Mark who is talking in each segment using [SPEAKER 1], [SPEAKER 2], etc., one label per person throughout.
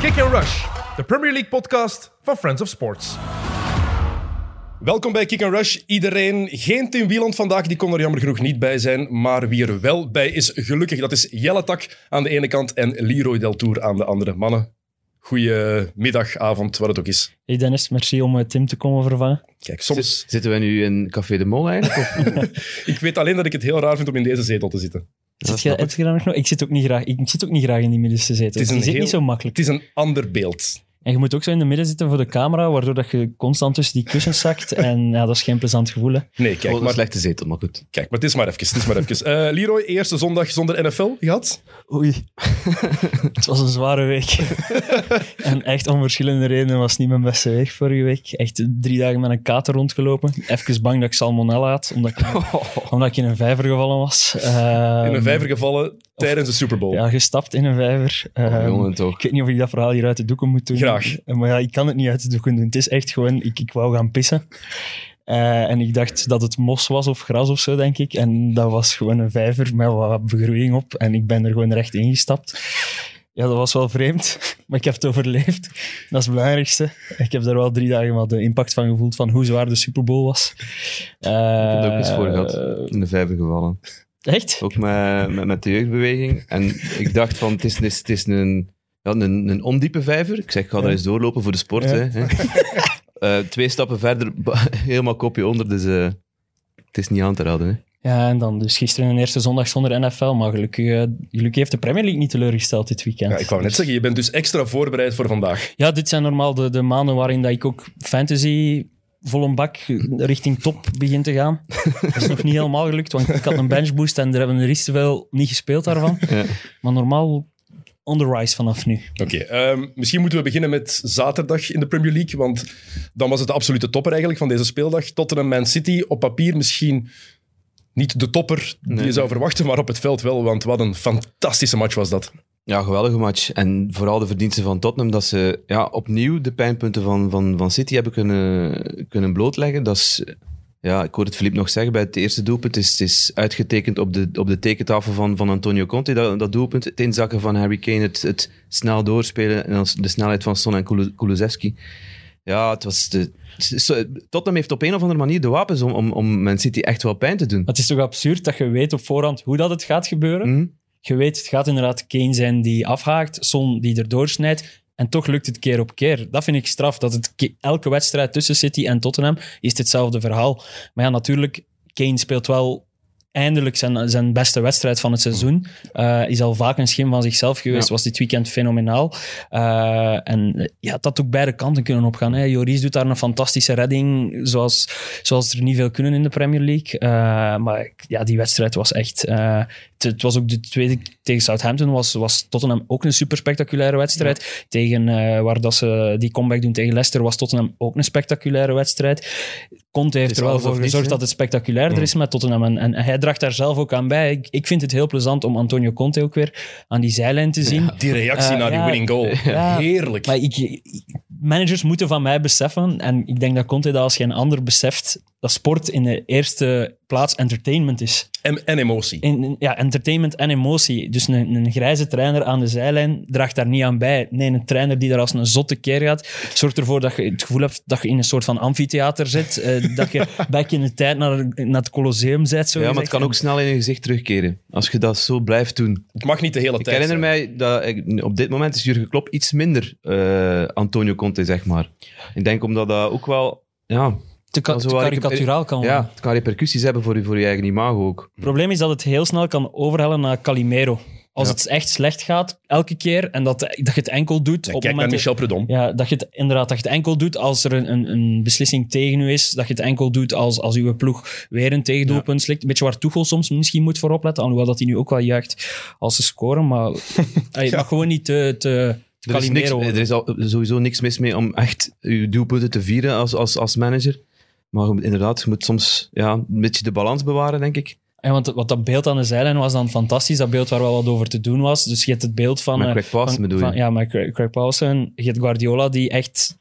[SPEAKER 1] Kick and Rush, de Premier League podcast van Friends of Sports. Welkom bij Kick and Rush, iedereen. Geen Tim Wieland vandaag, die kon er jammer genoeg niet bij zijn. Maar wie er wel bij is, gelukkig, dat is Jelle Tak aan de ene kant en Leroy Deltour aan de andere. Mannen, goeiemiddag, avond, wat het ook is.
[SPEAKER 2] Hey Dennis, merci om eh, Tim te komen vervangen.
[SPEAKER 1] Kijk, soms...
[SPEAKER 3] Zit- Zitten we nu in Café de Mol eigenlijk? Of?
[SPEAKER 1] Ik weet alleen dat ik het heel raar vind om in deze zetel te zitten.
[SPEAKER 2] Zit je,
[SPEAKER 3] snap
[SPEAKER 2] heb je daar nog nog? Ik zit ook niet graag, ik zit ook niet graag in die middenste
[SPEAKER 1] Het
[SPEAKER 2] zetel.
[SPEAKER 1] is
[SPEAKER 2] Dus Die
[SPEAKER 1] een
[SPEAKER 2] zit
[SPEAKER 1] heel-
[SPEAKER 2] niet zo makkelijk.
[SPEAKER 1] Het is een ander beeld.
[SPEAKER 2] En je moet ook zo in de midden zitten voor de camera, waardoor dat je constant tussen die kussens zakt. en ja, dat is geen plezant gevoel. Hè.
[SPEAKER 1] Nee,
[SPEAKER 3] Gewoon
[SPEAKER 1] kijk
[SPEAKER 3] een
[SPEAKER 1] maar,
[SPEAKER 3] slechte zetel, maar goed.
[SPEAKER 1] kijk, maar het is maar even. Het is maar even. Eh, Leroy, eerste zondag zonder NFL gehad.
[SPEAKER 2] Oei. het was een zware week. en echt om verschillende redenen was het niet mijn beste week vorige week. Echt drie dagen met een kater rondgelopen. Even bang dat ik salmonella had, omdat ik, omdat ik in een vijver gevallen was.
[SPEAKER 1] In een
[SPEAKER 2] Ehm,
[SPEAKER 1] vijver gevallen tijdens de Super Bowl.
[SPEAKER 2] Ja, gestapt in een vijver.
[SPEAKER 3] Oh,
[SPEAKER 2] Ehm,
[SPEAKER 3] jongen, toch.
[SPEAKER 2] Ik weet niet of ik dat verhaal hier uit de doeken moet doen.
[SPEAKER 1] Graag.
[SPEAKER 2] Eh, Maar ja, ik kan het niet uit de doeken doen. Het is echt gewoon, ik, ik wou gaan pissen. Eh, en ik dacht dat het mos was of gras of zo, denk ik. En dat was gewoon een vijver met wat begroeiing op. En ik ben er gewoon recht ingestapt. Ja, dat was wel vreemd, maar ik heb het overleefd. Dat is het belangrijkste. Ik heb daar wel drie dagen wel de impact van gevoeld van hoe zwaar de Super Bowl was.
[SPEAKER 3] Ik heb het ook eens
[SPEAKER 2] Eh,
[SPEAKER 3] voor gehad. In de vijver gevallen.
[SPEAKER 2] Echt?
[SPEAKER 3] Ook met, met, met de jeugdbeweging. En ik dacht van, het is, het is, het is een, ja, een, een ondiepe vijver. Ik zeg, ik ga er eens doorlopen voor de sport.
[SPEAKER 2] Ja.
[SPEAKER 3] Hè, hè. Eh, twee stappen verder, ba- helemaal kopje onder. Dus eh, het is niet aan te raden. Hè.
[SPEAKER 2] Ja, en dan dus gisteren een eerste zondag zonder NFL. Maar gelukkig, eh, gelukkig heeft de Premier League niet teleurgesteld dit weekend.
[SPEAKER 1] Ja, ik wou net zeggen, je bent dus extra voorbereid voor vandaag.
[SPEAKER 2] Ja, dit zijn normaal de, de maanden waarin dat ik ook fantasy vol een bak richting top begin te gaan. Dat is nog niet helemaal gelukt, want ik had een benchboost en er hebben er iets te veel niet gespeeld daarvan.
[SPEAKER 3] Ja.
[SPEAKER 2] Maar normaal on the rise vanaf nu.
[SPEAKER 1] Oké, ehm, misschien moeten we beginnen met zaterdag in de Premier League, want dan was het de absolute topper eigenlijk van deze speeldag. Tottenham Man City, op papier misschien niet de topper die je
[SPEAKER 3] Nee.
[SPEAKER 1] zou verwachten, maar op het veld wel, want wat een fantastische match was dat.
[SPEAKER 3] Ja, geweldige match. En vooral de verdiensten van Tottenham, dat ze ja, opnieuw de pijnpunten van, van, van City hebben kunnen, kunnen blootleggen. Dat is, ja, ik hoorde het Filip nog zeggen bij het eerste doelpunt. Het is, het is uitgetekend op de, op de tekentafel van, van Antonio Conte, dat, dat doelpunt. Het inzakken van Harry Kane, het, het snel doorspelen en dan de snelheid van Son en Kulu- Kulusevski. Ja, het was de, so- Tottenham heeft op een of andere manier de wapens om, om, om Man City echt wel pijn te doen.
[SPEAKER 2] Maar het is toch absurd dat je weet op voorhand hoe dat het gaat gebeuren.
[SPEAKER 3] Mhm.
[SPEAKER 2] Je weet, het gaat inderdaad Kane zijn die afhaakt, Son die erdoor snijdt. En toch lukt het keer op keer. Dat vind ik straf. Dat het ke- elke wedstrijd tussen City en Tottenham is het hetzelfde verhaal. Maar ja, natuurlijk, Kane speelt wel eindelijk zijn, zijn beste wedstrijd van het seizoen. Eh, is al vaak een schim van zichzelf geweest.
[SPEAKER 3] Ja.
[SPEAKER 2] Was dit weekend fenomenaal. Eh, en eh, ja, het had ook beide kanten kunnen opgaan. Hè. Joris doet daar een fantastische redding, zoals, zoals er niet veel kunnen in de Premier League. Eh, maar ik- ja, die wedstrijd was echt... eh, het, het was ook de tweede tegen Southampton, was, was Tottenham ook een super spectaculaire wedstrijd. Tegen, eh, waar dat ze die comeback doen tegen Leicester, was Tottenham ook een spectaculaire wedstrijd. Conte heeft
[SPEAKER 3] is
[SPEAKER 2] er wel
[SPEAKER 3] alles
[SPEAKER 2] voor
[SPEAKER 3] of niets,
[SPEAKER 2] gezorgd
[SPEAKER 3] hè?
[SPEAKER 2] dat het
[SPEAKER 3] Mm.
[SPEAKER 2] spectaculairder is met Tottenham. En, en hij draagt daar zelf ook aan bij. Ik, ik vind het heel plezant om Antonio Conte ook weer aan die zijlijn te zien.
[SPEAKER 1] Die reactie
[SPEAKER 2] Eh,
[SPEAKER 1] naar die
[SPEAKER 2] ja.
[SPEAKER 1] winning goal,
[SPEAKER 2] Ja.
[SPEAKER 1] heerlijk.
[SPEAKER 2] Maar ik- ik- managers moeten van mij beseffen, en ik denk dat Conte dat als geen ander beseft, dat sport in de eerste plaats entertainment is.
[SPEAKER 1] En, en emotie.
[SPEAKER 2] In, in- ja, entertainment en emotie. Dus een, een grijze trainer aan de zijlijn draagt daar niet aan bij. Nee, een trainer die daar als een zotte keer gaat, zorgt ervoor dat je het gevoel hebt dat je in een soort van amfitheater zit, eh, dat je back in de tijd naar, naar het Colosseum zit. Zo
[SPEAKER 3] Ja, maar
[SPEAKER 2] gezegd.
[SPEAKER 3] het kan ook snel in je gezicht terugkeren. Als je dat zo blijft doen.
[SPEAKER 1] Het mag niet de hele tijd
[SPEAKER 3] Ik herinner
[SPEAKER 1] zijn.
[SPEAKER 3] mij dat ik- op dit moment is Jurgen Klopp iets minder eh, Antonio Conte, zeg maar. Ik denk omdat dat ook wel. Ja,
[SPEAKER 2] te, ka-
[SPEAKER 3] Als
[SPEAKER 2] te
[SPEAKER 3] we waar ik-
[SPEAKER 2] karikaturaal kan worden.
[SPEAKER 3] ja, het kan repercussies hebben voor je, voor je eigen imago ook.
[SPEAKER 2] Het probleem is dat het heel snel kan overhellen naar Calimero. Als
[SPEAKER 3] Ja.
[SPEAKER 2] het echt slecht gaat, elke keer, en dat, dat je het enkel doet
[SPEAKER 1] Ja,
[SPEAKER 2] op
[SPEAKER 1] Kijk naar
[SPEAKER 2] momenten...
[SPEAKER 1] Michel Predom.
[SPEAKER 2] Ja, dat je het inderdaad dat je het enkel doet als er een, een, een beslissing tegen u is. Dat je het enkel doet als, als uw ploeg weer een tegendoelpunt slikt. Een beetje waar Tuchel soms misschien moet voor opletten. Alhoewel dat hij nu ook wel juicht als ze scoren. Maar Allee, het mag gewoon niet te, te, te
[SPEAKER 3] Er is, niks,
[SPEAKER 2] Calimero
[SPEAKER 3] er
[SPEAKER 2] worden.
[SPEAKER 3] is al, sowieso niks mis mee om echt je doelpunten te vieren als, als, als manager. Maar je moet- inderdaad, je moet soms ja, een beetje de balans bewaren, denk ik.
[SPEAKER 2] Ja, want, want dat beeld aan de zijlijn was dan fantastisch. Dat beeld waar wel wat over te doen was. Dus je hebt het beeld van...
[SPEAKER 3] Met
[SPEAKER 2] eh,
[SPEAKER 3] Craig Paulsen
[SPEAKER 2] van-
[SPEAKER 3] bedoel je?
[SPEAKER 2] van- ja, maar Craig, Craig Paulsen. Je hebt Guardiola die echt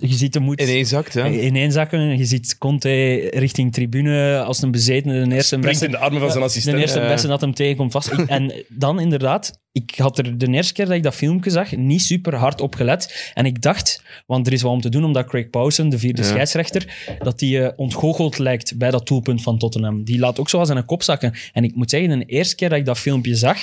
[SPEAKER 2] je ziet de moed
[SPEAKER 3] Ineenzakt, hè?
[SPEAKER 2] ineenzakken. Je ziet Conte richting tribune als een bezetene. De eerste
[SPEAKER 1] Springt
[SPEAKER 2] beste,
[SPEAKER 1] in de armen van zijn
[SPEAKER 2] de
[SPEAKER 1] assistent.
[SPEAKER 2] eerste
[SPEAKER 3] Ja.
[SPEAKER 2] beste dat hem tegenkomt vast. Ik- en dan inderdaad, ik had er de eerste keer dat ik dat filmpje zag niet super hard op gelet. En ik dacht, want er is wat om te doen, omdat Craig Pausen, de vierde
[SPEAKER 3] Ja.
[SPEAKER 2] scheidsrechter, dat die eh, ontgoocheld lijkt bij dat doelpunt van Tottenham. Die laat ook zoals aan een kop zakken. En ik moet zeggen, de eerste keer dat ik dat filmpje zag,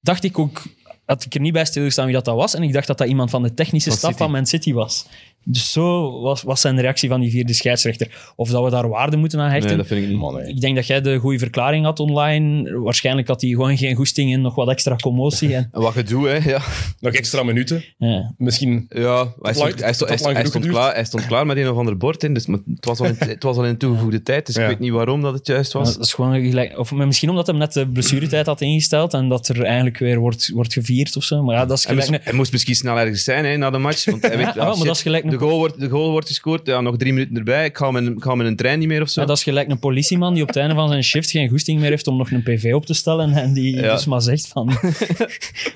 [SPEAKER 2] dacht ik ook, had ik er niet bij stilgestaan wie dat, dat was. En ik dacht dat dat iemand van de technische
[SPEAKER 3] Van
[SPEAKER 2] staf
[SPEAKER 3] City.
[SPEAKER 2] van Man City was. Dus zo was, was zijn reactie van die vierde scheidsrechter. Of dat we daar waarde moeten aan hechten.
[SPEAKER 3] Nee, dat vind ik niet.
[SPEAKER 1] Man, hè.
[SPEAKER 2] Ik denk dat jij de goede verklaring had online. Waarschijnlijk had hij gewoon geen goesting in, nog wat extra commotie. En,
[SPEAKER 3] En wat je doet, hè? Ja.
[SPEAKER 1] Nog extra minuten.
[SPEAKER 2] ja.
[SPEAKER 1] Misschien
[SPEAKER 3] Ja, hij
[SPEAKER 1] lang- tot
[SPEAKER 3] stond, hij, stond, hij,
[SPEAKER 1] lang
[SPEAKER 3] stond, hij
[SPEAKER 1] genoeg
[SPEAKER 3] stond
[SPEAKER 1] geduurd.
[SPEAKER 3] klaar, hij stond klaar met een of ander bord in, dus maar het, was al in, het was al in toegevoegde tijd, dus
[SPEAKER 1] Ja.
[SPEAKER 3] ik weet niet waarom dat het juist was.
[SPEAKER 2] Dat is gewoon gelijk, of maar misschien omdat hij net de blessuretijd had ingesteld en dat er eigenlijk weer wordt, wordt gevierd of zo. Maar ja, dat is
[SPEAKER 3] Hij
[SPEAKER 2] gelijk.
[SPEAKER 3] moest, hij moest misschien snel ergens zijn hè, na de match. Want hij weet,
[SPEAKER 2] Ja,
[SPEAKER 3] ah,
[SPEAKER 2] maar dat
[SPEAKER 3] shit,
[SPEAKER 2] is gelijk
[SPEAKER 3] de,
[SPEAKER 2] nog-
[SPEAKER 3] goal wordt, de goal wordt gescoord. Ja, nog drie minuten erbij. Ik ga met, een- ik ga met een trein niet meer of zo.
[SPEAKER 2] Ja, dat is gelijk een politieman die op het einde van zijn shift geen goesting meer heeft om nog een PV op te stellen. En die
[SPEAKER 3] Ja.
[SPEAKER 2] dus maar zegt van...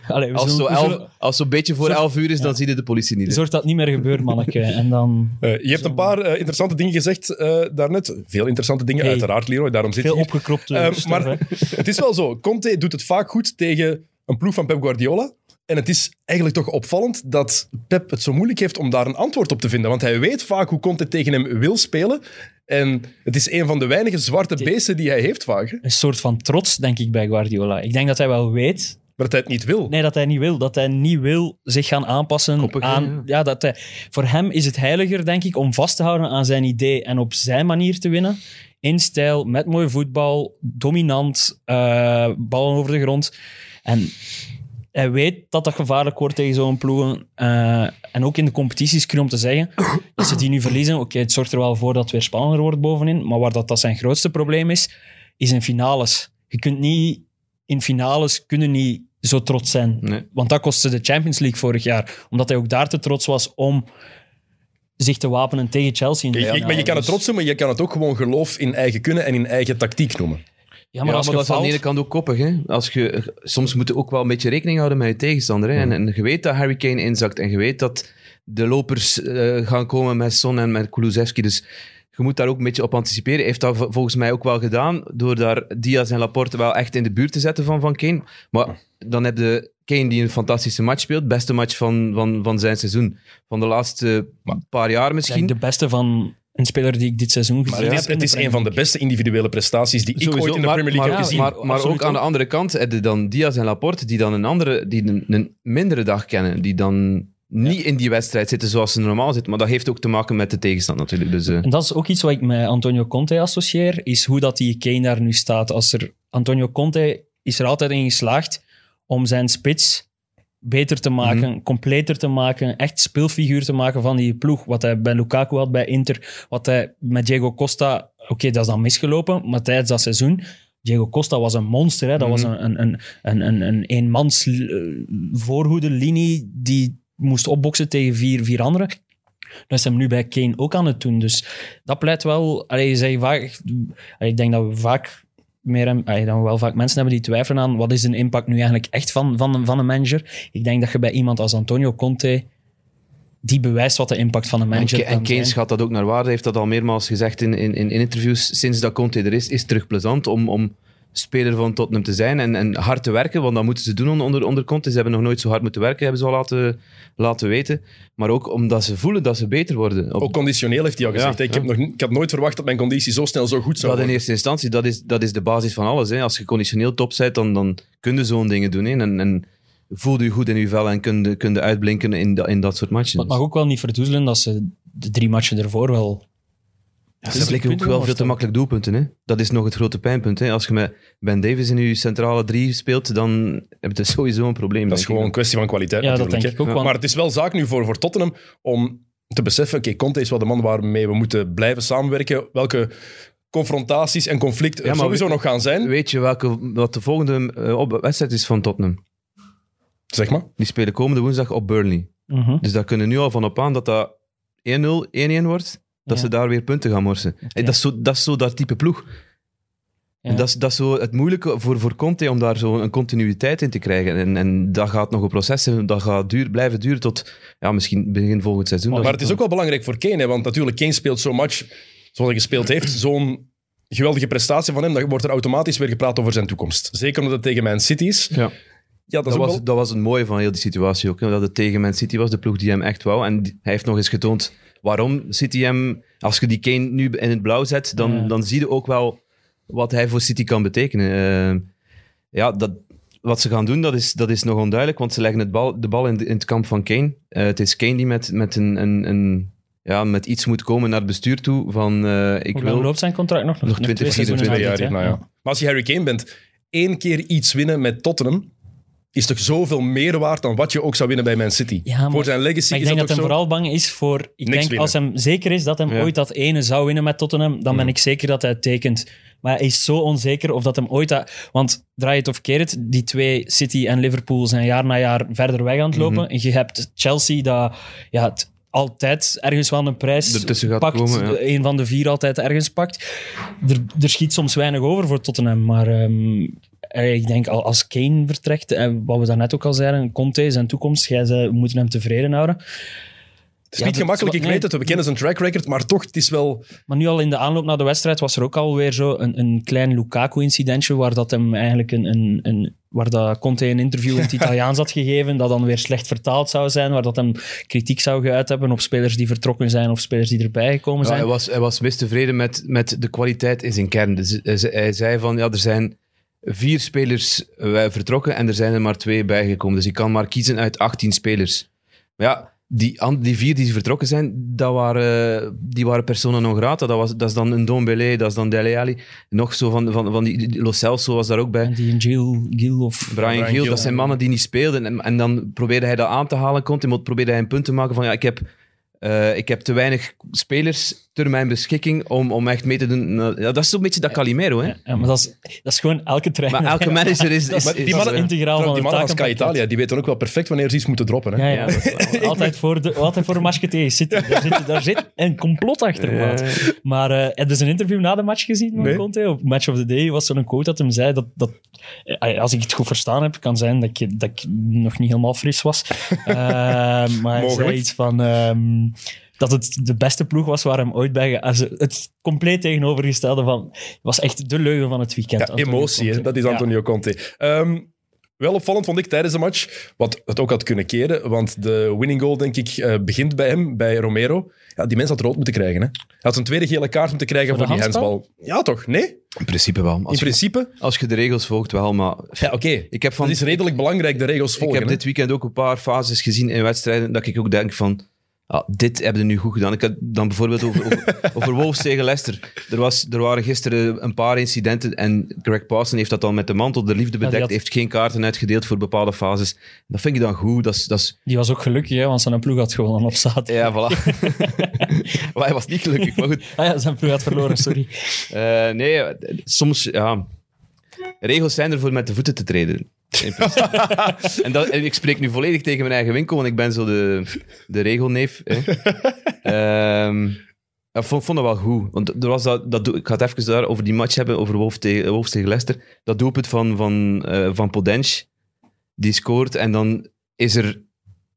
[SPEAKER 2] Allee, we zullen-
[SPEAKER 3] als zo'n
[SPEAKER 2] we
[SPEAKER 3] elf-
[SPEAKER 2] zullen-
[SPEAKER 3] als zo'n beetje voor
[SPEAKER 2] Zo-
[SPEAKER 3] elf uur is, dan zie je de politie niet. hè.
[SPEAKER 2] Zorg dat het niet meer gebeurt, manneke. En dan
[SPEAKER 1] Eh, je hebt een paar eh, interessante dingen gezegd eh, daarnet. Veel interessante dingen,
[SPEAKER 2] Hey.
[SPEAKER 1] uiteraard, Leroy. Daarom zit je
[SPEAKER 2] veel
[SPEAKER 1] hier.
[SPEAKER 2] opgekropte
[SPEAKER 1] Ehm,
[SPEAKER 2] stof, hè.
[SPEAKER 1] maar het is wel zo. Conte doet het vaak goed tegen een ploeg van Pep Guardiola. En het is eigenlijk toch opvallend dat Pep het zo moeilijk heeft om daar een antwoord op te vinden. Want hij weet vaak hoe Conte tegen hem wil spelen. En het is een van de weinige zwarte beesten die hij heeft vaak. hè.
[SPEAKER 2] Een soort van trots, denk ik, bij Guardiola. Ik denk dat hij wel weet
[SPEAKER 1] Maar dat hij het niet wil.
[SPEAKER 2] Nee, dat hij niet wil. Dat hij niet wil zich gaan aanpassen
[SPEAKER 3] Koppig, hè,
[SPEAKER 2] aan...
[SPEAKER 3] ja.
[SPEAKER 2] Ja. dat hij, voor hem is het heiliger, denk ik, om vast te houden aan zijn idee en op zijn manier te winnen. In stijl, met mooi voetbal, dominant, eh, ballen over de grond. En hij weet dat dat gevaarlijk wordt tegen zo'n ploegen. Eh, en ook in de competities kun je om te zeggen, als ze die nu verliezen, oké, het zorgt er wel voor dat het weer spannender wordt bovenin. Maar waar dat, dat zijn grootste probleem is, is in finales. Je kunt niet... In finales kunnen niet zo trots zijn.
[SPEAKER 3] Nee.
[SPEAKER 2] Want dat kostte de Champions League vorig jaar. Omdat hij ook daar te trots was om zich te wapenen tegen Chelsea. in de
[SPEAKER 1] Je- je-
[SPEAKER 2] finale.
[SPEAKER 1] maar je kan het
[SPEAKER 2] Dus-
[SPEAKER 1] trots noemen, maar je kan het ook gewoon geloof in eigen kunnen en in eigen tactiek noemen.
[SPEAKER 2] Ja, maar als
[SPEAKER 3] ja,
[SPEAKER 2] je
[SPEAKER 3] maar dat is aan de
[SPEAKER 2] faalt-
[SPEAKER 3] ene kant ook koppig. Hè? Als je, soms moet je ook wel een beetje rekening houden met je tegenstander. Hè? En, en je weet dat Harry Kane inzakt en je weet dat de lopers eh, gaan komen met Son en met Kulusevski. Dus je moet daar ook een beetje op anticiperen. Hij heeft dat vo- volgens mij ook wel gedaan door daar Diaz en Laporte wel echt in de buurt te zetten van, van Kane. Maar dan heb je Kane die een fantastische match speelt. Beste match van, van, van zijn seizoen. Van de laatste paar jaar misschien.
[SPEAKER 2] Misschien de beste van een speler die ik dit seizoen gezien
[SPEAKER 1] Maar het is,
[SPEAKER 2] heb. in
[SPEAKER 1] het
[SPEAKER 2] de
[SPEAKER 1] is een
[SPEAKER 2] Premier
[SPEAKER 1] van de
[SPEAKER 2] League.
[SPEAKER 1] beste individuele prestaties die ik ooit in de
[SPEAKER 3] maar-
[SPEAKER 1] Premier League
[SPEAKER 3] maar,
[SPEAKER 1] heb gezien.
[SPEAKER 3] Maar, maar
[SPEAKER 2] Absoluut
[SPEAKER 3] ook aan de andere kant heb je dan Diaz en Laporte die dan een andere, die een, een mindere dag kennen, die dan niet in die wedstrijd zitten zoals ze normaal zitten. Maar dat heeft ook te maken met de tegenstand natuurlijk. Dus, eh,
[SPEAKER 2] En dat is ook iets wat ik met Antonio Conte associeer, is hoe dat die Kane daar nu staat. Als er, Antonio Conte is er altijd in geslaagd om zijn spits beter te maken, completer te maken, echt speelfiguur te maken van die ploeg. Wat hij bij Lukaku had bij Inter, wat hij met Diego Costa... Oké, dat is dan misgelopen, maar tijdens dat seizoen... Diego Costa was een monster. Hè? Dat was een, een, een, een, een, een eenmans eh, voorhoedenlinie die moest opboksen tegen vier, vier anderen. Dat is hem nu bij Kane ook aan het doen. Dus dat pleit wel. Allee, je zegt vaak, allee, ik denk dat we vaak meer en- allee, dat we wel vaak mensen hebben die twijfelen aan wat is de impact nu eigenlijk echt van, van, een, van een manager. Ik denk dat je bij iemand als Antonio Conte die bewijst wat de impact van een
[SPEAKER 3] en,
[SPEAKER 2] manager
[SPEAKER 3] Ke- en
[SPEAKER 2] kan
[SPEAKER 3] Kane
[SPEAKER 2] zijn.
[SPEAKER 3] schat dat ook naar waarde, heeft dat al meermaals gezegd in, in, in interviews. Sinds dat Conte er is, is het terug plezant om, om speler van Tottenham te zijn en, en hard te werken, want dat moeten ze doen onder, onder Conte. Ze hebben nog nooit zo hard moeten werken, hebben ze al laten, laten weten. Maar ook omdat ze voelen dat ze beter worden. Op,
[SPEAKER 1] Ook conditioneel heeft hij al gezegd.
[SPEAKER 3] Ja,
[SPEAKER 1] hè. ik, heb nog, niet- ik had nooit verwacht dat mijn conditie zo snel zo goed zou
[SPEAKER 3] Dat in
[SPEAKER 1] worden.
[SPEAKER 3] eerste instantie, dat is, dat is de basis van alles. Hè. Als je conditioneel top bent, dan, dan kun je zo'n dingen doen. Hè. En, en voel je goed in je vel en kun je, kun je uitblinken in, da- in dat soort matchen.
[SPEAKER 2] Maar het mag ook wel niet verdoezelen dat ze de drie matchen ervoor wel
[SPEAKER 3] Ja,
[SPEAKER 2] Dus
[SPEAKER 3] ze blikken ook
[SPEAKER 2] punten
[SPEAKER 3] wel veel te
[SPEAKER 2] voorstellen.
[SPEAKER 3] makkelijk doelpunten. Hè. Dat is nog het grote pijnpunt. Hè. Als je met Ben Davis in je centrale drie speelt, dan heb je sowieso een probleem.
[SPEAKER 1] Dat is
[SPEAKER 3] denk
[SPEAKER 1] gewoon een
[SPEAKER 3] ik.
[SPEAKER 1] kwestie van kwaliteit
[SPEAKER 2] Ja, dat
[SPEAKER 1] natuurlijk.
[SPEAKER 2] denk
[SPEAKER 1] hè.
[SPEAKER 2] ik ook.
[SPEAKER 3] Ja.
[SPEAKER 2] want-
[SPEAKER 1] Maar het is wel zaak nu voor, voor Tottenham om te beseffen, oké, Conte is wel de man waarmee we moeten blijven samenwerken. Welke confrontaties en conflicten
[SPEAKER 3] Ja,
[SPEAKER 1] er
[SPEAKER 3] maar
[SPEAKER 1] sowieso
[SPEAKER 3] we-
[SPEAKER 1] nog gaan zijn,
[SPEAKER 3] Weet je welke, wat de volgende eh, op, wedstrijd is van Tottenham?
[SPEAKER 1] zeg maar.
[SPEAKER 3] Die spelen komende woensdag op Burnley.
[SPEAKER 2] Mhm.
[SPEAKER 3] Dus daar kunnen we nu al van op aan dat dat 1-0, 1-1 wordt. Dat
[SPEAKER 2] Ja.
[SPEAKER 3] ze daar weer punten gaan morsen. En Dat, is zo, dat is zo dat type ploeg. En dat is, dat is zo het moeilijke voor, voor Conte om daar zo een continuïteit in te krijgen. En, en dat gaat nog een proces zijn, dat gaat duur, blijven duren tot ja, misschien begin volgend seizoen.
[SPEAKER 1] Maar,
[SPEAKER 3] Dat
[SPEAKER 1] maar het is ook wel belangrijk voor Kane, hè, want natuurlijk, Kane speelt zo'n match zoals hij gespeeld heeft, zo'n geweldige prestatie van hem, dan wordt er automatisch weer gepraat over zijn toekomst. Zeker omdat het tegen Man City is.
[SPEAKER 3] Ja.
[SPEAKER 1] Ja, dat, is
[SPEAKER 3] Dat,
[SPEAKER 1] ook
[SPEAKER 3] was,
[SPEAKER 1] wel-
[SPEAKER 3] dat was het mooie van heel die situatie ook. hè, Dat het tegen Man City was, de ploeg die hem echt wou. En die- hij heeft nog eens getoond waarom City hem... Als je die Kane nu in het blauw zet, dan,
[SPEAKER 2] Ja.
[SPEAKER 3] dan zie je ook wel wat hij voor City kan betekenen. Eh, ja, dat, wat ze gaan doen, dat is, dat is nog onduidelijk. Want ze leggen het bal, de bal in, de- in het kamp van Kane. Eh, het is Kane die met, met, een, een, een, ja, met iets moet komen naar het bestuur toe. Van, eh, ik
[SPEAKER 2] Hoe lang
[SPEAKER 3] wil...
[SPEAKER 2] loopt zijn contract nog?
[SPEAKER 3] Nog 20,
[SPEAKER 2] seizoenen
[SPEAKER 3] 24
[SPEAKER 1] jaar,
[SPEAKER 2] na dit,
[SPEAKER 1] nou
[SPEAKER 2] hè?
[SPEAKER 1] ja. Maar als je Harry Kane bent, één keer iets winnen met Tottenham is toch zoveel meer waard dan wat je ook zou winnen bij Man City.
[SPEAKER 2] Ja, maar-
[SPEAKER 1] Voor zijn legacy
[SPEAKER 2] Maar ik
[SPEAKER 1] is
[SPEAKER 2] denk dat,
[SPEAKER 1] dat,
[SPEAKER 2] hem
[SPEAKER 1] ook zo.
[SPEAKER 2] vooral bang is voor... Ik denk,
[SPEAKER 1] winnen.
[SPEAKER 2] als hem zeker is dat hem
[SPEAKER 3] Ja.
[SPEAKER 2] ooit dat ene zou winnen met Tottenham, dan ben ik zeker dat hij het tekent. Maar hij is zo onzeker of dat hem ooit... Dat, want draai het of keer het, die twee, City en Liverpool, zijn jaar na jaar verder weg aan het lopen. En je hebt Chelsea, dat ja, het altijd ergens wel een prijs
[SPEAKER 3] Ertussen gaat
[SPEAKER 2] pakt.
[SPEAKER 3] komen, ja.
[SPEAKER 2] Een van de vier altijd ergens pakt. Er, er schiet soms weinig over voor Tottenham, maar... ehm, eh, ik denk al- als Kane vertrekt, en wat we daarnet ook al zeiden, Conte, zijn toekomst, jij zei, we moeten hem tevreden houden.
[SPEAKER 1] Het is
[SPEAKER 2] Ja,
[SPEAKER 1] niet
[SPEAKER 2] dat-
[SPEAKER 1] gemakkelijk, ik
[SPEAKER 2] nee.
[SPEAKER 1] weet het, we kennen zijn track record, maar toch, het is wel...
[SPEAKER 2] Maar nu al in de aanloop naar de wedstrijd was er ook alweer zo een, een klein Lukaku-incidentje waar dat hem eigenlijk een, een, een waar dat Conte een interview in het Italiaans had gegeven, dat dan weer slecht vertaald zou zijn, waar dat hem kritiek zou geuit hebben op spelers die vertrokken zijn of spelers die erbij gekomen
[SPEAKER 3] Ja,
[SPEAKER 2] zijn.
[SPEAKER 3] hij, was, hij was mistevreden met, met de kwaliteit in zijn kern. Dus hij, ze- hij zei van, ja, er zijn vier spelers eh, vertrokken en er zijn er maar twee bijgekomen. Dus ik kan maar kiezen uit 18 spelers. Maar ja, die, an- die vier die vertrokken zijn, dat waren, eh, die waren persona non grata. Dat, was, dat is dan een Dombele, dat is dan Dele Alli. Nog zo van, van, van die, die Lo Celso was daar ook bij.
[SPEAKER 2] En die een Gil, Gil of...
[SPEAKER 3] Brian,
[SPEAKER 1] Brian
[SPEAKER 3] Giel,
[SPEAKER 1] Giel.
[SPEAKER 3] dat zijn mannen die niet speelden. En, en dan probeerde hij dat aan te halen. Continu probeerde hij een punt te maken van ja, ik heb, eh, ik heb te weinig spelers ter mijn beschikking om, om echt mee te doen. Nou, Ja, dat is zo'n beetje dat Calimero, hè?
[SPEAKER 2] Ja, maar dat is, dat is gewoon elke trainer.
[SPEAKER 3] Maar elke manager is... is,
[SPEAKER 1] Maar
[SPEAKER 3] is-
[SPEAKER 1] die mannen,
[SPEAKER 3] eh,
[SPEAKER 2] integraal van
[SPEAKER 1] die
[SPEAKER 2] het
[SPEAKER 1] mannen van Sky
[SPEAKER 2] takenpakket.
[SPEAKER 1] Italia, die weten ook wel perfect wanneer ze iets moeten droppen. Hè?
[SPEAKER 2] Ja,
[SPEAKER 3] ja,
[SPEAKER 2] ja.
[SPEAKER 3] dat is wel-
[SPEAKER 2] altijd, voor de, altijd voor een matchje tegen City. Daar zit, daar zit een complot achter, maat. Maar eh heb je zijn interview na de match gezien van
[SPEAKER 1] Nee.
[SPEAKER 2] Conte? Op Match of the Day was zo'n quote dat hem zei dat... dat eh, als ik het goed verstaan heb, kan zijn dat ik, dat ik nog niet helemaal fris was. Eh, maar hij
[SPEAKER 1] Mogelijk.
[SPEAKER 2] zei iets van... ehm, dat het de beste ploeg was waar hem ooit bij... ge- als het compleet tegenovergestelde van... Het was echt de leugen van het weekend.
[SPEAKER 1] Ja,
[SPEAKER 2] Antonio
[SPEAKER 1] emotie, hè?
[SPEAKER 2] Conte.
[SPEAKER 1] dat is
[SPEAKER 2] Ja.
[SPEAKER 1] Antonio Conte. Ehm, wel opvallend vond ik tijdens de match, wat het ook had kunnen keren, want de winning goal, denk ik, eh, begint bij hem, bij Romero. Ja, die mens had rood moeten krijgen. Hè? Hij had een tweede gele kaart moeten krijgen voor,
[SPEAKER 2] Voor de
[SPEAKER 1] die handsbal. Ja, toch? Nee?
[SPEAKER 3] in principe wel.
[SPEAKER 1] In
[SPEAKER 3] Als, je,
[SPEAKER 1] principe?
[SPEAKER 3] als je de regels volgt, wel. Maar
[SPEAKER 1] Ja, oké.
[SPEAKER 3] ik heb
[SPEAKER 1] Dat
[SPEAKER 3] van
[SPEAKER 1] is redelijk belangrijk, de regels volgen.
[SPEAKER 3] Ik heb
[SPEAKER 1] hè.
[SPEAKER 3] dit weekend ook een paar fases gezien in wedstrijden dat ik ook denk van, ah, dit hebben we nu goed gedaan. Ik had dan bijvoorbeeld over, over, over Wolves tegen Leicester. Er, was, er waren gisteren een paar incidenten en Greg Parson heeft dat dan met de mantel de liefde
[SPEAKER 2] die
[SPEAKER 3] bedekt,
[SPEAKER 2] had-
[SPEAKER 3] heeft geen kaarten uitgedeeld voor bepaalde fases. Dat vind ik dan goed. Dat is, dat is,
[SPEAKER 2] Die was ook gelukkig, hè, want zijn ploeg had gewonnen op zaterdag.
[SPEAKER 3] ja, voilà. maar hij was niet gelukkig, maar goed.
[SPEAKER 2] Ah ja, zijn ploeg had verloren, sorry.
[SPEAKER 3] Eh, nee, soms, ja... Regels zijn er voor met de voeten te treden. in principe. en, dat, en ik spreek nu volledig tegen mijn eigen winkel, want ik ben zo de, de regelneef. Hè. Ehm, ik vond, vond dat wel goed. Want er was dat, dat, doel- ik ga het even daar over die match hebben, over Wolves tegen, Wolves tegen Leicester. Dat doelpunt van, van, eh, van Podence, die scoort. En dan is er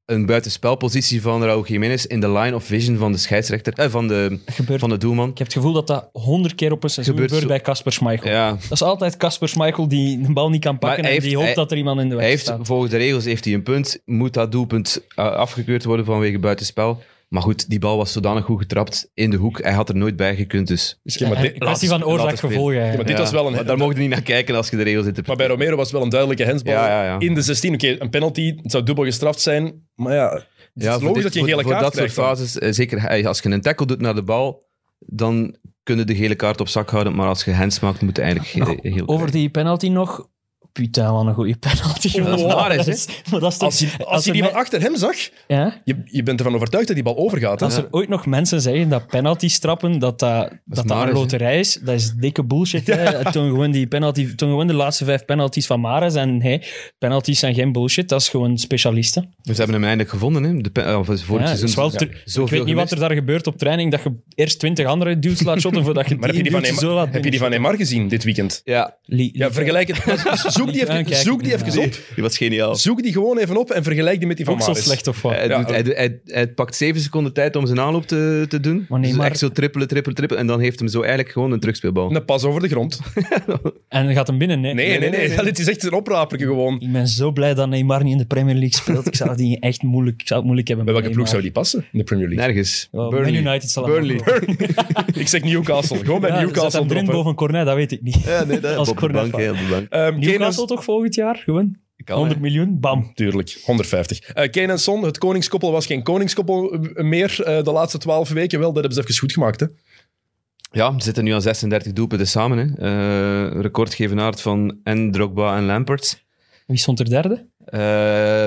[SPEAKER 3] een buitenspelpositie van Raúl Jiménez in de line of vision van de scheidsrechter, eh, van, de,
[SPEAKER 2] Gebeurt
[SPEAKER 3] van de doelman.
[SPEAKER 2] Ik heb het gevoel dat dat honderd keer op een seizoen
[SPEAKER 3] Gebeurt
[SPEAKER 2] gebeurt,
[SPEAKER 3] zo-
[SPEAKER 2] bij Casper Schmeichel.
[SPEAKER 3] Ja,
[SPEAKER 2] Dat is altijd Casper Schmeichel die de bal niet kan pakken en
[SPEAKER 3] hij heeft-
[SPEAKER 2] die hoopt
[SPEAKER 3] hij-
[SPEAKER 2] dat er iemand in de weg
[SPEAKER 3] Hij heeft,
[SPEAKER 2] staat.
[SPEAKER 3] volgens de regels heeft hij een punt. Moet dat doelpunt eh, afgekeurd worden vanwege buitenspel? Maar goed, die bal was zodanig goed getrapt in de hoek. Hij had er nooit bij gekund, dus...
[SPEAKER 2] Dus
[SPEAKER 1] Ja, maar
[SPEAKER 2] een
[SPEAKER 1] dit-
[SPEAKER 2] kwestie
[SPEAKER 3] laat-
[SPEAKER 2] van
[SPEAKER 3] laat het spelen.
[SPEAKER 2] oorzaak-gevolgen.
[SPEAKER 1] Ja, maar dit
[SPEAKER 3] Ja,
[SPEAKER 1] was wel een...
[SPEAKER 3] maar daar mocht je niet naar kijken als je de regels
[SPEAKER 1] Maar bij
[SPEAKER 3] interpreteert.
[SPEAKER 1] Romero was wel een duidelijke hensbal
[SPEAKER 3] Ja, ja, ja.
[SPEAKER 1] in de 16. Oké, een penalty, het zou dubbel gestraft zijn, maar ja... Het
[SPEAKER 3] Ja,
[SPEAKER 1] is
[SPEAKER 3] voor
[SPEAKER 1] logisch
[SPEAKER 3] dit-
[SPEAKER 1] dat je een gele
[SPEAKER 3] voor,
[SPEAKER 1] kaart
[SPEAKER 3] voor
[SPEAKER 1] krijgt.
[SPEAKER 3] dat soort
[SPEAKER 1] dan.
[SPEAKER 3] fases, eh, zeker hij- als je een tackle doet naar de bal, dan Nou, kunnen de gele kaart op zak houden. Maar als je hands maakt, moet je eigenlijk geen gele
[SPEAKER 2] Over die penalty nog. Putain, wat een goede penalty.
[SPEAKER 1] Dat is
[SPEAKER 3] Mahrez, hè?
[SPEAKER 2] Maar dat is toch-
[SPEAKER 1] Als je, als
[SPEAKER 2] als
[SPEAKER 1] je
[SPEAKER 2] er
[SPEAKER 1] die
[SPEAKER 2] mij-
[SPEAKER 1] van achter hem zag,
[SPEAKER 2] Ja?
[SPEAKER 1] je, je bent ervan overtuigd dat die bal overgaat. Hè?
[SPEAKER 2] Als er ooit nog mensen zeggen dat penalty strappen dat dat, dat, dat
[SPEAKER 3] Maris,
[SPEAKER 2] een loterij is, dat is dikke bullshit. hè. Toen gewoon, die penalty, toen gewoon de laatste vijf penalties van Maris en hey, penalties zijn geen bullshit, dat is gewoon specialisten.
[SPEAKER 3] Dus ze hebben hem eindelijk gevonden, hè? De, pe- of vorig
[SPEAKER 2] Ja,
[SPEAKER 3] seizoen.
[SPEAKER 2] is wel
[SPEAKER 3] ja,
[SPEAKER 2] ter- ik weet
[SPEAKER 3] zoveel
[SPEAKER 2] niet wat
[SPEAKER 3] gemist.
[SPEAKER 2] er daar gebeurt op training, dat je eerst twintig andere duels laat shotten voordat je,
[SPEAKER 1] Maar heb je, die van
[SPEAKER 2] duwtje zo
[SPEAKER 1] Neymar,
[SPEAKER 2] laat
[SPEAKER 1] heb je die van Neymar gezien dit weekend?
[SPEAKER 3] Ja,
[SPEAKER 2] Li-
[SPEAKER 1] Ja,
[SPEAKER 2] li-
[SPEAKER 1] vergelijk het. Zoek die even,
[SPEAKER 2] aankijken,
[SPEAKER 1] zoek die
[SPEAKER 2] ja.
[SPEAKER 1] even op.
[SPEAKER 3] die was geniaal.
[SPEAKER 1] Zoek die gewoon even op en vergelijk die met die van Eh,
[SPEAKER 2] ook zo
[SPEAKER 1] Maris.
[SPEAKER 2] slecht of wat?
[SPEAKER 3] Hij,
[SPEAKER 1] Ja,
[SPEAKER 3] Eh, doet- hij, hij, hij pakt zeven seconden tijd om zijn aanloop te, te doen.
[SPEAKER 2] Maar nee,
[SPEAKER 3] dus
[SPEAKER 2] maar-
[SPEAKER 3] echt zo trippelen, trippelen, trippelen. En dan heeft hem zo eigenlijk gewoon een terugspeelbal.
[SPEAKER 1] Een pas over de grond.
[SPEAKER 2] En dan gaat hem binnen.
[SPEAKER 1] Nee, nee, nee. Dit is echt een opraperke gewoon.
[SPEAKER 2] Ik ben zo blij dat Neymar niet in de Premier League speelt. Ik zou die echt moeilijk, ik zou het moeilijk hebben.
[SPEAKER 1] Bij
[SPEAKER 2] met
[SPEAKER 1] welke ploeg zou
[SPEAKER 2] Neymar.
[SPEAKER 1] die passen in de Premier League?
[SPEAKER 3] Nergens.
[SPEAKER 2] Wel, Man
[SPEAKER 3] Burnley.
[SPEAKER 2] United zal hem
[SPEAKER 3] Burnley.
[SPEAKER 2] ook wel.
[SPEAKER 1] Ik zeg Newcastle. Gewoon bij
[SPEAKER 2] Ja, zet
[SPEAKER 1] Newcastle
[SPEAKER 2] hem erin
[SPEAKER 1] droppen.
[SPEAKER 2] boven Cornet, dat weet ik niet.
[SPEAKER 3] Ja, nee, dat,
[SPEAKER 2] Als
[SPEAKER 3] op de bank,
[SPEAKER 2] cornervraag.
[SPEAKER 3] heel de bank.
[SPEAKER 1] Ehm, Kane en-
[SPEAKER 2] Newcastle toch volgend jaar? Gewoon 100 miljoen, bam.
[SPEAKER 1] Tuurlijk, 150. Eh Kane en Son, het koningskoppel was geen koningskoppel eh, meer eh, de laatste twaalf weken. Wel, dat hebben ze even goed gemaakt. Hè?
[SPEAKER 3] Ja, we zitten nu aan 36 doelpunten samen. Hè. Eh, recordgevenaard van en Drogba en Lampert.
[SPEAKER 2] Wie stond er derde?
[SPEAKER 3] Eh,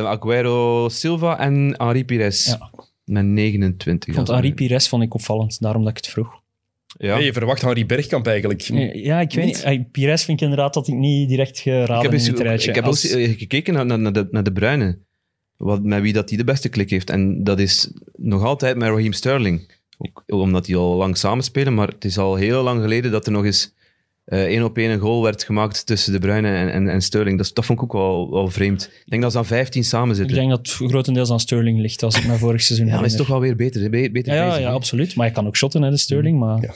[SPEAKER 3] Aguero Silva en Henri Pires.
[SPEAKER 2] Ja.
[SPEAKER 3] Met 29.
[SPEAKER 2] Ik vond
[SPEAKER 3] als-
[SPEAKER 2] Henri Pires vond ik opvallend, daarom dat ik het vroeg.
[SPEAKER 3] Ja.
[SPEAKER 1] Nee, je verwacht Henri Bergkamp eigenlijk.
[SPEAKER 2] Ja, ik weet niet. Eh, Pires vind ik inderdaad dat ik niet direct geraden
[SPEAKER 3] Ik heb,
[SPEAKER 2] in
[SPEAKER 3] eens,
[SPEAKER 2] dit rijtje.
[SPEAKER 3] ik heb
[SPEAKER 2] Als-
[SPEAKER 3] ook eens gekeken naar, naar, naar de, naar de Bruine. Wat, met wie dat hij de beste klik heeft. En dat is nog altijd met Raheem Sterling. Ook omdat die al lang samenspelen. Maar het is al heel lang geleden dat er nog eens eh, één op één een goal werd gemaakt tussen de Bruine en, en, en Sterling. Dat, is- dat vond ik ook wel, wel vreemd. Ik denk dat ze aan 15 samen
[SPEAKER 2] ik
[SPEAKER 3] zitten.
[SPEAKER 2] denk dat het grotendeels aan Sterling ligt, als ik me vorig seizoen
[SPEAKER 3] ja, dat is
[SPEAKER 2] herinner.
[SPEAKER 3] toch wel weer beter. hè? Be- beter
[SPEAKER 2] ja, ja,
[SPEAKER 3] bezig,
[SPEAKER 2] ja,
[SPEAKER 3] hè?
[SPEAKER 2] absoluut. Maar je kan ook shotten, hè, de Sterling. Maar
[SPEAKER 1] Mm. Ja.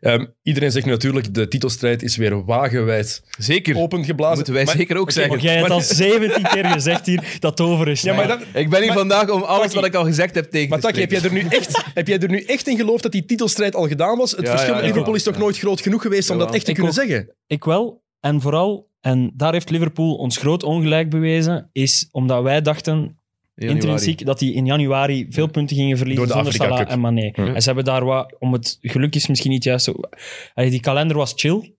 [SPEAKER 1] Ehm, iedereen zegt nu natuurlijk, de titelstrijd is weer wagenwijd
[SPEAKER 3] Zeker.
[SPEAKER 1] opengeblazen.
[SPEAKER 3] Moeten wij
[SPEAKER 1] Maar-
[SPEAKER 3] zeker ook
[SPEAKER 1] Oké,
[SPEAKER 3] zeggen.
[SPEAKER 2] Want jij hebt
[SPEAKER 1] maar-
[SPEAKER 2] al 17 keer gezegd hier dat het over is.
[SPEAKER 1] Ja, maar
[SPEAKER 2] Nou,
[SPEAKER 1] dat,
[SPEAKER 3] Ik ben hier
[SPEAKER 1] Maar-
[SPEAKER 3] vandaag om alles
[SPEAKER 1] Taki,
[SPEAKER 3] wat ik al gezegd heb tegen
[SPEAKER 1] maar
[SPEAKER 3] te
[SPEAKER 1] Taki, heb, jij
[SPEAKER 3] spreken.
[SPEAKER 1] er nu echt, heb jij er nu echt in geloofd dat die titelstrijd al gedaan was? Het
[SPEAKER 3] Ja,
[SPEAKER 1] verschil
[SPEAKER 3] ja,
[SPEAKER 1] met
[SPEAKER 3] ja.
[SPEAKER 1] Liverpool is toch nooit groot genoeg geweest om dat
[SPEAKER 3] Jawel.
[SPEAKER 1] echt te
[SPEAKER 2] Ik
[SPEAKER 1] kunnen
[SPEAKER 2] ook.
[SPEAKER 1] zeggen?
[SPEAKER 2] Ik wel. En vooral, en daar heeft Liverpool ons groot ongelijk bewezen, is omdat wij dachten
[SPEAKER 3] Januari.
[SPEAKER 2] intrinsiek dat die in januari veel punten gingen verliezen
[SPEAKER 1] Door de
[SPEAKER 2] zonder
[SPEAKER 1] Afrika
[SPEAKER 2] Salah
[SPEAKER 1] Cup.
[SPEAKER 2] en Mané.
[SPEAKER 3] Ja.
[SPEAKER 2] En ze hebben daar wat, om het geluk is misschien niet juist, zo- Allee, die kalender was chill,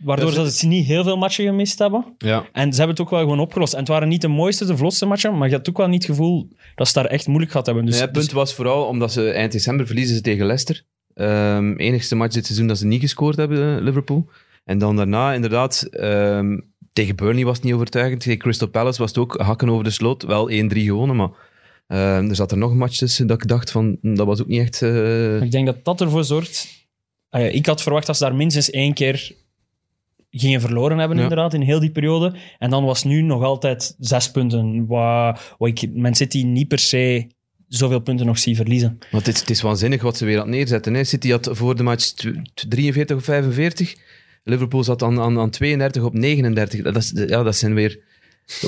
[SPEAKER 2] waardoor
[SPEAKER 3] Ja, ze-
[SPEAKER 2] ze, ze niet heel veel matchen gemist hebben.
[SPEAKER 3] Ja.
[SPEAKER 2] En ze hebben het ook wel gewoon opgelost. En het waren niet de mooiste, de vlotste matchen, maar je had ook wel niet het gevoel dat ze daar echt moeilijk gehad hebben. Dus,
[SPEAKER 3] nee, het punt was vooral omdat ze eind december verliezen ze tegen Leicester. Ehm enigste match dit seizoen dat ze niet gescoord hebben, eh, Liverpool. En dan daarna inderdaad, ehm, tegen Burnley was het niet overtuigend. Tegen Crystal Palace was het ook hakken over de sloot. Wel 1-3 gewonnen, maar ehm, er zat er nog een match tussen dat ik dacht van, hm, dat was ook niet echt... eh,
[SPEAKER 2] Maar ik denk dat dat ervoor zorgt... Ah ja, ik had verwacht dat ze daar minstens één keer gingen verloren hebben,
[SPEAKER 3] Ja.
[SPEAKER 2] inderdaad, in heel die periode. En dan was nu nog altijd zes punten, wat, wat ik Man City niet per se zoveel punten nog zie verliezen.
[SPEAKER 3] want het is, het is waanzinnig wat ze weer aan het neerzetten. Hè. City had voor de match tw- tw- 43 of 45. Liverpool zat aan, aan, aan 32 op 39. Dat, is, ja, dat zijn weer...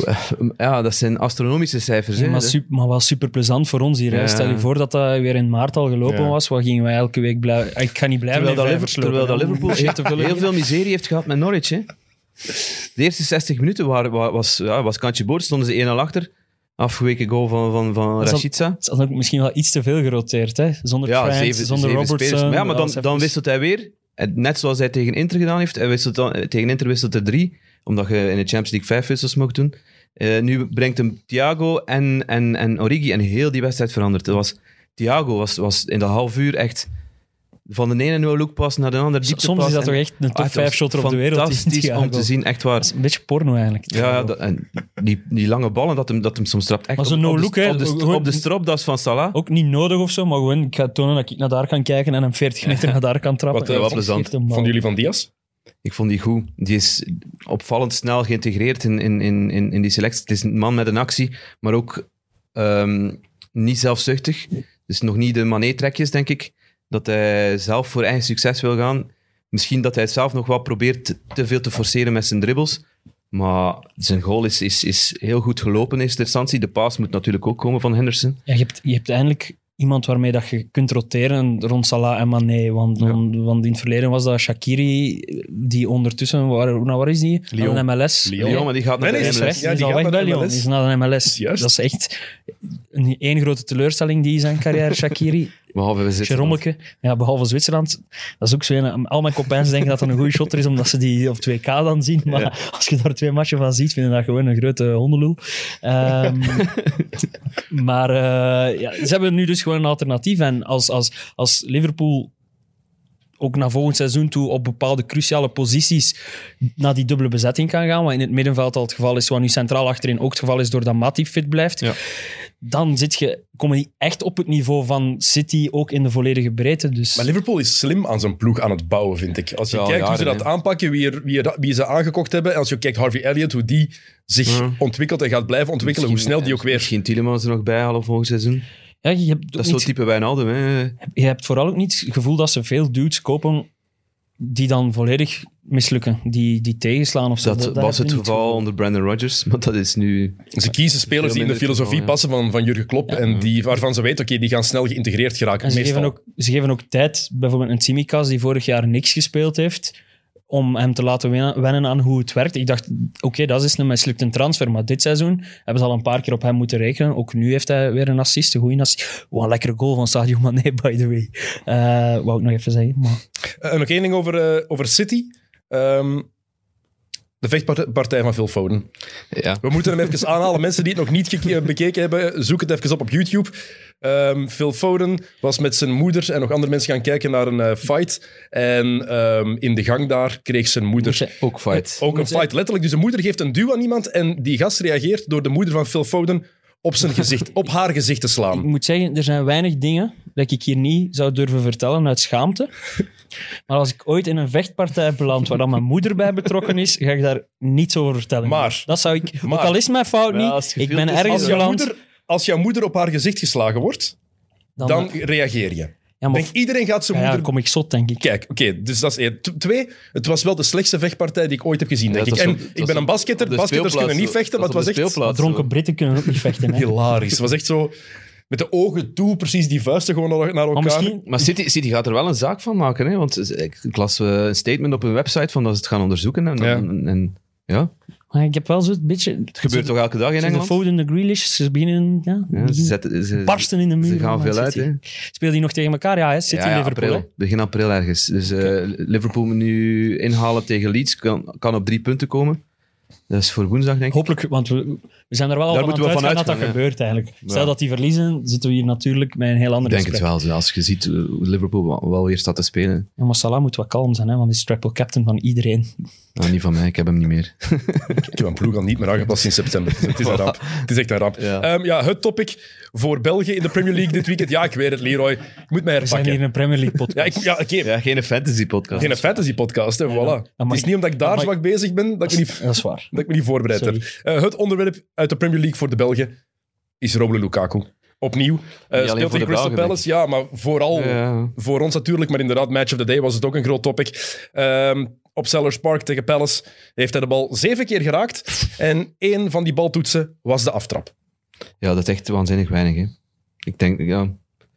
[SPEAKER 3] eh, Ja, dat zijn astronomische cijfers. hè.
[SPEAKER 2] maar,
[SPEAKER 3] Dat-
[SPEAKER 2] sup- maar wel super plezant voor ons hier. hè.
[SPEAKER 3] Ja.
[SPEAKER 2] Stel je voor dat dat weer in maart al gelopen
[SPEAKER 1] Ja.
[SPEAKER 2] was, wat gingen wij elke week blijven... Ik ga niet blijven
[SPEAKER 3] Terwijl
[SPEAKER 2] in
[SPEAKER 3] dat, Liverpool,
[SPEAKER 2] vijvers
[SPEAKER 3] terwijl dat
[SPEAKER 2] lopen, hè, om
[SPEAKER 3] Liverpool
[SPEAKER 2] shit te vullen.
[SPEAKER 3] heel veel miserie heeft gehad met Norwich. Hè? De eerste 60 minuten wa- wa- was, ja, was kantje boord, stonden ze 1-0 achter. Afgeweken goal van, van, van
[SPEAKER 2] Dat is al-
[SPEAKER 3] Rashica.
[SPEAKER 2] Ze hadden ook misschien wel iets te veel geroteerd, hè? Zonder Trent, zonder Robertson.
[SPEAKER 3] spelers. Maar ja, maar dan,
[SPEAKER 2] Alsef
[SPEAKER 3] dan
[SPEAKER 2] is-
[SPEAKER 3] wisselt hij weer. En net zoals hij tegen Inter gedaan heeft. Hij wisselt dan, eh, tegen Inter wisselt er drie, omdat je in de Champions League vijf wissels mocht doen. Eh, nu brengt hem Thiago en, en, en Origi en heel die wedstrijd veranderd. Dat was, Thiago was, was in dat half uur echt van de ene no look pas naar de andere
[SPEAKER 2] S-
[SPEAKER 3] diepte
[SPEAKER 2] Soms is dat toch
[SPEAKER 3] en-
[SPEAKER 2] echt een
[SPEAKER 3] Ah,
[SPEAKER 2] top
[SPEAKER 3] het
[SPEAKER 2] 5
[SPEAKER 3] was
[SPEAKER 2] shotter op de wereld. die
[SPEAKER 3] Fantastisch
[SPEAKER 2] Thiago.
[SPEAKER 3] om te zien, echt waar.
[SPEAKER 2] Dat is een beetje porno eigenlijk.
[SPEAKER 3] Ja, ja, dat- en die, die lange ballen dat hem, dat hem soms trapt. Echt
[SPEAKER 2] Maar
[SPEAKER 3] op-
[SPEAKER 2] zo'n
[SPEAKER 3] op, de-
[SPEAKER 2] no-look, hè.
[SPEAKER 3] op, de,
[SPEAKER 2] Gewoon-
[SPEAKER 3] op de stropdas van Salah.
[SPEAKER 2] Ook niet nodig of zo, maar gewoon ik ga tonen dat ik naar daar kan kijken en hem 40 meter naar daar kan trappen.
[SPEAKER 1] Wat, eh,
[SPEAKER 2] Ja,
[SPEAKER 1] wat
[SPEAKER 2] dat is
[SPEAKER 3] plezant.
[SPEAKER 2] echt een bal.
[SPEAKER 1] Van jullie van Diaz?
[SPEAKER 3] Ik vond die goed. Die is opvallend snel geïntegreerd in, in, in, in, in die selectie. Het is een man met een actie, maar ook ehm, niet zelfzuchtig. Dus nog niet de Mané-trekjes, denk ik. Dat hij zelf voor eigen succes wil gaan. Misschien dat hij het zelf nog wat probeert te- te veel te forceren met zijn dribbles. Maar zijn goal is, is, is heel goed gelopen in eerste instantie. De paas moet natuurlijk ook komen van Henderson.
[SPEAKER 2] Ja, je, hebt, je hebt eindelijk iemand waarmee dat je kunt roteren rond Salah en Mané. Want, want, want in het verleden was dat Shakiri, die ondertussen... Waar, nou, waar is die?
[SPEAKER 3] Lyon.
[SPEAKER 2] Aan de MLS.
[SPEAKER 1] Lyon.
[SPEAKER 3] Ja, maar die gaat naar
[SPEAKER 1] Nee, nee,
[SPEAKER 3] de
[SPEAKER 2] Die is
[SPEAKER 1] MLS.
[SPEAKER 2] weg.
[SPEAKER 1] Ja,
[SPEAKER 2] die is
[SPEAKER 1] die gaat
[SPEAKER 2] al weg
[SPEAKER 1] naar
[SPEAKER 2] bij
[SPEAKER 1] de
[SPEAKER 2] Lyon.
[SPEAKER 1] MLS.
[SPEAKER 2] Die is naar de MLS.
[SPEAKER 1] Juist.
[SPEAKER 2] Dat is echt een één grote teleurstelling die is aan carrière Shakiri.
[SPEAKER 3] Behalve we zitten.
[SPEAKER 2] Jerommeke, ja, behalve Zwitserland. Dat is ook zo. een- Al mijn copains denken dat dat een goede shotter is, omdat ze die op 2K dan zien. Maar als je daar twee matchen van ziet, vinden dat gewoon een grote hondenloel. Ehm, maar eh, ja, ze hebben nu dus gewoon een alternatief. En als, als, als Liverpool ook naar volgend seizoen toe op bepaalde cruciale posities naar die dubbele bezetting kan gaan, wat in het middenveld al het geval is, wat nu centraal achterin ook het geval is doordat Matip fit blijft,
[SPEAKER 3] Ja.
[SPEAKER 2] dan zit je, kom je niet echt op het niveau van City, ook in de volledige breedte. Dus
[SPEAKER 1] Maar Liverpool is slim aan zijn ploeg aan het bouwen, vind ik. Als je
[SPEAKER 3] Ja, al
[SPEAKER 1] kijkt hoe ze
[SPEAKER 3] jaren,
[SPEAKER 1] dat
[SPEAKER 3] hè.
[SPEAKER 1] aanpakken, wie, er, wie, er- wie ze aangekocht hebben. En als je kijkt Harvey Elliott, hoe die zich ontwikkelt en gaat blijven ontwikkelen, hoe snel die ook weer...
[SPEAKER 3] Misschien Tielemans er nog bij halen volgend seizoen.
[SPEAKER 2] ja, je, hebt
[SPEAKER 3] Dat
[SPEAKER 2] ook
[SPEAKER 3] is zo'n
[SPEAKER 2] niet,
[SPEAKER 3] type Wijnaldum, hè.
[SPEAKER 2] je hebt vooral ook niet het gevoel dat ze veel dudes kopen die dan volledig mislukken, die, die tegenslaan of zo.
[SPEAKER 3] Dus Dat
[SPEAKER 2] heb
[SPEAKER 3] was
[SPEAKER 2] je
[SPEAKER 3] het
[SPEAKER 2] niet
[SPEAKER 3] geval onder Brandon Rodgers, maar dat is nu...
[SPEAKER 1] Ze kiezen spelers die in de
[SPEAKER 3] minder
[SPEAKER 1] filosofie
[SPEAKER 3] geval, ja.
[SPEAKER 1] passen van, van Jurgen Klopp. En die, waarvan ze weten, oké, die gaan snel geïntegreerd geraken.
[SPEAKER 2] En ze
[SPEAKER 1] meestal.
[SPEAKER 2] geven, ook, ze geven ook tijd, bijvoorbeeld een Tsimikas die vorig jaar niks gespeeld heeft, om hem te laten wennen, wennen aan hoe het werkt. Ik dacht, oké, dat is een mislukte transfer, maar dit seizoen hebben ze al een paar keer op hem moeten rekenen. Ook nu heeft hij weer een assist, een goede assist. Wat een lekkere goal van Sadio Mane, by the way. Eh wou ik nog even zeggen, maar...
[SPEAKER 1] Eh, nog één ding over, eh, over City. Ehm, de vechtpartij van Phil Foden.
[SPEAKER 3] Ja.
[SPEAKER 1] We moeten hem even aanhalen. Mensen die het nog niet geke- eh, bekeken hebben, zoek het even op op YouTube. Ehm, Phil Foden was met zijn moeder en nog andere mensen gaan kijken naar een eh, fight. En ehm, in de gang daar kreeg zijn moeder
[SPEAKER 2] Moet je-
[SPEAKER 3] Ook fight.
[SPEAKER 1] ook een fight, letterlijk. Dus de moeder geeft een duw aan iemand en die gast reageert door de moeder van Phil Foden op zijn gezicht, op haar gezicht te
[SPEAKER 2] Ik
[SPEAKER 1] slaan.
[SPEAKER 2] moet zeggen, er zijn weinig dingen dat ik hier niet zou durven vertellen uit schaamte. Maar als ik ooit in een vechtpartij beland waar dan mijn moeder bij betrokken is, ga ik daar niets over vertellen.
[SPEAKER 1] Maar-
[SPEAKER 2] dat zou ik,
[SPEAKER 1] maar-
[SPEAKER 2] ook al is mijn fout
[SPEAKER 3] Ja, als
[SPEAKER 2] niet,
[SPEAKER 3] het
[SPEAKER 2] ik
[SPEAKER 3] gefilmd
[SPEAKER 2] ben
[SPEAKER 3] is,
[SPEAKER 1] Als
[SPEAKER 2] ergens
[SPEAKER 1] jouw,
[SPEAKER 2] beland.
[SPEAKER 1] moeder, als jouw moeder op haar gezicht geslagen wordt,
[SPEAKER 2] dan,
[SPEAKER 1] dan reageer je.
[SPEAKER 2] ja, maar,
[SPEAKER 1] Denk, iedereen gaat zijn
[SPEAKER 2] ja, ja,
[SPEAKER 1] moeder
[SPEAKER 2] dan kom ik zot, denk ik.
[SPEAKER 1] Kijk, oké, dus dat is één. T- Twee, het was wel de slechtste vechtpartij die ik ooit heb gezien, denk
[SPEAKER 3] Ja,
[SPEAKER 1] ik.
[SPEAKER 3] het was
[SPEAKER 1] En
[SPEAKER 3] op- het
[SPEAKER 1] ik
[SPEAKER 3] was
[SPEAKER 1] ben een
[SPEAKER 3] op-
[SPEAKER 1] basketter,
[SPEAKER 3] op de
[SPEAKER 1] basketters kunnen niet
[SPEAKER 3] speelplaats,
[SPEAKER 1] vechten, maar
[SPEAKER 3] dat
[SPEAKER 1] het was
[SPEAKER 3] was op de
[SPEAKER 1] echt
[SPEAKER 3] speelplaats.
[SPEAKER 2] Dronken Britten kunnen ook niet vechten. Hè.
[SPEAKER 1] hilarisch. Het was echt zo, met de ogen toe, precies die vuisten gewoon naar naar elkaar.
[SPEAKER 2] Maar misschien,
[SPEAKER 3] Maar City, City gaat er wel een zaak van maken, hè? want ze- ik, ik las eh, een statement op hun website van dat ze het gaan onderzoeken. En,
[SPEAKER 1] Ja.
[SPEAKER 3] en, en- ja. Het
[SPEAKER 2] maar ik heb wel zo'n beetje... Het
[SPEAKER 3] gebeurt toch elke dag in
[SPEAKER 2] De
[SPEAKER 3] Engeland?
[SPEAKER 2] Foden, de Grealish, ze beginnen... Ja,
[SPEAKER 3] Ja, ze
[SPEAKER 2] beginnen-
[SPEAKER 3] zetten, ze,
[SPEAKER 2] barsten in de muur.
[SPEAKER 3] ze
[SPEAKER 2] van
[SPEAKER 3] gaan
[SPEAKER 2] Man
[SPEAKER 3] veel uit.
[SPEAKER 2] City.
[SPEAKER 3] Hè?
[SPEAKER 2] Speelden die nog tegen elkaar? Ja, hè, City
[SPEAKER 3] Ja, ja,
[SPEAKER 2] Liverpool. hè.
[SPEAKER 3] april. Begin april ergens. Dus eh, Liverpool moet nu inhalen tegen Leeds. Kan, kan op drie punten komen. Dat is voor woensdag, denk ik.
[SPEAKER 2] Hopelijk, want we, we zijn er wel al
[SPEAKER 3] Daar
[SPEAKER 2] van aan
[SPEAKER 3] moeten we
[SPEAKER 2] het
[SPEAKER 3] van
[SPEAKER 2] uitgaan dat dat
[SPEAKER 3] uitgaan, ja.
[SPEAKER 2] gebeurt eigenlijk. Stel
[SPEAKER 3] Ja.
[SPEAKER 2] dat die verliezen, zitten we hier natuurlijk met een heel
[SPEAKER 3] Ik
[SPEAKER 2] ander
[SPEAKER 3] denk het
[SPEAKER 2] gesprek.
[SPEAKER 3] wel. Als je ziet hoe Liverpool wel- wel weer staat te spelen.
[SPEAKER 2] Ja, maar Salah moet wat kalm zijn, hè, want hij is triple captain van iedereen.
[SPEAKER 3] Nou, niet van mij, ik heb hem niet meer.
[SPEAKER 1] Ik heb mijn ploeg al niet meer aangepast sinds september. Dus het is een ramp. Het is echt een ramp.
[SPEAKER 3] Ja.
[SPEAKER 1] Ehm, ja, het topic voor België in de Premier League dit weekend. Ja, ik weet het, Leroy. Ik moet mij
[SPEAKER 2] We
[SPEAKER 1] herpakken.
[SPEAKER 2] zijn hier in een Premier League
[SPEAKER 1] Ja,
[SPEAKER 2] podcast.
[SPEAKER 1] ik, ja, oké.
[SPEAKER 3] Ja, geen fantasy-podcast.
[SPEAKER 1] Geen fantasy-podcast, hè. Voilà.
[SPEAKER 2] dan
[SPEAKER 1] Het
[SPEAKER 2] mag
[SPEAKER 1] is
[SPEAKER 2] ik-
[SPEAKER 1] niet omdat ik daar
[SPEAKER 2] dan mag
[SPEAKER 1] zwak bezig ben dat ik me niet,
[SPEAKER 2] Dat is waar.
[SPEAKER 1] dat ik me niet voorbereid heb.
[SPEAKER 2] Sorry.
[SPEAKER 1] Eh, het onderwerp uit de Premier League voor de Belgen is Romelu Lukaku. Opnieuw. eh
[SPEAKER 3] alleen
[SPEAKER 1] speelt
[SPEAKER 3] voor
[SPEAKER 1] in
[SPEAKER 3] de
[SPEAKER 1] Crystal
[SPEAKER 3] Belgen,
[SPEAKER 1] Palace. Ja, maar
[SPEAKER 2] Oh.
[SPEAKER 1] vooral
[SPEAKER 3] Ja.
[SPEAKER 1] voor ons natuurlijk. Maar inderdaad, match of the day was het ook een groot topic. Ehm, op Sellers Park tegen Palace heeft hij de bal zeven keer geraakt. En één van die baltoetsen was de aftrap.
[SPEAKER 3] ja, dat is echt waanzinnig weinig. Hè. Ik denk, ja,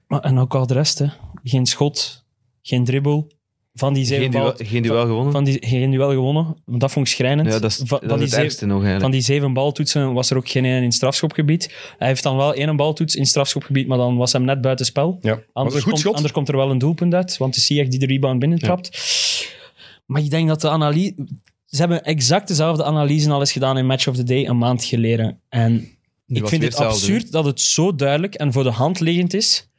[SPEAKER 2] Maar, en ook al de rest, hè. Geen schot, geen dribbel. Van die zeven
[SPEAKER 3] geen duel,
[SPEAKER 2] bal,
[SPEAKER 3] geen duel gewonnen.
[SPEAKER 2] van die, geen duel gewonnen. want Dat vond ik schrijnend.
[SPEAKER 3] ja, dat is,
[SPEAKER 2] van, van
[SPEAKER 3] dat is
[SPEAKER 2] die
[SPEAKER 3] het
[SPEAKER 2] zeven-
[SPEAKER 3] ergste nog eigenlijk.
[SPEAKER 2] van die zeven baltoetsen was er ook geen één in het strafschopgebied. Hij heeft dan wel één baltoets in het strafschopgebied, maar dan was hem net buiten spel.
[SPEAKER 1] Ja, was een goed
[SPEAKER 2] komt,
[SPEAKER 1] schot.
[SPEAKER 2] anders komt er wel een doelpunt uit, want het is Ziyech die de rebound binnentrapt. Maar ik denk dat de analyse... Ze hebben exact dezelfde analyse al eens gedaan in Match of the Day een maand geleden. En
[SPEAKER 3] Die
[SPEAKER 2] ik
[SPEAKER 3] was
[SPEAKER 2] vind
[SPEAKER 3] weer
[SPEAKER 2] het
[SPEAKER 3] hetzelfde, hè.
[SPEAKER 2] absurd dat het zo duidelijk en voor de hand liggend is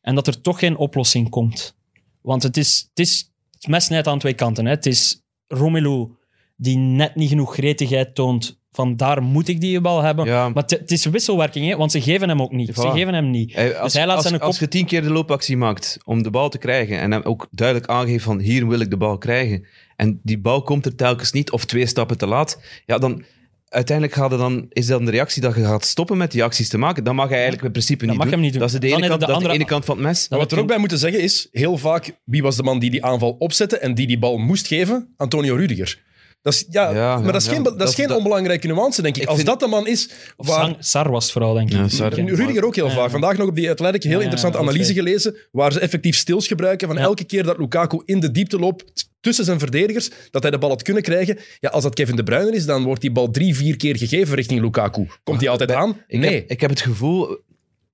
[SPEAKER 2] en dat er toch geen oplossing komt. Want het is, het is het mes snijdt aan twee kanten. Hè. Het is Romelu die net niet genoeg gretigheid toont van daar moet ik die bal hebben.
[SPEAKER 3] Ja.
[SPEAKER 2] Maar het- het is wisselwerking, hè, want ze geven hem ook niet. Ze
[SPEAKER 3] Voilà.
[SPEAKER 2] geven hem niet.
[SPEAKER 3] Hij- als,
[SPEAKER 2] dus hij laat
[SPEAKER 3] als,
[SPEAKER 2] zijn kop...
[SPEAKER 3] als je tien keer de loopactie maakt om de bal te krijgen en hem ook duidelijk aangeeft van hier wil ik de bal krijgen en die bal komt er telkens niet of twee stappen te laat, ja dan uiteindelijk gaat er dan, is dan de reactie dat je gaat stoppen met die acties te maken. Dan mag hij eigenlijk in principe niet,
[SPEAKER 2] mag
[SPEAKER 3] doen.
[SPEAKER 2] hem niet doen.
[SPEAKER 3] Dat is de
[SPEAKER 2] Dan
[SPEAKER 3] ene,
[SPEAKER 2] heb
[SPEAKER 3] kant,
[SPEAKER 2] je de
[SPEAKER 3] dat is de
[SPEAKER 2] andere-
[SPEAKER 3] ene kant van het mes.
[SPEAKER 1] Maar
[SPEAKER 2] Dat
[SPEAKER 1] wat we er ook bij moeten zeggen is, heel vaak, wie was de man die die aanval opzette en die die bal moest geven? Antonio Rudiger. Dat is, ja,
[SPEAKER 3] Ja,
[SPEAKER 1] maar
[SPEAKER 3] ja,
[SPEAKER 1] dat is
[SPEAKER 3] ja.
[SPEAKER 1] geen, be- dat
[SPEAKER 3] Dat
[SPEAKER 1] is
[SPEAKER 3] is-
[SPEAKER 1] geen
[SPEAKER 3] dat-
[SPEAKER 1] onbelangrijke nuance, denk ik.
[SPEAKER 3] Ik
[SPEAKER 1] Als
[SPEAKER 3] vind-
[SPEAKER 1] dat de man is
[SPEAKER 2] Of
[SPEAKER 1] waar,
[SPEAKER 2] Sang- Sar was het vooral, denk ik.
[SPEAKER 3] Ja, sorry.
[SPEAKER 1] En Rudiger ook heel
[SPEAKER 2] Ja.
[SPEAKER 1] vaak. Vandaag nog op die Athletic heel
[SPEAKER 2] Ja,
[SPEAKER 1] interessante
[SPEAKER 2] oké.
[SPEAKER 1] analyse gelezen, waar ze effectief stils gebruiken van
[SPEAKER 2] Ja.
[SPEAKER 1] elke keer dat Lukaku in de diepte loopt t- tussen zijn verdedigers, dat hij de bal had kunnen krijgen. Ja, als dat Kevin De Bruyne is, dan wordt die bal drie, vier keer gegeven richting Lukaku. Komt hij altijd aan?
[SPEAKER 3] Ik,
[SPEAKER 1] nee.
[SPEAKER 3] heb, ik heb het gevoel,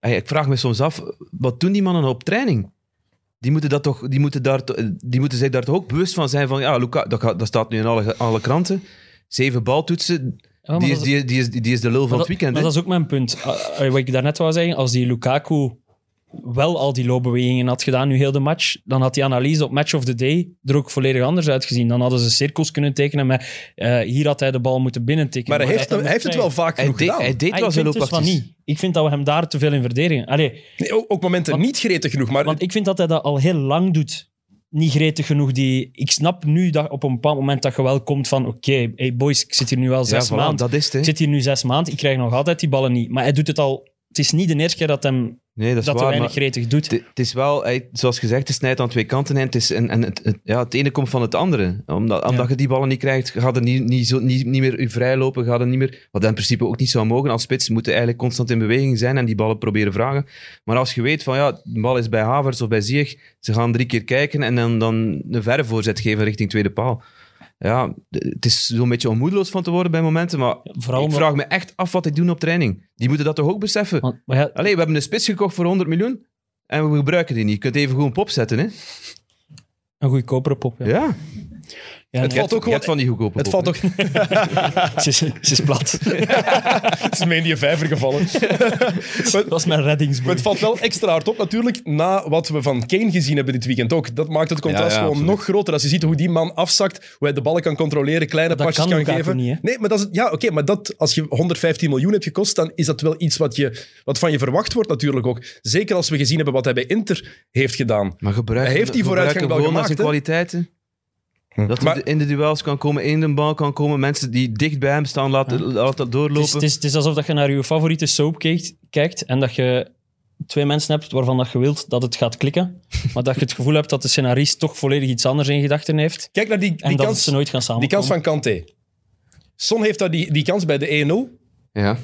[SPEAKER 3] Hey, ik vraag me soms af, wat doen die mannen op training? Die moeten, dat toch, die moeten, daar, to- die moeten zich daar toch ook bewust van zijn van, ja, Luca, dat, gaat- dat staat nu in alle, alle kranten. Zeven baltoetsen,
[SPEAKER 2] Ja, maar
[SPEAKER 3] die, is,
[SPEAKER 2] dat-
[SPEAKER 3] die, is- die, is, die is de lul van
[SPEAKER 2] Maar
[SPEAKER 3] het
[SPEAKER 2] dat-
[SPEAKER 3] weekend.
[SPEAKER 2] Maar
[SPEAKER 3] hè.
[SPEAKER 2] dat is ook mijn punt. Eh, eh, wat ik daarnet wou zeggen, als die Lukaku wel al die loopbewegingen had gedaan, nu heel de match, dan had die analyse op Match of the Day er ook volledig anders uitgezien. Dan hadden ze cirkels kunnen tekenen met eh, hier had hij de bal moeten binnentikken.
[SPEAKER 1] Maar hij heeft,
[SPEAKER 2] dat
[SPEAKER 1] hem- hij heeft
[SPEAKER 2] moet
[SPEAKER 1] het wel
[SPEAKER 2] zijn.
[SPEAKER 1] vaak
[SPEAKER 3] Hij,
[SPEAKER 1] genoeg
[SPEAKER 3] deed-
[SPEAKER 1] gedaan.
[SPEAKER 3] hij deed
[SPEAKER 2] Ah,
[SPEAKER 3] wel
[SPEAKER 2] ik
[SPEAKER 3] zijn
[SPEAKER 2] vind dus van
[SPEAKER 3] loopacties.
[SPEAKER 2] niet. Ik vind dat we hem daar te veel in verdedigen. Allee,
[SPEAKER 1] Nee, ook, ook momenten
[SPEAKER 2] Want-
[SPEAKER 1] niet gretig genoeg. Maar
[SPEAKER 2] want ik vind dat hij dat al heel lang doet. Niet gretig genoeg. Die, ik snap nu dat op een bepaald moment dat je wel komt van oké, hey boys, ik zit hier nu al
[SPEAKER 3] Ja,
[SPEAKER 2] zes
[SPEAKER 3] voilà,
[SPEAKER 2] maanden.
[SPEAKER 3] dat is het. hè.
[SPEAKER 2] Ik zit hier nu zes maanden, ik krijg nog altijd die ballen niet. Maar hij doet het al... Het is niet de eerste keer dat, hem,
[SPEAKER 3] Nee,
[SPEAKER 2] dat,
[SPEAKER 3] dat is
[SPEAKER 2] hij
[SPEAKER 3] waar.
[SPEAKER 2] weinig
[SPEAKER 3] maar-
[SPEAKER 2] gretig doet.
[SPEAKER 3] Het- Het is wel, hij- zoals gezegd, het snijdt aan twee kanten en het, is, en, en het, het- ja, het ene komt van het andere. Omdat, omdat je die ballen niet krijgt, gaat er niet, niet, zo, niet, niet meer u vrijlopen, gaat er niet meer, wat in principe ook niet zou mogen. Als spits moeten eigenlijk constant in beweging zijn en die ballen proberen vragen. Maar als je weet van, ja, de bal is bij Havertz of bij Zieg, ze gaan drie keer kijken en dan, dan een verre voorzet geven richting tweede paal. Ja, de- het is zo'n beetje onmoedeloos van te worden bij momenten, maar
[SPEAKER 2] Vooral
[SPEAKER 3] ik
[SPEAKER 2] omdat-
[SPEAKER 3] vraag me echt af wat ik doe op training. Die moeten dat toch ook beseffen?
[SPEAKER 2] want- maar ja,
[SPEAKER 3] Allee, we hebben een spits gekocht voor 100 miljoen en we gebruiken die niet. Je kunt even goed een pop zetten, hè?
[SPEAKER 2] een goedkopere pop. Ja.
[SPEAKER 3] Ja.
[SPEAKER 2] Ja,
[SPEAKER 1] het
[SPEAKER 2] nee,
[SPEAKER 1] valt ook
[SPEAKER 3] Je
[SPEAKER 1] gewoon...
[SPEAKER 3] hebt van die goedkope
[SPEAKER 1] Het valt ook...
[SPEAKER 2] ze, is- ze is plat.
[SPEAKER 1] Het is mee in die vijver gevallen.
[SPEAKER 2] Dat was mijn
[SPEAKER 1] Maar
[SPEAKER 2] reddingsboei.
[SPEAKER 1] het valt wel extra hard op natuurlijk, na wat we van Kane gezien hebben dit weekend ook. Dat maakt het contrast
[SPEAKER 3] Ja, ja,
[SPEAKER 1] gewoon
[SPEAKER 3] absoluut.
[SPEAKER 1] nog groter. Als je ziet hoe die man afzakt, hoe hij de ballen kan controleren, kleine
[SPEAKER 2] dat
[SPEAKER 1] pasjes
[SPEAKER 2] kan
[SPEAKER 1] kan,
[SPEAKER 2] Lukaku
[SPEAKER 1] geven.
[SPEAKER 2] niet, hè?
[SPEAKER 1] nee, maar dat is, ja, oké, maar dat, als je 115 miljoen hebt gekost, dan is dat wel iets wat, je, wat van je verwacht wordt natuurlijk ook. Zeker als we gezien hebben wat hij bij Inter heeft gedaan.
[SPEAKER 3] Maar gebruik
[SPEAKER 1] Hij heeft die
[SPEAKER 3] gebruik
[SPEAKER 1] vooruitgang
[SPEAKER 3] hem
[SPEAKER 1] wel
[SPEAKER 3] gewoon naar
[SPEAKER 1] gemaakt,
[SPEAKER 3] zijn
[SPEAKER 1] hè? Hm.
[SPEAKER 3] kwaliteiten. Dat
[SPEAKER 1] Maar-
[SPEAKER 3] hij in de duels kan komen, in de bal kan komen. Mensen die dicht bij hem staan, laten, laten
[SPEAKER 2] Het is,
[SPEAKER 3] doorlopen.
[SPEAKER 2] het, is, het is alsof dat je naar je favoriete soap kijkt, kijkt en dat je twee mensen hebt waarvan dat je wilt dat het gaat klikken, maar dat je het gevoel hebt dat de scenarist toch volledig iets anders in gedachten heeft
[SPEAKER 1] Kijk naar die, die,
[SPEAKER 2] en dat ze
[SPEAKER 1] kans,
[SPEAKER 2] nooit gaan
[SPEAKER 1] die
[SPEAKER 2] samenkomen.
[SPEAKER 1] kans van Kanté. Son heeft daar die, die kans bij de 1-0.
[SPEAKER 3] Ja.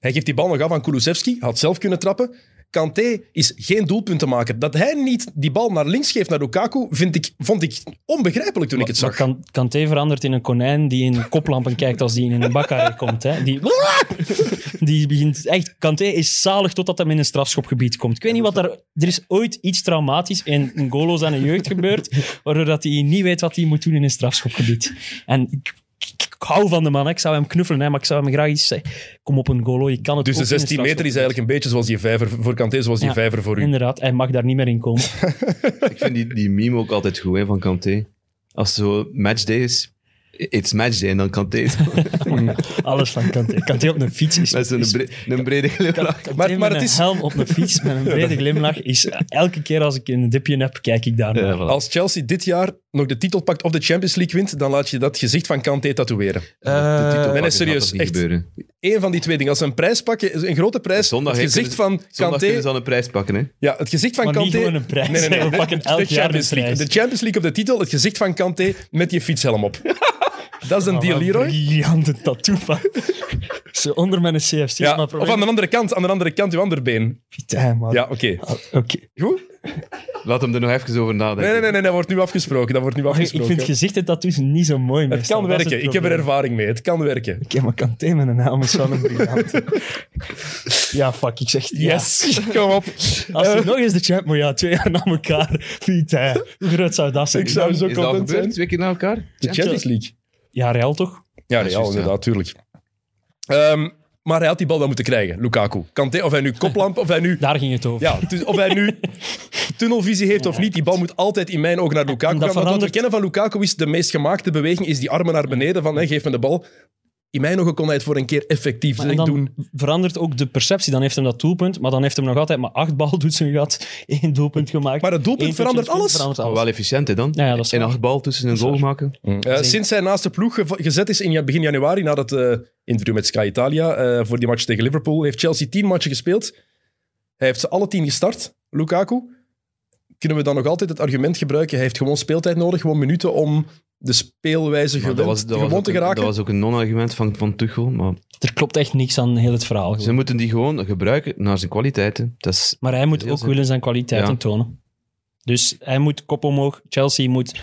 [SPEAKER 1] Hij geeft die bal nog af aan Kulusevski, had zelf kunnen trappen. Kanté is geen doelpuntenmaker. Dat hij niet die bal naar links geeft naar Lukaku, vind ik, vond ik onbegrijpelijk toen ik het
[SPEAKER 2] Maar
[SPEAKER 1] zag.
[SPEAKER 2] kan, Kanté verandert in een konijn die in koplampen kijkt als die in een bakkerij komt. Hè. Die, die begint echt... Kanté is zalig totdat hem in een strafschopgebied komt. Ik weet niet wat er... Er is ooit iets traumatisch in een golo's aan een jeugd gebeurd, waardoor dat hij niet weet wat hij moet doen in een strafschopgebied. En ik, ik- ik hou van de man. hè. Ik zou hem knuffelen, hè, maar ik zou hem graag iets zeggen. Kom op een golo, je kan het
[SPEAKER 1] Dus de
[SPEAKER 2] ook in een
[SPEAKER 1] 16 meter is
[SPEAKER 2] strafschopgebied.
[SPEAKER 1] eigenlijk een beetje zoals die vijver voor Kanté, zoals die
[SPEAKER 2] Ja,
[SPEAKER 1] vijver voor u.
[SPEAKER 2] Inderdaad, hij mag daar niet meer in komen.
[SPEAKER 3] Ik vind die, die meme ook altijd goed hè, van Kanté. Als zo matchday is, it's matchday en dan Kanté.
[SPEAKER 2] Alles van Kanté. Kanté op een fiets is...
[SPEAKER 3] Met zo'n
[SPEAKER 2] is
[SPEAKER 3] bre een brede glimlach.
[SPEAKER 1] Maar-
[SPEAKER 2] Maar,
[SPEAKER 1] maar het
[SPEAKER 2] het
[SPEAKER 1] is-
[SPEAKER 2] is... helm op mijn fiets met een brede glimlach is... Elke keer als ik een dipje heb, kijk ik daar naar.
[SPEAKER 3] Ja, voilà.
[SPEAKER 1] Als Chelsea dit jaar nog de titel pakt of de Champions League wint, dan laat je dat gezicht van Kanté tatoeëren.
[SPEAKER 2] Eh,
[SPEAKER 3] De titel
[SPEAKER 1] nee,
[SPEAKER 3] gaat toch
[SPEAKER 1] serieus,
[SPEAKER 3] niet
[SPEAKER 1] echt.
[SPEAKER 3] gebeuren.
[SPEAKER 1] Eén van die twee dingen. Als ze een prijs pakken, een grote prijs,
[SPEAKER 3] Zondag,
[SPEAKER 1] het
[SPEAKER 3] hè,
[SPEAKER 1] gezicht van
[SPEAKER 3] Zondag kunnen
[SPEAKER 1] Kanté...
[SPEAKER 3] ze al een prijs pakken. Hè?
[SPEAKER 1] Ja, het gezicht van
[SPEAKER 2] Maar niet
[SPEAKER 1] Kanté...
[SPEAKER 2] gewoon een prijs,
[SPEAKER 1] Nee, nee, nee.
[SPEAKER 2] we pakken
[SPEAKER 1] de,
[SPEAKER 2] elk
[SPEAKER 1] de
[SPEAKER 2] jaar een
[SPEAKER 1] Champions League.
[SPEAKER 2] prijs.
[SPEAKER 1] De Champions League op de titel, het gezicht van Kanté met je fietshelm op. Dat is een deal, Leroy.
[SPEAKER 2] Briljante tattoo van... Zo onder mijn CFC.
[SPEAKER 1] Ja,
[SPEAKER 2] maar
[SPEAKER 1] of aan de andere kant, aan de andere kant, uw andere been.
[SPEAKER 2] Pieter, man.
[SPEAKER 1] Ja, oké.
[SPEAKER 2] Ah, Oké.
[SPEAKER 1] Goed?
[SPEAKER 3] Laat hem er nog even over nadenken.
[SPEAKER 1] Nee, nee, nee, nee, dat wordt nu afgesproken. Dat wordt nu
[SPEAKER 2] Maar ik
[SPEAKER 1] afgesproken.
[SPEAKER 2] vind gezichten tattoos niet zo mooi.
[SPEAKER 1] het kan werken. ik heb er ervaring mee. Het kan werken.
[SPEAKER 2] Oké, maar Kanté met een naam is wel een briljant. ja, fuck. Ik zeg... Yes.
[SPEAKER 1] Yes, kom op.
[SPEAKER 2] Als
[SPEAKER 1] Eh,
[SPEAKER 2] er nog eens de champ... Maar ja, twee jaar na elkaar. Pieter, hoe groot zou dat zijn?
[SPEAKER 1] ik zou zo
[SPEAKER 3] Is dat al
[SPEAKER 1] content
[SPEAKER 3] gebeurd?
[SPEAKER 1] zijn.
[SPEAKER 3] Twee keer na elkaar?
[SPEAKER 1] De Champions League.
[SPEAKER 2] Ja, Real toch?
[SPEAKER 1] Ja,
[SPEAKER 3] is
[SPEAKER 1] Real,
[SPEAKER 3] juist, ja.
[SPEAKER 1] inderdaad, tuurlijk. Ehm, maar hij had die bal wel moeten krijgen, Lukaku. Kanté, of hij nu koplamp, of hij nu...
[SPEAKER 2] Daar ging het over.
[SPEAKER 1] Ja, tu- of hij nu tunnelvisie heeft of niet, die bal moet altijd in mijn ogen naar Lukaku
[SPEAKER 2] En dat
[SPEAKER 1] gaan. Want wat we
[SPEAKER 2] verandert-
[SPEAKER 1] kennen van Lukaku is de meest gemaakte beweging, is die armen naar beneden van hè, geef me de bal. In mijn ogen kon hij het voor een keer effectief
[SPEAKER 2] Maar en dan
[SPEAKER 1] doen.
[SPEAKER 2] verandert ook de perceptie. Dan heeft hem dat doelpunt, maar dan heeft hem nog altijd maar acht baldoetsen gehad. één doelpunt gemaakt.
[SPEAKER 1] Maar het doelpunt
[SPEAKER 2] Eén
[SPEAKER 1] verandert alles.
[SPEAKER 2] verandert
[SPEAKER 3] Maar Ah, wel efficiënt hè, dan.
[SPEAKER 2] Ja, ja, dat is
[SPEAKER 3] en
[SPEAKER 2] waar.
[SPEAKER 3] acht bal tussen een goal maken.
[SPEAKER 1] Eh, sinds hij naast de ploeg gev- gezet is in ja- begin januari, na dat eh, interview met Sky Italia eh, voor die match tegen Liverpool, heeft Chelsea tien matchen gespeeld. Hij heeft ze alle tien gestart, Lukaku. Kunnen we dan nog altijd het argument gebruiken? Hij heeft gewoon speeltijd nodig, gewoon minuten om de speelwijze
[SPEAKER 3] Maar
[SPEAKER 1] gewend, gewoon
[SPEAKER 3] ook
[SPEAKER 1] te
[SPEAKER 3] een, dat
[SPEAKER 1] geraken.
[SPEAKER 3] was ook een non-argument van, van Tuchel. Maar
[SPEAKER 2] Er klopt echt niks aan heel het verhaal.
[SPEAKER 3] ze
[SPEAKER 2] gewoon.
[SPEAKER 3] moeten die gewoon gebruiken naar zijn kwaliteiten. Dat is,
[SPEAKER 2] Maar hij
[SPEAKER 3] is
[SPEAKER 2] moet
[SPEAKER 3] heel
[SPEAKER 2] ook
[SPEAKER 3] simpel.
[SPEAKER 2] willen zijn kwaliteiten
[SPEAKER 3] Ja.
[SPEAKER 2] tonen. Dus hij moet kop omhoog. Chelsea moet...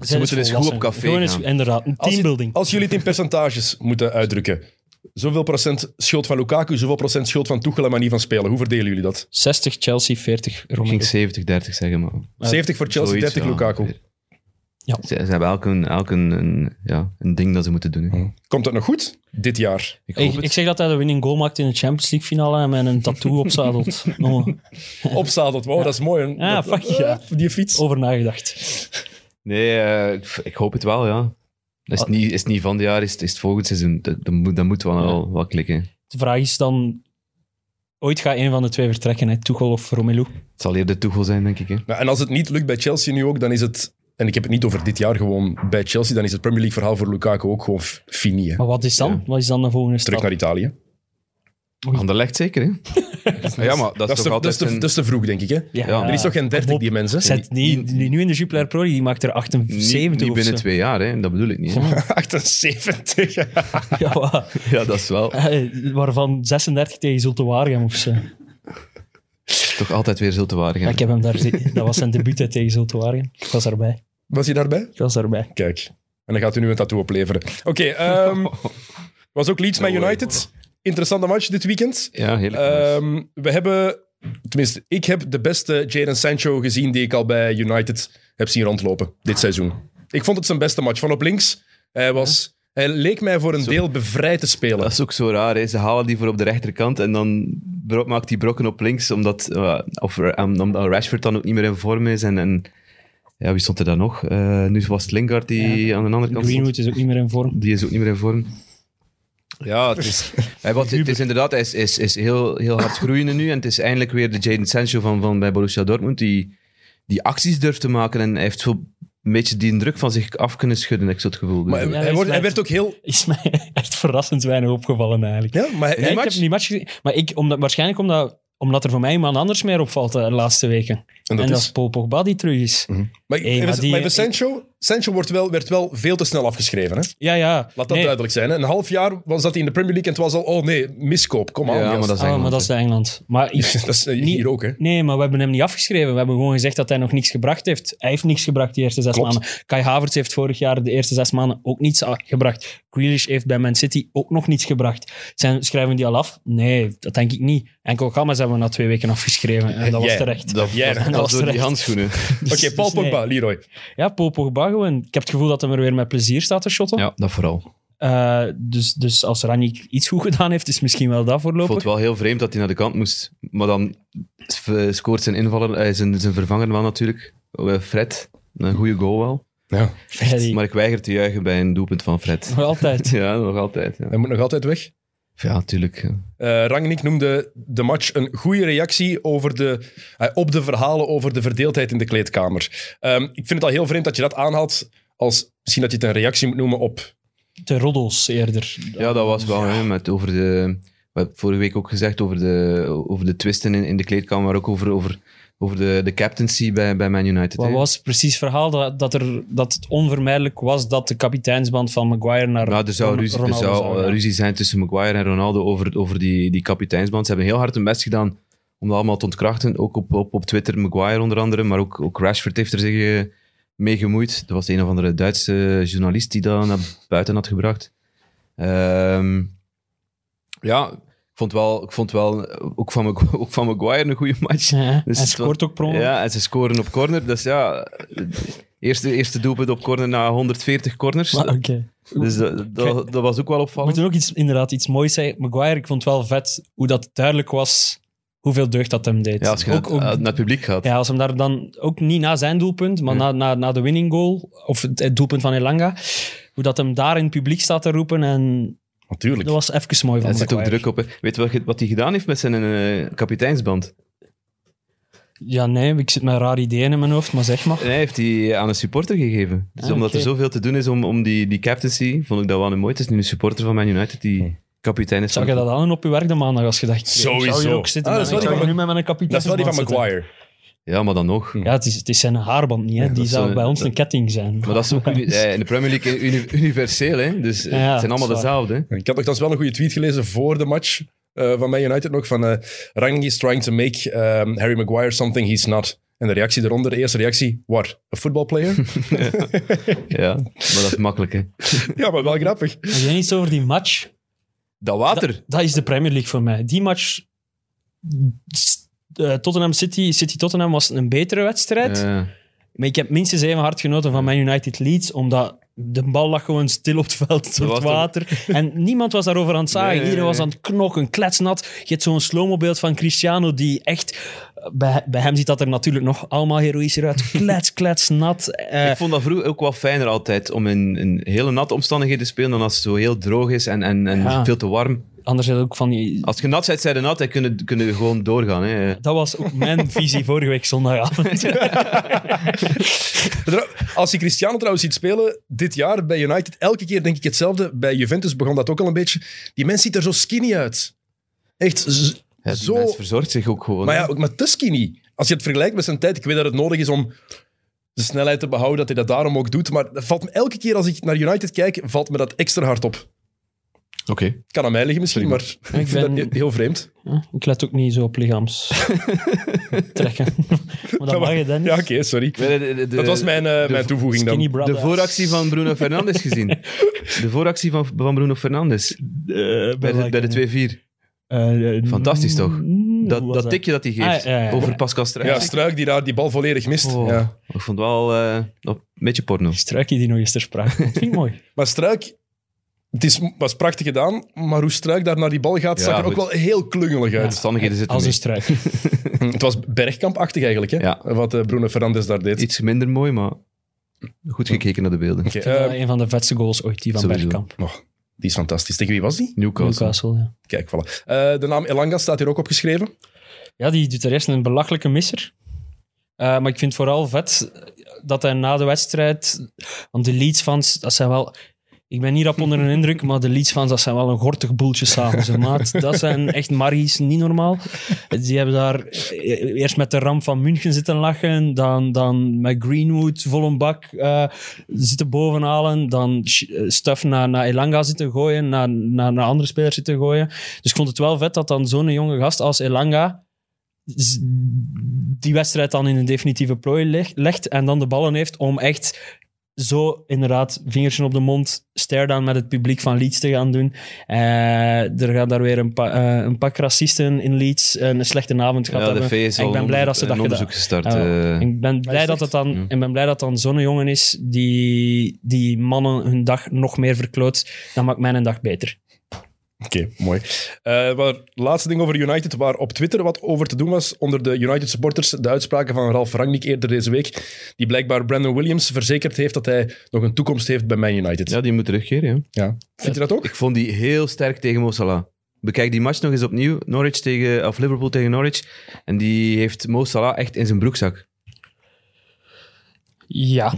[SPEAKER 2] Zij
[SPEAKER 3] moeten eens goed
[SPEAKER 2] volwassen.
[SPEAKER 3] op café
[SPEAKER 2] Gewoon eens-
[SPEAKER 3] gaan.
[SPEAKER 2] Inderdaad, een
[SPEAKER 1] Als je-
[SPEAKER 2] teambuilding.
[SPEAKER 1] Als jullie het in percentages moeten uitdrukken. Zoveel procent schuld van Lukaku, zoveel procent schuld van Tuchel en manier van spelen. Hoe verdelen jullie dat?
[SPEAKER 2] 60 Chelsea, 40
[SPEAKER 3] Ik
[SPEAKER 2] Romelu.
[SPEAKER 3] ging 70, 30 zeggen, maar...
[SPEAKER 1] 70 voor Chelsea,
[SPEAKER 3] zoiets,
[SPEAKER 1] 30
[SPEAKER 3] ja.
[SPEAKER 1] Lukaku.
[SPEAKER 3] Ze, ze hebben elk, een, elk een, een, ja, een ding dat ze moeten doen. hè.
[SPEAKER 1] Komt dat nog goed dit jaar?
[SPEAKER 3] Ik hoop
[SPEAKER 2] Oh. Ik,
[SPEAKER 3] het.
[SPEAKER 2] ik zeg dat hij de winning goal maakt in de Champions League finale en met een tattoo opzadelt. Oh,
[SPEAKER 1] Opzadeld, wow, dat is mooi. hè.
[SPEAKER 2] Ja,
[SPEAKER 1] Dat-
[SPEAKER 2] fuck ja.
[SPEAKER 1] Die fiets.
[SPEAKER 2] over nagedacht.
[SPEAKER 3] Nee, eh, ik, ik hoop het wel, ja. Is
[SPEAKER 2] Ah.
[SPEAKER 3] het, niet, is het niet van dit jaar, is het, is het volgend seizoen. Dat, dat moet, dat moet wel, wel, wel klikken. Het
[SPEAKER 2] De vraag is dan... Ooit gaat een van de twee vertrekken, hè? Tuchel of Romelu.
[SPEAKER 3] zal eerder Tuchel zijn, denk ik. Hè.
[SPEAKER 1] Nou, en als het niet lukt bij Chelsea nu ook, dan is het... En ik heb het niet over dit jaar gewoon bij Chelsea, dan is het Premier League verhaal voor Lukaku ook gewoon f- fini. hè.
[SPEAKER 2] Maar wat is dan?
[SPEAKER 3] Ja.
[SPEAKER 2] Wat is dan de volgende
[SPEAKER 1] Terug
[SPEAKER 2] stap?
[SPEAKER 1] naar Italië.
[SPEAKER 3] Anderlecht zeker, hè? Ah ja, maar dat,
[SPEAKER 1] Dat is,
[SPEAKER 3] is
[SPEAKER 1] te,
[SPEAKER 3] toch
[SPEAKER 1] dat, is
[SPEAKER 3] altijd
[SPEAKER 1] te,
[SPEAKER 3] een...
[SPEAKER 1] dat is te vroeg, denk ik. Hè?
[SPEAKER 3] Ja.
[SPEAKER 1] Er is toch geen 30
[SPEAKER 2] Bob,
[SPEAKER 1] die mensen?
[SPEAKER 2] Zet die, die nu in de Jupiler Pro, die maakt er
[SPEAKER 3] niet-
[SPEAKER 2] 78
[SPEAKER 3] niet,
[SPEAKER 2] of
[SPEAKER 3] binnen
[SPEAKER 2] zo.
[SPEAKER 3] twee jaar, hè? dat bedoel ik niet. hè.
[SPEAKER 1] 78.
[SPEAKER 2] Ja, wa-
[SPEAKER 3] Ja, dat is wel.
[SPEAKER 2] eh, waarvan 36 tegen Zulte Waregem of zo.
[SPEAKER 3] Toch altijd weer zult te waardig.
[SPEAKER 2] Ja, ik heb hem daar zi- Dat was zijn debuut hè, tegen Zulte Waregem. Ik was daarbij.
[SPEAKER 1] Was hij daarbij?
[SPEAKER 2] Ik was daarbij.
[SPEAKER 1] Kijk. En dan gaat u nu een tattoo opleveren. Oké, ehm, was ook Leeds met United. Interessante match dit weekend.
[SPEAKER 3] Ja, heel
[SPEAKER 1] Ehm, we hebben, tenminste, ik heb de beste Jadon Sancho gezien die ik al bij United heb zien rondlopen dit seizoen. Ik vond het zijn beste match. Van op links, hij, was, hij leek mij voor een deel bevrijd te spelen.
[SPEAKER 3] Dat is ook zo raar. Hè. Ze halen die voor op de rechterkant en dan bro- maakt die brokken op links, omdat, eh, of, eh, omdat Rashford dan ook niet meer in vorm is. En, en ja, wie stond er dan nog? Eh, nu was het Lingard die aan de andere kant stond.
[SPEAKER 2] Greenwood is ook niet meer in vorm.
[SPEAKER 3] Die is ook niet meer in vorm. Ja, het is, hij, wat, het is inderdaad hij is, is, is heel, heel hard groeiende nu. En het is eindelijk weer de Jadon Sancho van, van bij Borussia Dortmund die, die acties durft te maken. En hij heeft zo een beetje die druk van zich af kunnen schudden, heb ik zo het gevoel.
[SPEAKER 1] maar
[SPEAKER 3] Dus,
[SPEAKER 2] Ja,
[SPEAKER 1] hij, wordt,
[SPEAKER 2] is
[SPEAKER 1] hij werd ook heel...
[SPEAKER 2] Is mij echt verrassend weinig opgevallen eigenlijk.
[SPEAKER 1] Ja, maar hij-
[SPEAKER 2] Ja,
[SPEAKER 1] hij-
[SPEAKER 2] ik heb die match gezien. Maar ik, omdat, waarschijnlijk omdat, omdat er voor mij iemand anders meer opvalt eh, de laatste weken.
[SPEAKER 1] En dat
[SPEAKER 2] en dat
[SPEAKER 1] is- Mhm.
[SPEAKER 2] is Paul Pogba die terug is.
[SPEAKER 1] Maar,
[SPEAKER 2] Hey,
[SPEAKER 1] even,
[SPEAKER 2] maar die-
[SPEAKER 1] maar even Sancho, Sancho wordt wel, werd wel veel te snel afgeschreven. Hè?
[SPEAKER 2] Ja, ja.
[SPEAKER 1] Laat dat
[SPEAKER 2] Nee.
[SPEAKER 1] duidelijk zijn. Hè? Een half jaar was dat hij in de Premier League en het was al, oh nee, miskoop, kom aan.
[SPEAKER 3] Ja,
[SPEAKER 1] gast.
[SPEAKER 3] maar dat is
[SPEAKER 2] Ah,
[SPEAKER 3] Engeland,
[SPEAKER 2] maar dat is de Engeland. Maar ik-
[SPEAKER 1] Dat is eh,
[SPEAKER 2] Niet-
[SPEAKER 1] hier ook, hè.
[SPEAKER 2] Nee, maar we hebben hem niet afgeschreven. We hebben gewoon gezegd dat hij nog niets gebracht heeft. Hij heeft niets gebracht die eerste zes
[SPEAKER 1] Klopt.
[SPEAKER 2] maanden. Kai Havertz heeft vorig jaar de eerste zes maanden ook niets a- gebracht. Grealish heeft bij Man City ook nog niets gebracht. Zijn, schrijven we die al af? Nee, dat denk ik niet. Enkel Gammers hebben we na twee weken afgeschreven. En dat
[SPEAKER 1] Jij.
[SPEAKER 2] was terecht.
[SPEAKER 3] dat,
[SPEAKER 1] Ja,
[SPEAKER 3] dat,
[SPEAKER 2] dat
[SPEAKER 3] dat
[SPEAKER 2] was
[SPEAKER 3] is door die
[SPEAKER 2] terecht.
[SPEAKER 3] handschoenen.
[SPEAKER 2] Dus-
[SPEAKER 1] Oké, Paul
[SPEAKER 2] dus nee.
[SPEAKER 1] Pogba, Leroy.
[SPEAKER 2] Ja, Paul Pogba gewoon. Ik heb het gevoel dat hij er weer met plezier staat te shotten.
[SPEAKER 3] Ja, dat vooral.
[SPEAKER 2] Eh, dus, dus als Ranjik iets goed gedaan heeft, is misschien wel dat
[SPEAKER 3] Ik
[SPEAKER 2] voorlopig.
[SPEAKER 3] vond het wel heel vreemd dat hij naar de kant moest. Maar dan v- scoort zijn invaller, eh, zijn, zijn vervanger wel natuurlijk, eh, Fred. Een goede goal wel.
[SPEAKER 1] Ja.
[SPEAKER 2] Ja, die-
[SPEAKER 3] Maar ik weiger te juichen bij een doelpunt van Fred.
[SPEAKER 2] Nog altijd.
[SPEAKER 3] Ja, nog altijd. Ja,
[SPEAKER 1] Hij moet nog altijd weg.
[SPEAKER 3] ja tuurlijk. ja.
[SPEAKER 1] Eh, Rangnick noemde de match een goede reactie over de, eh, op de verhalen over de verdeeldheid in de kleedkamer. Ehm, ik vind het al heel vreemd dat je dat aanhaalt als misschien dat je het een reactie moet noemen op...
[SPEAKER 2] De roddels eerder.
[SPEAKER 3] Ja, dat was wel. Hè, met over de, we hebben vorige week ook gezegd over de, over de twisten in, in de kleedkamer, maar ook over, over, over de, de captaincy bij, bij Man United.
[SPEAKER 2] Wat
[SPEAKER 3] hè.
[SPEAKER 2] was precies het verhaal? Dat, dat, er, dat het onvermijdelijk was dat de kapiteinsband van Maguire naar
[SPEAKER 3] Nou, er zou,
[SPEAKER 2] Ron-
[SPEAKER 3] ruzie, er
[SPEAKER 2] Ronaldo
[SPEAKER 3] zou
[SPEAKER 2] gaan.
[SPEAKER 3] eh, ruzie zijn tussen Maguire en Ronaldo over, over die, die kapiteinsband. Ze hebben heel hard hun best gedaan om dat allemaal te ontkrachten. Ook op, op, op Twitter, Maguire onder andere, maar ook, ook Rashford heeft er zich eh, mee gemoeid. Er was een of andere Duitse journalist die dat naar buiten had gebracht. Ehm, ja, ik vond wel, ik vond wel eh, ook, van Magu- ook van Maguire een goede match.
[SPEAKER 2] Ja,
[SPEAKER 3] Dus
[SPEAKER 2] hij
[SPEAKER 3] het was-
[SPEAKER 2] scoort ook promo.
[SPEAKER 3] Ja, en ze scoren op corner. Dus ja, eh, eerste, eerste doelpunt op corner na 140 corners.
[SPEAKER 2] Maar, oké.
[SPEAKER 3] Dus dat, dat, dat was ook wel
[SPEAKER 2] We
[SPEAKER 3] opvallend.
[SPEAKER 2] moeten ook iets, inderdaad iets moois zeggen. Maguire, ik vond het wel vet hoe dat duidelijk was hoeveel deugd dat hem deed.
[SPEAKER 3] Ja, als je
[SPEAKER 2] ook,
[SPEAKER 3] naar,
[SPEAKER 2] ook-
[SPEAKER 3] naar het eh, publiek gaat.
[SPEAKER 2] ja, als hem daar dan ook niet na zijn doelpunt, maar na, na, na de winning goal, of het, het doelpunt van Elanga, hoe dat hem daar in het publiek staat te roepen. En dat
[SPEAKER 1] Natuurlijk.
[SPEAKER 2] was even mooi van
[SPEAKER 3] Daar zit ook
[SPEAKER 2] Maguire.
[SPEAKER 3] druk op. Hè. Weet je wat je- wat hij gedaan heeft met zijn eh, kapiteinsband?
[SPEAKER 2] Ja, nee, ik zit met raar ideeën in mijn hoofd, maar zeg maar.
[SPEAKER 3] En hij heeft die aan een supporter gegeven. Dus
[SPEAKER 2] Ah,
[SPEAKER 3] omdat er
[SPEAKER 2] oké.
[SPEAKER 3] zoveel te doen is om, om die, die captaincy, vond ik dat wel een mooi. Het is nu een supporter van Man United die kapitein is.
[SPEAKER 2] Zou je
[SPEAKER 3] van-
[SPEAKER 2] dat aan op je werk de maandag als je dacht? Zou
[SPEAKER 1] Sowieso.
[SPEAKER 2] je ook zitten?
[SPEAKER 1] Ah, dat is wel
[SPEAKER 2] Ik
[SPEAKER 1] die
[SPEAKER 2] zou
[SPEAKER 1] van-
[SPEAKER 2] nu met mijn kapitein.
[SPEAKER 1] Dat is wel die van Maguire.
[SPEAKER 3] Ja, maar dan nog.
[SPEAKER 2] Ja, het is, het is zijn haarband niet. Hè?
[SPEAKER 3] dat
[SPEAKER 2] die
[SPEAKER 3] is
[SPEAKER 2] zou
[SPEAKER 1] eh,
[SPEAKER 3] wel-
[SPEAKER 2] bij ons
[SPEAKER 3] dat-
[SPEAKER 2] een ketting zijn.
[SPEAKER 3] Maar dat is ook uni- eh, in de Premier League uni- universeel. Hè. Dus eh,
[SPEAKER 2] Ja,
[SPEAKER 3] het zijn allemaal
[SPEAKER 2] dat is
[SPEAKER 3] dezelfde. Hè.
[SPEAKER 1] Ik had nogthans wel een goede tweet gelezen voor de match eh, van Man United nog, van eh Rangnick is trying to make ehm, Harry Maguire something he's not. En de reactie eronder, de eerste reactie, what, a football player?
[SPEAKER 3] Ja, maar dat is makkelijk. Hè.
[SPEAKER 1] ja, maar wel grappig.
[SPEAKER 2] Had jij iets over die match?
[SPEAKER 3] Dat water.
[SPEAKER 2] Dat, dat is de Premier League voor mij. Die match... s- eh, Tottenham City, City Tottenham was een betere wedstrijd.
[SPEAKER 3] Ja.
[SPEAKER 2] Maar ik heb minstens even hard genoten van Man United Leeds, omdat de bal lag gewoon stil op het veld, door
[SPEAKER 3] was
[SPEAKER 2] het
[SPEAKER 3] er-
[SPEAKER 2] water. En niemand was daarover aan het zagen.
[SPEAKER 3] Nee, nee,
[SPEAKER 2] Iedereen was
[SPEAKER 3] nee.
[SPEAKER 2] aan het knokken, kletsnat. Je hebt zo'n slow-mo beeld van Cristiano, die echt... Bij, bij hem ziet dat er natuurlijk nog allemaal heroïs uit. Klets, kletsnat. Eh,
[SPEAKER 3] ik vond dat vroeger ook wel fijner altijd om in, in hele natte omstandigheden te spelen dan als het zo heel droog is en, en, en
[SPEAKER 2] Ja.
[SPEAKER 3] veel te warm.
[SPEAKER 2] anders is het ook van die...
[SPEAKER 3] Als je nat bent, zijn de nat en kunnen, kunnen we gewoon doorgaan. Hè.
[SPEAKER 2] Dat was ook mijn visie vorige week zondagavond.
[SPEAKER 1] Als je Cristiano trouwens ziet spelen, dit jaar bij United, elke keer denk ik hetzelfde. Bij Juventus begon dat ook al een beetje. Die mens ziet er zo skinny uit. Echt z-
[SPEAKER 3] Ja, die
[SPEAKER 1] zo...
[SPEAKER 3] mens verzorgt zich ook gewoon.
[SPEAKER 1] Maar
[SPEAKER 3] hè.
[SPEAKER 1] ja, ook met Tuscany. Als je het vergelijkt met zijn tijd, ik weet dat het nodig is om de snelheid te behouden, dat hij dat daarom ook doet. Maar dat valt me elke keer als ik naar United kijk, valt me dat extra hard op.
[SPEAKER 3] Oké.
[SPEAKER 1] Kan aan mij liggen misschien, maar ik vind
[SPEAKER 2] ben-
[SPEAKER 1] dat heel vreemd.
[SPEAKER 2] Ja, Ik let ook niet zo op lichaams. Trekken. Maar dat mag je dan niet.
[SPEAKER 1] Ja, oké, sorry.
[SPEAKER 3] Maar de- de- de-
[SPEAKER 1] dat was mijn, eh, mijn toevoeging dan.
[SPEAKER 2] Skinny
[SPEAKER 3] De
[SPEAKER 2] brothers.
[SPEAKER 3] vooractie van eh, Bruno Fernandes gezien. De vooractie van, van Bruno Fernandes.
[SPEAKER 2] Eh,
[SPEAKER 3] Bij de, bij
[SPEAKER 2] welke?
[SPEAKER 3] de 2-4.
[SPEAKER 2] Eh, eh,
[SPEAKER 3] Fantastisch, toch?
[SPEAKER 2] mm, hoe
[SPEAKER 3] Dat,
[SPEAKER 2] was
[SPEAKER 3] dat tikje dat hij geeft
[SPEAKER 2] Ah, ja, ja.
[SPEAKER 3] over Pascal Struijs.
[SPEAKER 1] Ja, Struik die daar die bal volledig mist.
[SPEAKER 3] Oh,
[SPEAKER 1] Ja.
[SPEAKER 3] Ik vond het wel eh, nog een beetje porno.
[SPEAKER 2] Die struikje die nog eens ter sprake komt. Vind ik mooi.
[SPEAKER 1] Maar Struik, het is, was prachtig gedaan, maar hoe Struik daar naar die bal gaat,
[SPEAKER 3] Ja,
[SPEAKER 1] zag er ook
[SPEAKER 3] goed.
[SPEAKER 1] wel heel klungelig uit.
[SPEAKER 3] Omstandigheden zitten
[SPEAKER 2] Als een
[SPEAKER 3] mee.
[SPEAKER 2] struik.
[SPEAKER 1] Het was bergkampachtig eigenlijk, hè?
[SPEAKER 3] Ja.
[SPEAKER 1] wat eh, Bruno Fernandes daar deed.
[SPEAKER 3] Iets minder mooi, maar goed gekeken naar de
[SPEAKER 1] Oké,
[SPEAKER 3] beelden.
[SPEAKER 2] Ik vind dat
[SPEAKER 1] eh,
[SPEAKER 2] een van de vetste goals ooit, die van
[SPEAKER 3] Sowieso.
[SPEAKER 2] Bergkamp.
[SPEAKER 1] oh, die is fantastisch. Tegen wie was die?
[SPEAKER 3] Newcastle.
[SPEAKER 2] Newcastle, ja.
[SPEAKER 1] Kijk, voilà. Eh, de naam Elanga staat hier ook opgeschreven.
[SPEAKER 2] Ja, die doet er eerst een belachelijke misser. Eh, maar ik vind het vooral vet dat hij na de wedstrijd... Want de Leeds-fans, dat zijn wel... Ik ben niet rap onder een indruk, maar de Leeds-fans, dat zijn wel een gortig boeltje s'avonds. hè, maat. Dat zijn echt margies, niet normaal. Die hebben daar eh, eerst met de ramp van München zitten lachen, dan, dan met Greenwood vol een bak eh, zitten bovenhalen, dan sh- eh, stuff naar, naar Elanga zitten gooien, naar, naar, naar andere spelers zitten gooien. Dus ik vond het wel vet dat dan zo'n jonge gast als Elanga z- die wedstrijd dan in een definitieve plooi leg- legt en dan de ballen heeft om echt zo inderdaad vingertje op de mond stare down met het publiek van Leeds te gaan doen. Eh, er gaan daar weer een, pa- eh, een pak racisten in Leeds een slechte avond gehad
[SPEAKER 3] Ja, de
[SPEAKER 2] hebben.
[SPEAKER 3] VS
[SPEAKER 2] En ik ben blij dat ze dat
[SPEAKER 3] een onderzoek
[SPEAKER 2] gedaan
[SPEAKER 3] gestart.
[SPEAKER 2] Ah, wel.
[SPEAKER 3] eh.
[SPEAKER 2] ik ben blij dat het dan,
[SPEAKER 3] Ja.
[SPEAKER 2] ik ben blij dat dan zo'n jongen is die, die mannen hun dag nog meer verkloot. Dan maakt mijn dag beter.
[SPEAKER 1] Oké, mooi. Eh, maar laatste ding over United, waar op Twitter wat over te doen was onder de United supporters, de uitspraken van Ralf Rangnick eerder deze week, die blijkbaar Brandon Williams verzekerd heeft dat hij nog een toekomst heeft bij Man United.
[SPEAKER 3] Ja, die moet terugkeren. ja.
[SPEAKER 1] Ja. Vind je dat ook?
[SPEAKER 3] Ik vond die heel sterk tegen Mo Salah. Bekijk die match nog eens opnieuw. Norwich tegen, of Liverpool tegen Norwich. En die heeft Mo Salah echt in zijn broekzak.
[SPEAKER 2] Ja.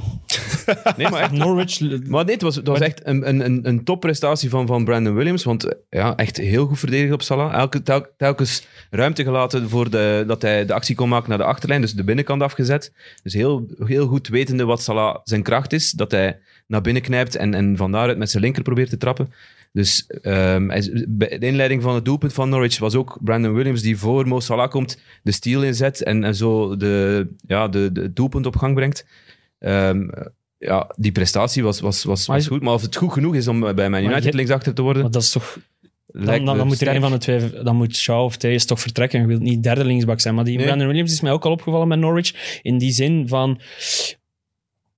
[SPEAKER 3] Nee, maar echt.
[SPEAKER 2] Norwich.
[SPEAKER 3] Maar nee, het was, het was echt een, een, een, een topprestatie van, van Brandon Williams. Want eh, ja, echt heel goed verdedigd op Salah. Elke, tel- telkens ruimte gelaten voor de, dat hij de actie kon maken naar de achterlijn. Dus de binnenkant afgezet. Dus heel, heel goed wetende wat Salah zijn kracht is. Dat hij naar binnen knijpt en, en van daaruit met zijn linker probeert te trappen. Dus ehm, hij is- bij de inleiding van het doelpunt van Norwich was ook Brandon Williams die voor Mo Salah komt, de steal inzet en, en zo de, ja, de, de het doelpunt op gang brengt. Ehm, ja, die prestatie was, was, was,
[SPEAKER 2] Maar
[SPEAKER 3] was
[SPEAKER 2] je-
[SPEAKER 3] goed. Maar of het goed genoeg is om bij Man
[SPEAKER 2] Maar
[SPEAKER 3] United
[SPEAKER 2] je-
[SPEAKER 3] linksachter te worden,
[SPEAKER 2] Maar dat is toch Dan,
[SPEAKER 3] lijkt
[SPEAKER 2] dan,
[SPEAKER 3] me
[SPEAKER 2] dan moet er
[SPEAKER 3] sterk.
[SPEAKER 2] een van de twee, dan moet Shaw of Thijs toch vertrekken. Je wilt niet derde linksbak zijn. Maar die
[SPEAKER 3] Nee.
[SPEAKER 2] Brandon Williams is mij ook al opgevallen met Norwich. In die zin van.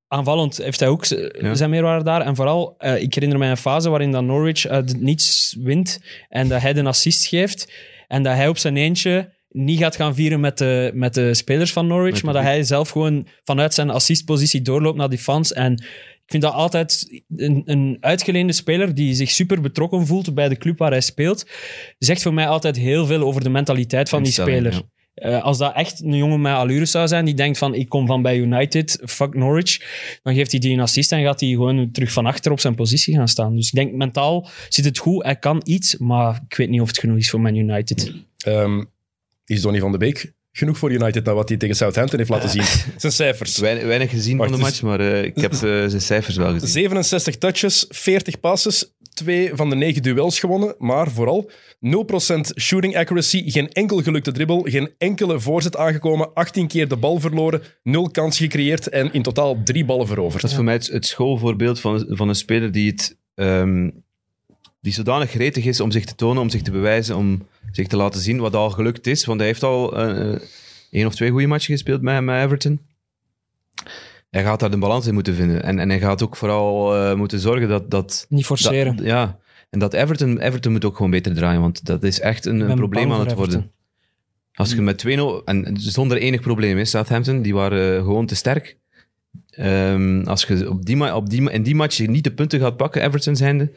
[SPEAKER 2] Aanvallend heeft hij ook z-
[SPEAKER 3] Ja.
[SPEAKER 2] zijn meerwaarde daar. En vooral, eh, ik herinner mij een fase waarin dat Norwich uit het niets wint. En dat hij de assist geeft. En dat hij op zijn eentje niet gaat gaan vieren met de, met de spelers van Norwich.
[SPEAKER 3] Met
[SPEAKER 2] maar dat hij zelf gewoon vanuit zijn assistpositie doorloopt naar die fans. En ik vind dat altijd een, een uitgeleende speler die zich super betrokken voelt bij de club waar hij speelt, zegt voor mij altijd heel veel over de mentaliteit van die
[SPEAKER 3] Instelling,
[SPEAKER 2] speler.
[SPEAKER 3] ja.
[SPEAKER 2] Eh, als dat echt een jongen met allure zou zijn, die denkt van ik kom van bij United, fuck Norwich, dan geeft hij die een assist en gaat hij gewoon terug van achter op zijn positie gaan staan. Dus ik denk mentaal zit het goed, hij kan iets, maar ik weet niet of het genoeg is voor Man United.
[SPEAKER 1] Ehm, is Donny van de Beek genoeg voor United na wat hij tegen Southampton heeft laten zien? Zijn cijfers.
[SPEAKER 3] Weinig, weinig gezien
[SPEAKER 1] Wacht,
[SPEAKER 3] van de
[SPEAKER 1] dus-
[SPEAKER 3] match, maar eh, ik heb eh, zijn cijfers wel gezien.
[SPEAKER 1] 67 touches, 40 passes, 2 van de 9 duels gewonnen, maar vooral 0% shooting accuracy, geen enkel gelukte dribbel, geen enkele voorzet aangekomen, 18 keer de bal verloren, 0 kans gecreëerd en in totaal 3 ballen
[SPEAKER 3] Dat
[SPEAKER 1] veroverd.
[SPEAKER 3] is voor mij het, het schoolvoorbeeld van, van een speler die het ehm, die zodanig gretig is om zich te tonen, om zich te bewijzen, om zich te laten zien wat al gelukt is. Want hij heeft al eh, eh, één of twee goede matchen gespeeld met, met Everton. Hij gaat daar de balans in moeten vinden. En, en hij gaat ook vooral eh, moeten zorgen dat... dat
[SPEAKER 2] Niet forceren.
[SPEAKER 3] dat- ja. En dat Everton, Everton moet ook gewoon beter draaien, want dat is echt een, een
[SPEAKER 2] ben
[SPEAKER 3] probleem
[SPEAKER 2] bang
[SPEAKER 3] aan
[SPEAKER 2] voor
[SPEAKER 3] het worden.
[SPEAKER 2] Everton. Mm.
[SPEAKER 3] Als je met 2-0, en zonder enig probleem, hè, Southampton, die waren eh, gewoon te sterk. Ehm, als je op die, ma- op die, ma- in die match niet de punten gaat pakken, Everton zijnde,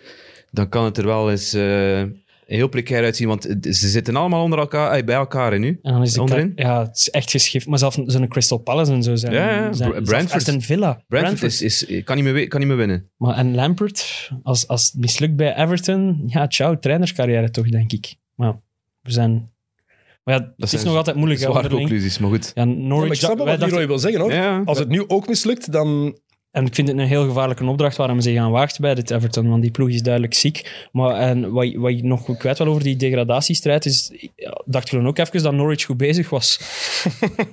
[SPEAKER 3] dan kan het er wel eens eh, heel precair uitzien. Want het- ze zitten allemaal onder elkaar, eh, bij elkaar hè, nu.
[SPEAKER 2] En dan is de
[SPEAKER 3] Onderin?
[SPEAKER 2] ka- Ja, het is echt geschift. Maar zelfs zo'n Crystal Palace en zo zijn.
[SPEAKER 3] Ja, ja,
[SPEAKER 2] zijn-
[SPEAKER 3] Br-
[SPEAKER 2] zelfs
[SPEAKER 3] Brentford.
[SPEAKER 2] Aston Villa.
[SPEAKER 3] Brentford is, is, kan, niet meer, we- kan niet meer winnen.
[SPEAKER 2] Maar, en Lampert, als, als het mislukt bij Everton, ja, ciao, trainerscarrière toch, denk ik. Maar we zijn... Maar ja, het is
[SPEAKER 3] zijn
[SPEAKER 2] nog altijd moeilijk. hè,
[SPEAKER 3] Zware
[SPEAKER 2] onderling.
[SPEAKER 3] conclusies, maar goed.
[SPEAKER 2] Ja,
[SPEAKER 1] Ja, maar
[SPEAKER 2] Norwich...
[SPEAKER 1] ik snap wel
[SPEAKER 2] wij
[SPEAKER 1] wat
[SPEAKER 2] dachten-
[SPEAKER 1] Leroy wil zeggen, hoor.
[SPEAKER 3] Ja.
[SPEAKER 1] Als het nu ook mislukt, dan...
[SPEAKER 2] En ik vind het een heel gevaarlijke opdracht waarom ze gaan waagt bij dit Everton, want die ploeg is duidelijk ziek. Maar en wat, je- wat ik nog goed kwijt wil over die degradatiestrijd is, ik ja, dacht gewoon ook even dat Norwich goed bezig was.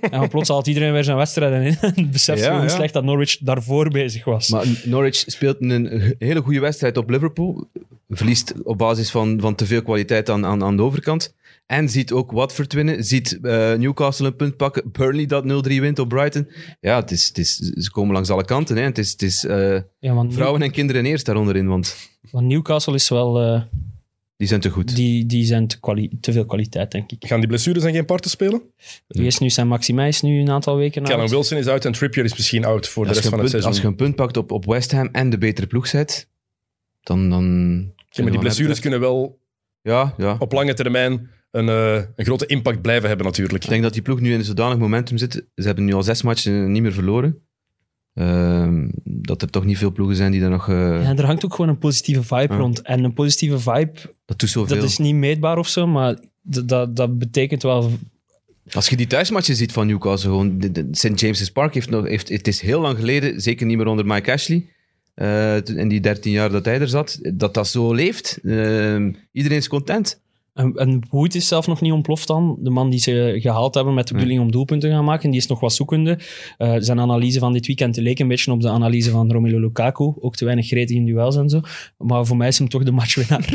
[SPEAKER 2] en dan plots haalt iedereen weer zijn wedstrijden in en beseft
[SPEAKER 3] Ja,
[SPEAKER 2] gewoon hoe
[SPEAKER 3] ja.
[SPEAKER 2] slecht dat Norwich daarvoor bezig was.
[SPEAKER 3] Maar Norwich speelt een he- hele goede wedstrijd op Liverpool. Verliest op basis van, van te veel kwaliteit aan, aan, aan de overkant. En ziet ook Watford winnen. Ziet eh, Newcastle een punt pakken. Burnley dat 0-3 wint op Brighton. Ja, het is, het is, ze komen langs alle kanten. Hè. Het is, het is eh,
[SPEAKER 2] ja, want, Nieu-
[SPEAKER 3] vrouwen en kinderen eerst daaronder in, want
[SPEAKER 2] want Newcastle is wel... eh,
[SPEAKER 3] die zijn te goed.
[SPEAKER 2] die, die zijn te, kwali- te veel kwaliteit, denk ik.
[SPEAKER 1] Gaan die blessures en geen parten spelen?
[SPEAKER 2] Wie is nu zijn Maxima is nu een aantal weken
[SPEAKER 1] Callum
[SPEAKER 2] oud.
[SPEAKER 1] Wilson is uit en Trippier is misschien oud voor de
[SPEAKER 3] Als
[SPEAKER 1] rest
[SPEAKER 3] je,
[SPEAKER 1] van
[SPEAKER 3] een
[SPEAKER 1] het
[SPEAKER 3] punt,
[SPEAKER 1] seizoen.
[SPEAKER 3] als je een punt pakt op, op West Ham en de betere ploeg zet, dan... dan
[SPEAKER 1] Ja, maar die blessures kunnen wel
[SPEAKER 3] Ja, ja.
[SPEAKER 1] op lange termijn een, eh, een grote impact blijven hebben natuurlijk.
[SPEAKER 3] Ik denk dat die ploeg nu in een zodanig momentum zit. Ze hebben nu al zes matchen niet meer verloren. Ehm, dat er toch niet veel ploegen zijn die daar nog... eh,
[SPEAKER 2] Ja, er hangt ook gewoon een positieve vibe
[SPEAKER 3] Ja.
[SPEAKER 2] rond. En een positieve vibe
[SPEAKER 3] Dat doet zoveel.
[SPEAKER 2] Dat is niet meetbaar of zo, maar d- dat, dat betekent wel.
[SPEAKER 3] Als je die thuismatchen ziet van Newcastle, gewoon, de, de- St. James's Park heeft nog... Heeft, het is heel lang geleden, zeker niet meer onder Mike Ashley, eh, toen- in die 13 jaar dat hij er zat, dat dat zo leeft. Ehm, iedereen is content.
[SPEAKER 2] En, en Wood is zelf nog niet ontploft dan. De man die ze gehaald hebben met de bedoeling om doelpunten te gaan maken, die is nog wat zoekende. Eh, zijn analyse van dit weekend leek een beetje op de analyse van Romelu Lukaku. Ook te weinig gretig in duels en zo. Maar voor mij is hem toch de matchwinnaar.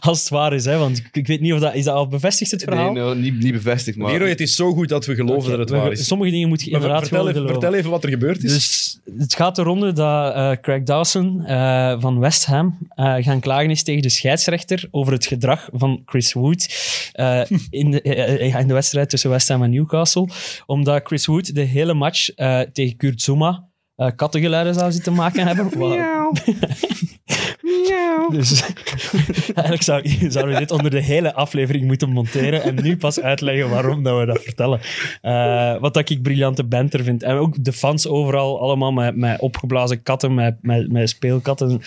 [SPEAKER 2] Als het waar is, hè? want ik- ik weet niet of dat... Is dat al bevestigd, het verhaal?
[SPEAKER 3] Nee, nou, niet, niet bevestigd, maar...
[SPEAKER 1] Leroy, het is zo goed dat we geloven dat het
[SPEAKER 2] We-
[SPEAKER 1] waar is.
[SPEAKER 2] Sommige dingen moet je
[SPEAKER 1] Maar ver-
[SPEAKER 2] inderdaad
[SPEAKER 1] vertel,
[SPEAKER 2] gewoon
[SPEAKER 1] even,
[SPEAKER 2] geloven.
[SPEAKER 1] vertel even wat er gebeurd is.
[SPEAKER 2] Dus het gaat eronder dat eh, Craig Dawson eh, van West Ham eh, gaan klagen is tegen de scheidsrechter over het gedrag van Chris Wood eh, in, de, eh, eh, in de wedstrijd tussen West Ham en Newcastle. Omdat Chris Wood de hele match eh, tegen Kurt Zuma eh, kattengeluiden zou zitten maken hebben. Wat- dus eigenlijk zou, zouden we dit onder de hele aflevering moeten monteren en nu pas uitleggen waarom dat we dat vertellen. Eh, wat dat ik briljante banter vind. En ook de fans overal, allemaal met, met opgeblazen katten, met, met, met speelkatten.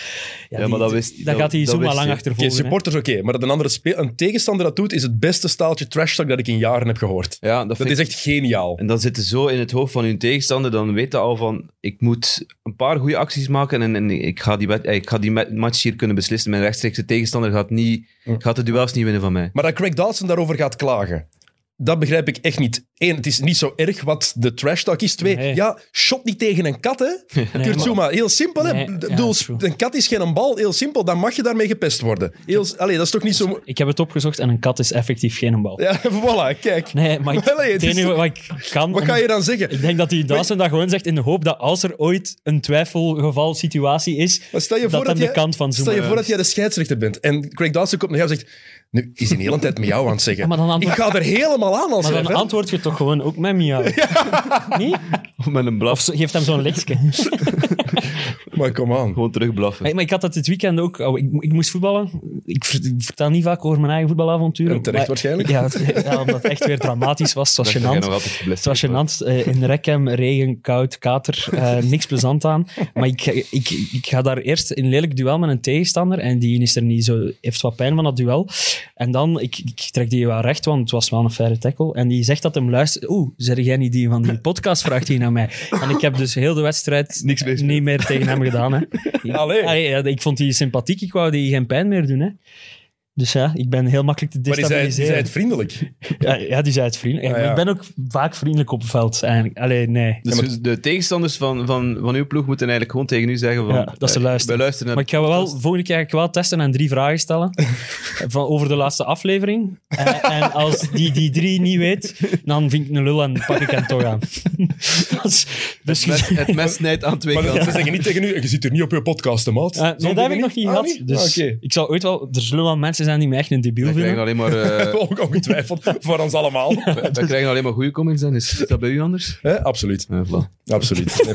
[SPEAKER 2] Ja,
[SPEAKER 3] maar dat wist-
[SPEAKER 2] Daar
[SPEAKER 3] dat-
[SPEAKER 2] gaat hij
[SPEAKER 3] dat
[SPEAKER 2] zomaar
[SPEAKER 3] wist
[SPEAKER 2] lang
[SPEAKER 3] hij.
[SPEAKER 1] Oké,
[SPEAKER 2] achtervolgen. hè.
[SPEAKER 1] supporters oké, maar dat een, andere speel, een tegenstander dat doet, is het beste staaltje trash talk dat ik in jaren heb gehoord.
[SPEAKER 3] Ja, dat,
[SPEAKER 1] Dat
[SPEAKER 3] vind
[SPEAKER 1] is
[SPEAKER 3] ik-
[SPEAKER 1] echt geniaal.
[SPEAKER 3] En dan zitten zo in het hoofd van hun tegenstander, dan weten al van, ik moet een paar goede acties maken en, en ik ga die, wed- eh, ik ga die ma- match hier kunnen beslissen. Mijn rechtstreekse tegenstander gaat, niet, gaat de duels niet winnen van mij.
[SPEAKER 1] Maar dat Craig Dawson daarover gaat klagen, dat begrijp ik echt niet. Eén, het is niet zo erg wat de trash talk is. Twee,
[SPEAKER 2] Nee.
[SPEAKER 1] ja, shot niet tegen een kat, hè.
[SPEAKER 2] Nee,
[SPEAKER 1] Kurt
[SPEAKER 2] maar-
[SPEAKER 1] Zouma, heel simpel, hè.
[SPEAKER 2] Nee,
[SPEAKER 1] Ik
[SPEAKER 2] ja,
[SPEAKER 1] bedoel,
[SPEAKER 2] true.
[SPEAKER 1] een kat is geen een bal, heel simpel. Dan mag je daarmee gepest worden. Heel, allee, dat is toch niet zo...
[SPEAKER 2] Ik heb het opgezocht en een kat is effectief geen bal.
[SPEAKER 1] Ja, voilà, kijk.
[SPEAKER 2] Nee, maar ik,
[SPEAKER 1] Wel, hè, het
[SPEAKER 2] het
[SPEAKER 1] is-
[SPEAKER 2] enige wat ik kan...
[SPEAKER 1] Wat
[SPEAKER 2] om-
[SPEAKER 1] ga je dan zeggen?
[SPEAKER 2] Ik denk dat hij Dawson dat gewoon zegt in de hoop dat als er ooit een twijfelgeval situatie is,
[SPEAKER 1] Maar stel je
[SPEAKER 2] dat
[SPEAKER 1] voor dat
[SPEAKER 2] aan de
[SPEAKER 1] jij-
[SPEAKER 2] kant van Zuma
[SPEAKER 1] Stel je voor dat jij de scheidsrechter bent en Craig Dawson komt naar jou en zegt... Nu is hij de hele tijd met jou aan het zeggen.
[SPEAKER 2] Ja, maar dan antwoord-
[SPEAKER 1] Ik ga er helemaal aan als
[SPEAKER 2] Maar dan
[SPEAKER 1] ref, hè.
[SPEAKER 2] antwoord je toch gewoon ook met miauw. Niet?
[SPEAKER 3] Met een
[SPEAKER 2] Of
[SPEAKER 3] blaf,
[SPEAKER 2] zo- geeft hem zo'n lekske.
[SPEAKER 1] Maar kom aan.
[SPEAKER 3] gewoon terugblaffen.
[SPEAKER 2] Hey, maar ik had dat dit weekend ook. oh, ik, ik moest voetballen. Ik, ver- ik vertel niet vaak over mijn eigen voetbalavonturen.
[SPEAKER 1] En terecht
[SPEAKER 2] maar-
[SPEAKER 1] waarschijnlijk.
[SPEAKER 2] Ja, het- ja, omdat het echt weer dramatisch was. Het was
[SPEAKER 3] Dat jij
[SPEAKER 2] gênant.
[SPEAKER 3] nog altijd
[SPEAKER 2] Het was
[SPEAKER 3] geblesseerd was.
[SPEAKER 2] gênant. Eh, in Rekken, regen, koud, kater. eh, niks plezant aan. Maar ik, ik, ik ga daar eerst in een lelijk duel met een tegenstander. En die is er niet zo, heeft wat pijn van dat duel. En dan, ik, ik trek die wel recht, want het was wel een faire tackle. En die zegt dat hem luistert. Oeh, zeg jij niet die van die podcast? Vraagt hij naar mij. En ik heb dus heel de wedstrijd
[SPEAKER 3] Niks meer
[SPEAKER 2] niet meer tegen hem gedaan. Hè.
[SPEAKER 1] Allee.
[SPEAKER 2] Allee, ja, ik vond die sympathiek. Ik wou die geen pijn meer doen. Hè. Dus ja, ik ben heel makkelijk te
[SPEAKER 1] Maar is hij, is hij
[SPEAKER 2] destabiliseren.
[SPEAKER 1] het vriendelijk?
[SPEAKER 2] Ja, ja, die zei het vriendelijk.
[SPEAKER 1] Ah,
[SPEAKER 2] Maar
[SPEAKER 1] ja.
[SPEAKER 2] Ik ben ook vaak vriendelijk op het veld, eigenlijk. Allee, nee.
[SPEAKER 3] Dus
[SPEAKER 1] Ja,
[SPEAKER 3] de tegenstanders van, van, van uw ploeg moeten eigenlijk gewoon tegen u zeggen van...
[SPEAKER 2] Ja, dat ze
[SPEAKER 3] eh,
[SPEAKER 2] luisteren.
[SPEAKER 3] Wij luisteren
[SPEAKER 2] Maar
[SPEAKER 3] naar...
[SPEAKER 2] ik ga wel volgende keer ga ik wel testen en drie vragen stellen van, over de laatste aflevering. En, en als die die drie niet weet, dan vind ik een lul en pak ik hem toch aan. Dat is, dus
[SPEAKER 3] Het mes, het mes snijdt aan twee
[SPEAKER 1] Maar
[SPEAKER 3] kanten.
[SPEAKER 1] ze zeggen niet tegen u, je zit er niet op je podcast, hè, maat.
[SPEAKER 2] Eh, nee,
[SPEAKER 1] Zo
[SPEAKER 2] dat heb ik
[SPEAKER 1] dingen
[SPEAKER 2] nog niet
[SPEAKER 1] Ah,
[SPEAKER 2] gehad.
[SPEAKER 1] niet?
[SPEAKER 2] Dus
[SPEAKER 1] Ah, Oké.
[SPEAKER 2] ik zal ooit wel... Er zullen wel mensen zijn die mij echt een debiel
[SPEAKER 3] Wij krijgen
[SPEAKER 2] vinden.
[SPEAKER 3] alleen maar, eh,
[SPEAKER 1] Ook ongetwijfeld voor ons allemaal.
[SPEAKER 3] wij krijgen alleen maar goede comments dan. Is dat bij u anders?
[SPEAKER 1] Hè, absoluut.
[SPEAKER 3] Ja, voilà.
[SPEAKER 1] Absoluut.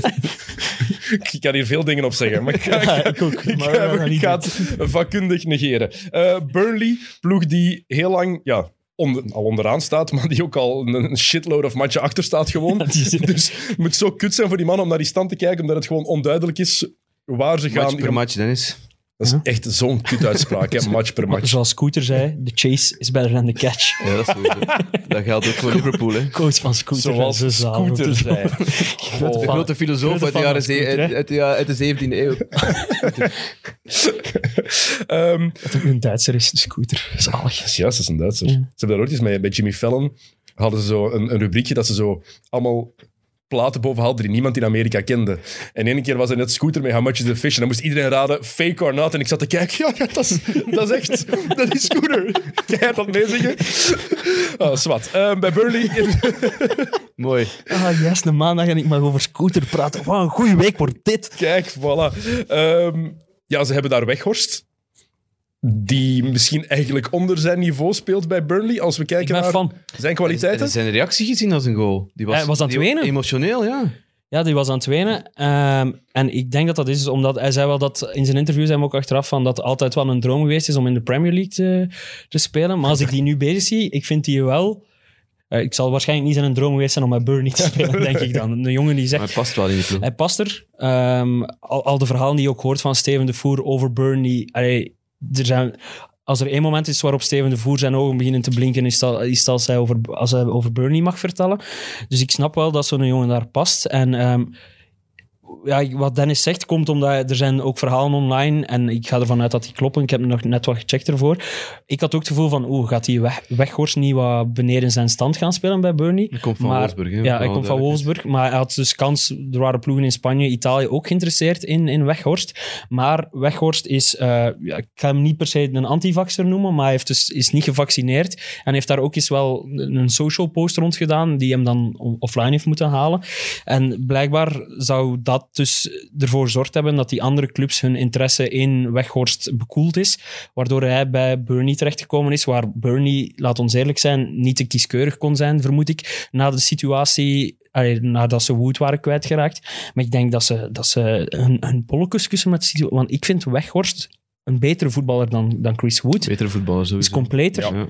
[SPEAKER 1] ik kan hier veel dingen op zeggen, maar ik ga,
[SPEAKER 2] Ja, ik ook.
[SPEAKER 1] ik
[SPEAKER 2] Maar
[SPEAKER 1] ga-
[SPEAKER 2] we gaan
[SPEAKER 1] ik
[SPEAKER 2] niet
[SPEAKER 1] ga het vakkundig negeren. Eh, Burnley, ploeg die heel lang ja, onder- al onderaan staat, maar die ook al een, een shitload of matchen achter staat gewoon.
[SPEAKER 2] Die zin-
[SPEAKER 1] dus het moet zo kut zijn voor die mannen om naar die stand te kijken, omdat het gewoon onduidelijk is waar ze
[SPEAKER 3] Match
[SPEAKER 1] gaan.
[SPEAKER 3] per match, Dennis.
[SPEAKER 1] Dat is echt zo'n kut uitspraak, hè? match per match.
[SPEAKER 2] Zoals Scooter zei, de chase is better than the catch.
[SPEAKER 3] Ja, dat, is sowieso. dat geldt ook voor Liverpool, hè.
[SPEAKER 2] Coach van Scooter.
[SPEAKER 1] Zoals
[SPEAKER 2] en zijn zaal.
[SPEAKER 1] Scooter zei.
[SPEAKER 3] De
[SPEAKER 2] Van-
[SPEAKER 3] grote filosoof
[SPEAKER 2] grote
[SPEAKER 3] uit de, jaren
[SPEAKER 2] fan van
[SPEAKER 3] ze-
[SPEAKER 2] Scooter,
[SPEAKER 3] uit,
[SPEAKER 2] hè?
[SPEAKER 3] uit de, ja, uit de 17e eeuw.
[SPEAKER 1] Ehm,
[SPEAKER 2] Dat ook een Duitser is, een Scooter. Zalig.
[SPEAKER 1] Dat is juist, dat is een Duitser.
[SPEAKER 2] Ja.
[SPEAKER 1] Ze hebben daar ooit eens mee, bij Jimmy Fallon hadden ze zo een, een rubriekje dat ze zo allemaal platen boven hadden die niemand in Amerika kende. En één keer was er net Scooter met How Much Is The Fish en dan moest iedereen raden, fake or not. En ik zat te kijken, ja, ja, dat, is, dat is echt, dat is Scooter. Jij hebt dat meezeggen. Oh, zwart. Ehm, bij Burnley...
[SPEAKER 3] Mooi.
[SPEAKER 2] Ah, juist een maandag en ik mag over Scooter praten. Wat een goede week wordt dit.
[SPEAKER 1] Kijk, voilà. Ehm, ja, ze hebben daar Weghorst. Die misschien eigenlijk onder zijn niveau speelt bij Burnley. Als we kijken
[SPEAKER 2] ben
[SPEAKER 1] naar
[SPEAKER 2] fan.
[SPEAKER 1] zijn
[SPEAKER 3] En
[SPEAKER 1] kwaliteiten.
[SPEAKER 3] zijn reactie gezien als een goal. Die was,
[SPEAKER 2] Hij was aan het
[SPEAKER 3] die-
[SPEAKER 2] wenen.
[SPEAKER 3] Emotioneel, ja.
[SPEAKER 2] Ja, die was aan het wenen. Ehm, en ik denk dat dat is omdat hij zei wel dat in zijn interview zei hem ook achteraf van dat het altijd wel een droom geweest is om in de Premier League te, te spelen. Maar als ik die nu bezig zie, ik vind die wel. eh, ik zal waarschijnlijk niet zijn een droom geweest zijn om bij Burnley te spelen, denk ik dan. Een jongen die zegt.
[SPEAKER 3] Maar het past wel in die ploeg.
[SPEAKER 2] Hij past er. Ehm, al, al de verhalen die je ook hoort van Steven de Voer over Burnley. Allee, er zijn, als er één moment is waarop Steven de Voer zijn ogen beginnen te blinken, is dat, is dat als, hij over, als hij over Burnley mag vertellen. Dus ik snap wel dat zo'n jongen daar past. En ehm, ja, ik- wat Dennis zegt, komt omdat hij- er zijn ook verhalen online. En ik ga ervan uit dat die kloppen. Ik heb nog net wat gecheckt ervoor. Ik had ook het gevoel van, oeh, gaat die weg, Weghorst niet wat beneden zijn stand gaan spelen bij Burnley?
[SPEAKER 3] Hij komt van
[SPEAKER 2] Maar-
[SPEAKER 3] Wolfsburg, hè.
[SPEAKER 2] Ja, hij komt van
[SPEAKER 3] Duidelijk.
[SPEAKER 2] Wolfsburg, maar hij had dus kans. Er waren ploegen in Spanje, Italië ook geïnteresseerd in, in Weghorst. Maar Weghorst is, eh, ja, ik ga hem niet per se een antivaxer noemen, maar hij heeft dus, is niet gevaccineerd. En heeft daar ook eens wel een een social post rond gedaan, die hem dan on- offline heeft moeten halen. En blijkbaar zou dat dus ervoor gezorgd hebben dat die andere clubs hun interesse in Weghorst bekoeld is. Waardoor hij bij Burnley terechtgekomen is, waar Burnley, laat ons eerlijk zijn, niet te kieskeurig kon zijn, vermoed ik. Na de situatie, allee, nadat ze Wood waren kwijtgeraakt. Maar ik denk dat ze, dat ze hun, hun bolletjes kussen met de situatie. Want ik vind Weghorst een betere voetballer dan, dan Chris Wood.
[SPEAKER 3] Betere voetballer,
[SPEAKER 2] Is
[SPEAKER 3] sowieso.
[SPEAKER 2] completer.
[SPEAKER 3] Ja.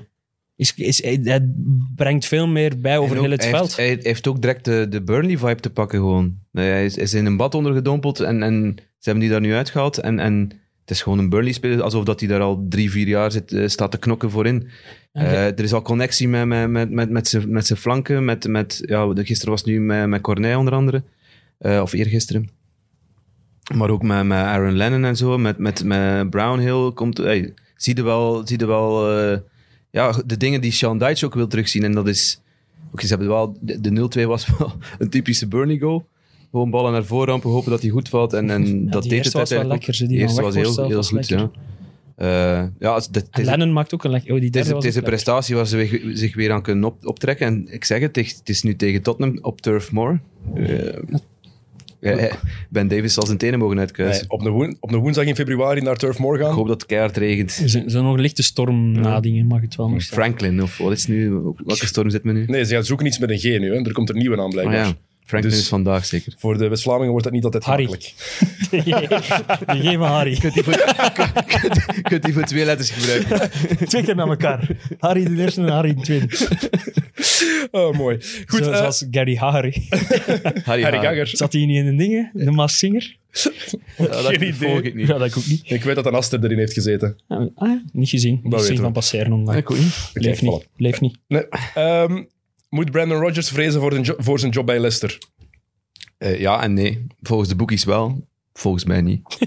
[SPEAKER 2] Is, is, hij, hij brengt veel meer bij over
[SPEAKER 3] En ook,
[SPEAKER 2] heel het
[SPEAKER 3] hij
[SPEAKER 2] veld.
[SPEAKER 3] Heeft, hij heeft ook direct de, de Burnley-vibe te pakken gewoon. Nee, Hij is, is in een bad ondergedompeld en, en ze hebben die daar nu uitgehaald. En, en het is gewoon een Burnley-speler, alsof dat hij daar al drie, vier jaar zit, eh, staat te knokken voorin. Eh, er is al connectie met, met, met, met, met, zijn, met zijn flanken. Met, met, ja, de- gisteren was het nu met, met Corneille onder andere. Eh, of eergisteren. Maar ook met, met Aaron Lennon en zo. Met, met, met Brownhill. Komt, hey, zie je wel, zie je wel eh, ja, de dingen die Sean Dyche ook wil terugzien. En dat is... Oké, ze hebben wel, de, de 0-2 was wel een typische Burnley goal. Gewoon ballen naar voren rampen, hopen dat hij goed valt. En, en dat
[SPEAKER 2] die
[SPEAKER 3] deed
[SPEAKER 2] eerste was
[SPEAKER 3] het
[SPEAKER 2] wel
[SPEAKER 3] uiteindelijk ook.
[SPEAKER 2] lekker, ze, die
[SPEAKER 3] De eerste
[SPEAKER 2] van
[SPEAKER 3] was
[SPEAKER 2] Weghorst zelf
[SPEAKER 3] heel, heel
[SPEAKER 2] was
[SPEAKER 3] goed, ja.
[SPEAKER 2] lekker.
[SPEAKER 3] Eh, ja, het, het
[SPEAKER 2] En
[SPEAKER 3] is-
[SPEAKER 2] Lennon maakt ook een lekker. Oh, die
[SPEAKER 3] het is,
[SPEAKER 2] derde
[SPEAKER 3] het is een
[SPEAKER 2] was ook
[SPEAKER 3] prestatie waar ze we- zich weer aan kunnen op, optrekken. En ik zeg het, het is nu tegen Tottenham op Turf Moor. Eh, eh, ben Davis zal zijn tenen mogen uitkuisen.
[SPEAKER 1] Nee, op, de woen- op de woensdag in februari naar Turf Moor gaan.
[SPEAKER 3] Ik hoop dat het keihard regent.
[SPEAKER 2] lekker. Zo- Zo'n nog lichte storm nadingen mag het wel nog zijn.
[SPEAKER 3] Franklin, of wat is het nu? Welke storm zit men nu?
[SPEAKER 1] Nee, ze gaan zoeken iets met een G nu. Hè. Er komt er een nieuwe aan
[SPEAKER 3] Ah
[SPEAKER 1] blijkbaar.
[SPEAKER 3] ja, Franklin
[SPEAKER 1] Dus-
[SPEAKER 3] is vandaag zeker.
[SPEAKER 1] Voor de West-Vlamingen wordt dat niet altijd
[SPEAKER 2] Harry.
[SPEAKER 1] makkelijk.
[SPEAKER 2] Die geven Harry.
[SPEAKER 3] Je kunt die voor twee letters gebruiken.
[SPEAKER 2] Twee keer naar elkaar. Harry de eerste en Harry de tweede.
[SPEAKER 1] Oh, mooi. Goed,
[SPEAKER 2] Zo-
[SPEAKER 1] eh,
[SPEAKER 2] Zoals Gary Harry.
[SPEAKER 3] Harry,
[SPEAKER 1] Harry
[SPEAKER 3] Haar.
[SPEAKER 1] Gagger.
[SPEAKER 2] Zat hij niet in de dingen? De Massinger?
[SPEAKER 3] Ja, Nou, dat
[SPEAKER 1] Geen idee.
[SPEAKER 3] volg ik niet.
[SPEAKER 2] Ja, dat ik ook niet.
[SPEAKER 1] Ik weet dat een Aster erin heeft gezeten.
[SPEAKER 2] Ah, ja, niet gezien. Niet
[SPEAKER 1] weten
[SPEAKER 2] gezien
[SPEAKER 1] we.
[SPEAKER 2] van passeren online.
[SPEAKER 3] Ik ook niet.
[SPEAKER 2] Leef niet. Leef niet.
[SPEAKER 1] Nee. Ehm, moet Brandon Rodgers vrezen voor, een jo- voor zijn job bij Leicester?
[SPEAKER 3] Eh, ja en nee. Volgens de boekies wel. Volgens mij niet.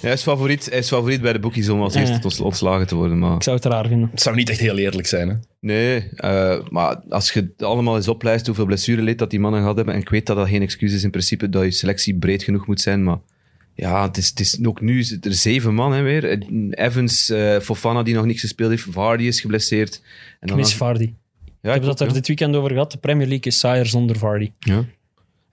[SPEAKER 3] Hij is favoriet, hij is favoriet bij de boekies om als eerste
[SPEAKER 2] Ja.
[SPEAKER 3] tot ontslagen te worden. Maar...
[SPEAKER 2] Ik zou het raar vinden.
[SPEAKER 1] Het zou niet echt heel eerlijk zijn, hè?
[SPEAKER 3] Nee, eh, maar als je het allemaal eens oplijst hoeveel blessureleed dat die mannen gehad hebben, en ik weet dat dat geen excuus is in principe, dat je selectie breed genoeg moet zijn, maar ja, het is, het is ook nu is het er zeven man hè, weer. Evans, eh, Fofana die nog niks gespeeld heeft, Vardy is geblesseerd. En
[SPEAKER 2] Ik mis Vardy.
[SPEAKER 3] ja,
[SPEAKER 2] Ik heb
[SPEAKER 3] ik
[SPEAKER 2] dat
[SPEAKER 3] ook,
[SPEAKER 2] er dit weekend over gehad. De Premier League is saaier zonder Vardy.
[SPEAKER 3] ja. Ja.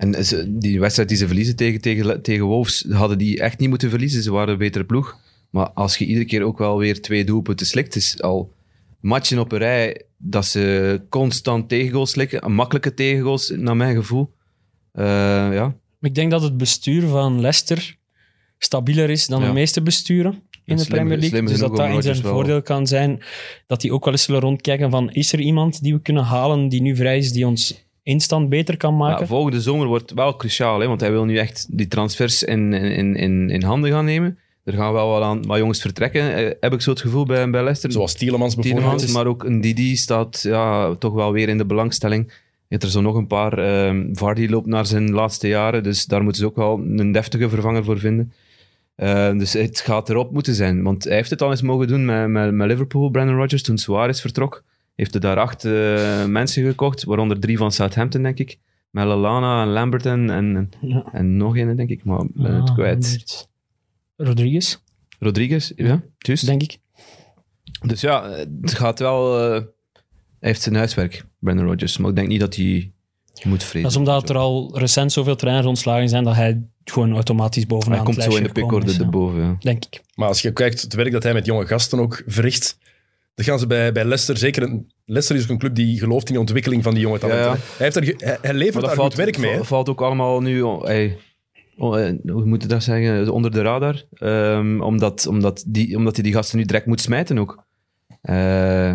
[SPEAKER 3] En ze- die wedstrijd die ze verliezen tegen, tegen, tegen Wolves, hadden die echt niet moeten verliezen. Ze waren een betere ploeg. Maar als je iedere keer ook wel weer twee doelpunten slikt, is al matchen op een rij dat ze constant tegengoals slikken. Makkelijke tegengoals, naar mijn gevoel. Eh, ja.
[SPEAKER 2] Maar ik denk dat het bestuur van Leicester stabieler is dan
[SPEAKER 3] Ja.
[SPEAKER 2] de meeste besturen in de
[SPEAKER 3] slim-
[SPEAKER 2] Premier League.
[SPEAKER 3] slim
[SPEAKER 2] Dus
[SPEAKER 3] genoeg
[SPEAKER 2] dat dat
[SPEAKER 3] om
[SPEAKER 2] in
[SPEAKER 3] Rodgers
[SPEAKER 2] zijn
[SPEAKER 3] wel-
[SPEAKER 2] voordeel kan zijn. Dat die ook wel eens zullen rondkijken van is er iemand die we kunnen halen die nu vrij is, die ons instant beter kan
[SPEAKER 3] Ja,
[SPEAKER 2] maken.
[SPEAKER 3] volgende zomer wordt wel cruciaal, hè, want hij wil nu echt die transfers in, in, in, in handen gaan nemen. Er gaan wel wat, aan, wat jongens vertrekken, eh, heb ik zo het gevoel bij, bij Leicester.
[SPEAKER 1] Zoals Tielemans bijvoorbeeld.
[SPEAKER 3] Tielemans, maar ook een Didi staat ja, toch wel weer in de belangstelling. Je hebt er zo nog een paar. ehm, Vardy loopt naar zijn laatste jaren, dus daar moeten ze ook wel een deftige vervanger voor vinden. Eh, dus het gaat erop moeten zijn. Want hij heeft het al eens mogen doen met, met, met Liverpool, Brandon Rodgers, toen Suarez vertrok. Heeft hij daar acht eh, mensen gekocht, waaronder drie van Southampton, denk ik. Met Lallana en Lambert en, en,
[SPEAKER 2] Ja.
[SPEAKER 3] en nog een, denk ik, maar ik ben het
[SPEAKER 2] Ah,
[SPEAKER 3] kwijt.
[SPEAKER 2] inderdaad. Rodriguez,
[SPEAKER 3] Rodriguez, ja, juist.
[SPEAKER 2] denk ik.
[SPEAKER 3] Dus ja, het gaat wel. eh, hij heeft zijn huiswerk, Brandon Rodgers. Maar ik denk niet dat hij moet vrezen.
[SPEAKER 2] Dat is omdat er al recent zoveel trainers ontslagen zijn dat hij gewoon automatisch bovenaan
[SPEAKER 3] hij komt
[SPEAKER 2] het
[SPEAKER 3] zo in
[SPEAKER 2] lijstje
[SPEAKER 3] de
[SPEAKER 2] gekomen
[SPEAKER 3] pickorder
[SPEAKER 2] is, ja.
[SPEAKER 3] erboven. Ja.
[SPEAKER 2] Denk ik.
[SPEAKER 1] Maar als je kijkt het werk dat hij met jonge gasten ook verricht, dan gaan ze bij, bij Leicester zeker... Een, Leicester is ook een club die gelooft in de ontwikkeling van die jonge talenten.
[SPEAKER 3] Ja, ja.
[SPEAKER 1] Hij, heeft er, ge- hij, hij levert daar goed werk mee. hè.
[SPEAKER 3] va- valt ook allemaal nu. oh, hey, oh, eh, hoe moet je dat zeggen? Onder de radar. Ehm, omdat, omdat, die, omdat hij die gasten nu direct moet smijten ook. Eh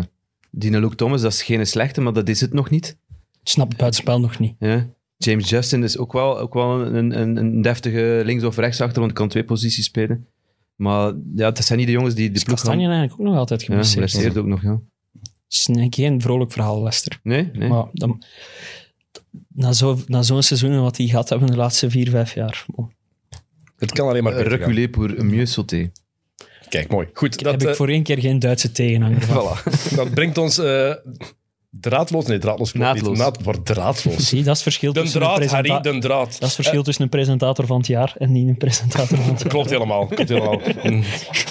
[SPEAKER 3] Dina Luke Thomas, dat is geen slechte, maar dat is het nog niet.
[SPEAKER 2] Ik snap het buitenspel nog niet.
[SPEAKER 3] Ja. James Justin is ook wel, ook wel een, een, een deftige links- of rechtsachter, want kan twee posities spelen. Maar ja, dat zijn niet de jongens die de
[SPEAKER 2] Is
[SPEAKER 3] ploeg gaan...
[SPEAKER 2] Dus Kastanje eigenlijk ook nog altijd
[SPEAKER 3] Ja,
[SPEAKER 2] geblesseerd?
[SPEAKER 3] geblesseerd ook nog, ja.
[SPEAKER 2] Het is een- geen vrolijk verhaal, Lester.
[SPEAKER 3] Nee, nee.
[SPEAKER 2] Maar dan, na zo'n na zo'n seizoen en wat hij gehad hebben de laatste vier, vijf jaar. bon.
[SPEAKER 1] Het kan alleen maar beter gaan.
[SPEAKER 3] Eh, Reculé pour een mieux sauter.
[SPEAKER 1] Kijk, mooi. Goed,
[SPEAKER 2] heb
[SPEAKER 1] dat,
[SPEAKER 2] ik
[SPEAKER 1] eh,
[SPEAKER 2] voor één keer geen Duitse tegenhanger. van.
[SPEAKER 1] dat brengt ons... eh, draadloos? Nee, draadloos. klopt niet.
[SPEAKER 3] Naadloos.
[SPEAKER 1] Naad, maar draadloos.
[SPEAKER 2] Zie, dat is het verschil
[SPEAKER 1] Den
[SPEAKER 2] tussen een
[SPEAKER 1] draad,
[SPEAKER 2] presenta-
[SPEAKER 1] Harry, den draad.
[SPEAKER 2] Dat is het verschil tussen een presentator van het jaar en niet een presentator van het jaar.
[SPEAKER 1] Klopt helemaal. Klopt helemaal.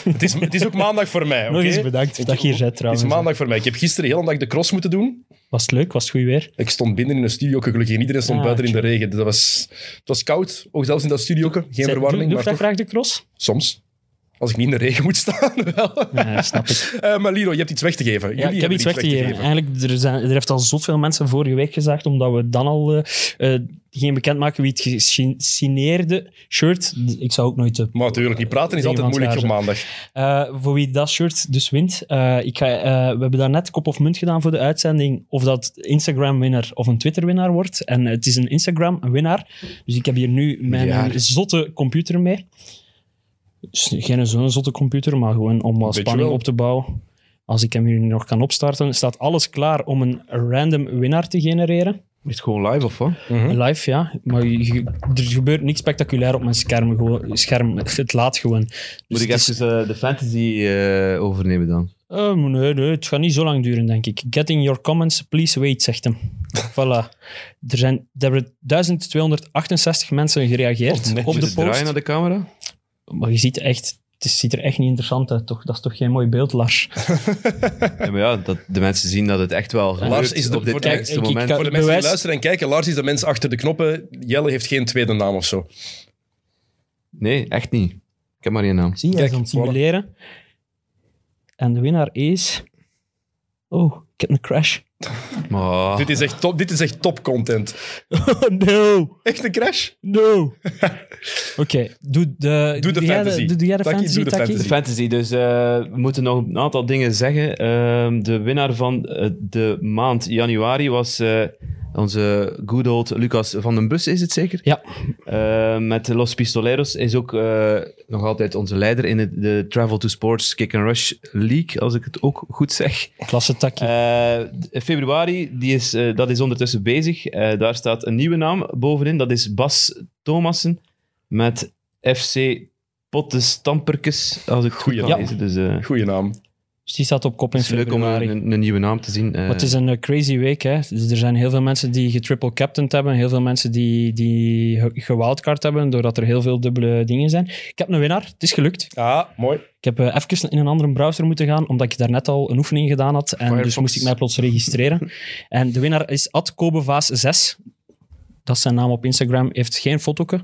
[SPEAKER 1] het, is, het is ook maandag voor mij.
[SPEAKER 2] Nog
[SPEAKER 1] oké?
[SPEAKER 2] eens bedankt dat je hier bent
[SPEAKER 1] Het is
[SPEAKER 2] trouwens.
[SPEAKER 1] maandag voor mij. Ik heb gisteren heel hele dag de cross moeten doen.
[SPEAKER 2] Was het leuk? Was het goed weer?
[SPEAKER 1] Ik stond binnen in een studioke, gelukkig. Iedereen stond
[SPEAKER 2] Ah,
[SPEAKER 1] buiten in de regen. Dus Dat was, het was koud, ook zelfs in dat studioke. Geen
[SPEAKER 2] Zij- doe-
[SPEAKER 1] verwarming,
[SPEAKER 2] doe
[SPEAKER 1] maar
[SPEAKER 2] dat
[SPEAKER 1] toch,
[SPEAKER 2] graag de cross?
[SPEAKER 1] soms. Als ik niet in de regen moet staan, wel.
[SPEAKER 2] Ja, snap ik.
[SPEAKER 1] Eh, maar Lilo, je hebt iets weg te geven. Jullie
[SPEAKER 2] Ja, ik heb
[SPEAKER 1] hebben
[SPEAKER 2] iets weg te geven. Eigenlijk, er, zijn, er heeft al zoveel mensen vorige week gezegd, omdat we dan al eh, eh, gingen bekendmaken wie het gesigneerde shirt... Ik zou ook nooit... de-
[SPEAKER 1] Maar natuurlijk, niet praten is
[SPEAKER 2] Dingen
[SPEAKER 1] altijd
[SPEAKER 2] van het
[SPEAKER 1] moeilijk op
[SPEAKER 2] jaar
[SPEAKER 1] maandag.
[SPEAKER 2] Eh, voor wie dat shirt dus wint. eh, ik ga, eh, we hebben daar net kop of munt gedaan voor de uitzending, of dat Instagram-winnaar of een Twitter-winnaar wordt. En het is een Instagram-winnaar. Dus ik heb hier nu mijn
[SPEAKER 3] Miljarden.
[SPEAKER 2] zotte computer mee. Dus geen zo'n zotte computer, maar gewoon om wat
[SPEAKER 1] Beetje
[SPEAKER 2] spanning
[SPEAKER 1] wel.
[SPEAKER 2] op te bouwen. Als ik hem hier nu nog kan opstarten, staat alles klaar om een random winnaar te genereren.
[SPEAKER 3] Is het gewoon live of
[SPEAKER 2] Dus
[SPEAKER 3] wat?
[SPEAKER 2] Live, ja. Maar je- je- er gebeurt niks spectaculair op mijn scherm. Gewoon, scherm het laat gewoon. Dus
[SPEAKER 3] Moet ik
[SPEAKER 2] het is-
[SPEAKER 3] even eh, de fantasy eh, overnemen dan?
[SPEAKER 2] eh, maar nee, nee, het gaat niet zo lang duren, denk ik. Get in your comments, please wait, zegt hem. voilà. Er, zijn, er hebben 1268 mensen gereageerd
[SPEAKER 1] Oh, nee.
[SPEAKER 2] op
[SPEAKER 3] Moet
[SPEAKER 2] de
[SPEAKER 3] het
[SPEAKER 2] post.
[SPEAKER 3] draaien naar de camera?
[SPEAKER 2] Maar je ziet echt, het is- ziet er echt niet interessant uit, toch? Dat is toch geen mooi beeld, Lars?
[SPEAKER 3] Ja, maar ja, dat de mensen zien dat het echt wel
[SPEAKER 1] Lars
[SPEAKER 3] gelukt
[SPEAKER 1] is de-
[SPEAKER 3] op dit
[SPEAKER 1] voor- Kijk,
[SPEAKER 3] eerste
[SPEAKER 2] ik- ik
[SPEAKER 3] moment.
[SPEAKER 2] kan-
[SPEAKER 1] Voor de mensen
[SPEAKER 2] Eh, Bewijs-
[SPEAKER 1] die luisteren en kijken, Lars is de mens achter de knoppen. Jelle heeft geen tweede naam of zo.
[SPEAKER 3] Nee, echt niet. Ik heb maar één naam.
[SPEAKER 2] Zie je, hij
[SPEAKER 1] Kijk,
[SPEAKER 2] is aan het simuleren. En de winnaar is... Oh, ik heb een crash. Ah.
[SPEAKER 3] Maar,
[SPEAKER 1] Dit is echt top, dit is echt top content.
[SPEAKER 2] Oh, no!
[SPEAKER 1] Echt een crash.
[SPEAKER 2] No! Oké, doe de...
[SPEAKER 1] Doe de
[SPEAKER 2] jij
[SPEAKER 1] fantasy.
[SPEAKER 2] Doe, doe jij de
[SPEAKER 1] Taki,
[SPEAKER 2] fantasy,
[SPEAKER 1] doe de
[SPEAKER 2] Taki?
[SPEAKER 1] fantasy.
[SPEAKER 3] de fantasy, dus eh, we moeten nog een aantal dingen zeggen. Ehm, de winnaar van eh, de maand januari was eh, onze good old Lucas van den Bus, is het zeker?
[SPEAKER 2] Ja,
[SPEAKER 3] Eh, met Los Pistoleros is ook eh, nog altijd onze leider in het- de Travel to Sports Kick and Rush League, als ik het ook goed zeg.
[SPEAKER 2] klasse Taki.
[SPEAKER 3] Eh, februari, die is, eh, dat is ondertussen bezig. Eh, daar staat een nieuwe naam bovenin, dat is Bas Thomassen met FC potten stamperkes, als ik het goed
[SPEAKER 1] Goeie
[SPEAKER 3] kan
[SPEAKER 1] naam.
[SPEAKER 3] lezen. Dus, eh,
[SPEAKER 1] Goeie naam.
[SPEAKER 2] Dus die staat op kop in
[SPEAKER 3] het is leuk om eh,
[SPEAKER 2] februari.
[SPEAKER 3] een, een- een nieuwe naam te zien. eh.
[SPEAKER 2] Maar het is een eh, crazy week. Hè. Dus er zijn heel veel mensen die getriple captained hebben. Heel veel mensen die, die ge- gewildcard hebben, doordat er heel veel dubbele dingen zijn. Ik heb een winnaar. Het is gelukt.
[SPEAKER 1] Ah, mooi.
[SPEAKER 2] Ik heb eh, even in een andere browser moeten gaan, omdat ik daarnet al een oefening gedaan had. En dus
[SPEAKER 1] Firefox.
[SPEAKER 2] moest ik mij plots registreren. en de winnaar is atkobevaas6. Dat is zijn naam op Instagram. Heeft geen fotoke.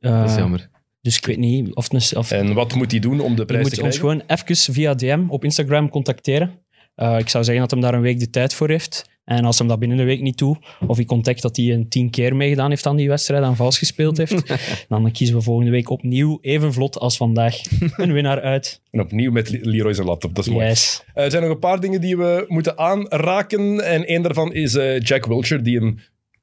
[SPEAKER 2] Eh,
[SPEAKER 3] dat is jammer.
[SPEAKER 2] dus ik weet niet of... het een- of
[SPEAKER 1] En wat moet hij doen om de
[SPEAKER 2] je
[SPEAKER 1] prijs te
[SPEAKER 2] moet ons
[SPEAKER 1] krijgen?
[SPEAKER 2] gewoon even via DM op Instagram contacteren. Eh, ik zou zeggen dat hem daar een week de tijd voor heeft. En als hem dat binnen de week niet doet, of ik ontdek dat hij een tien keer meegedaan heeft aan die wedstrijd en vals gespeeld heeft, dan kiezen we volgende week opnieuw, even vlot als vandaag, een winnaar uit.
[SPEAKER 1] En opnieuw met Le- Leroy zijn laptop, dat is mooi.
[SPEAKER 2] Yes.
[SPEAKER 1] Eh, er zijn nog een paar dingen die we moeten aanraken. En een daarvan is eh, Jack Wilshere, die een,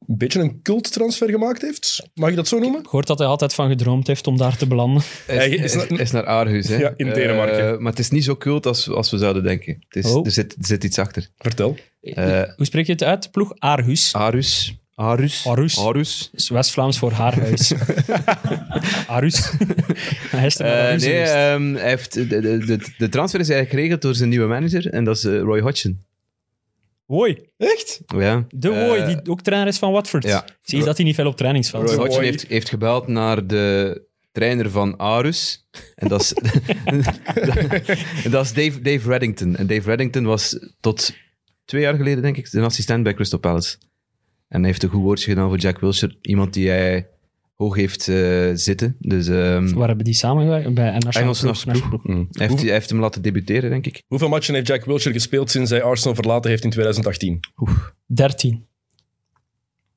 [SPEAKER 1] een beetje een culttransfer gemaakt heeft. Mag je dat zo noemen?
[SPEAKER 2] Ik hoor dat hij altijd van gedroomd heeft om daar te belanden.
[SPEAKER 3] Eh, Hij
[SPEAKER 1] Hij is
[SPEAKER 3] is, is,
[SPEAKER 1] naar-
[SPEAKER 3] is naar Aarhus, hè?
[SPEAKER 1] Ja, in Denemarken.
[SPEAKER 3] Eh, maar het is niet zo cult als, als we zouden denken. Het is,
[SPEAKER 2] Oh.
[SPEAKER 3] er, zit, er zit iets achter.
[SPEAKER 1] Vertel.
[SPEAKER 3] Eh, Ah.
[SPEAKER 2] Hoe spreek je het uit? Ploeg Aarhus.
[SPEAKER 3] Aarhus. Aarhus.
[SPEAKER 2] Aarhus.
[SPEAKER 3] Aarhus.
[SPEAKER 2] Dat is West-Vlaams voor haarhuis. Aarhus. hij is er naar
[SPEAKER 3] Eh,
[SPEAKER 2] Aarhus
[SPEAKER 3] nee,
[SPEAKER 2] geweest.
[SPEAKER 3] ehm, hij heeft, de, de, de, de transfer is eigenlijk geregeld door zijn nieuwe manager. En dat is eh, Roy Hodgson.
[SPEAKER 2] Hoi.
[SPEAKER 1] Echt?
[SPEAKER 3] Ja.
[SPEAKER 2] De
[SPEAKER 3] Eh,
[SPEAKER 2] Wooi, die ook trainer is van Watford.
[SPEAKER 3] ja.
[SPEAKER 2] Zie je dat hij niet veel op trainingsveld
[SPEAKER 3] Roy
[SPEAKER 2] is?
[SPEAKER 1] Roy.
[SPEAKER 3] Hodgson heeft, heeft gebeld naar de trainer van Arus. En dat is, dat is Dave, Dave Reddington. En Dave Reddington was tot twee jaar geleden, denk ik, een assistent bij Crystal Palace. En hij heeft een goed woordje gedaan voor Jack Wilshere. Iemand die hij hoog heeft eh, zitten. Dus ehm
[SPEAKER 2] Waar hebben die samengewerkt? Bij een
[SPEAKER 3] Engelse
[SPEAKER 2] nationale
[SPEAKER 3] nachtsploeg.
[SPEAKER 2] ploeg.
[SPEAKER 3] Hij, heeft, hij heeft hem laten debuteren, denk ik.
[SPEAKER 1] Hoeveel matchen heeft Jack Wilshere gespeeld sinds hij Arsenal verlaten heeft in 2018?
[SPEAKER 2] 13.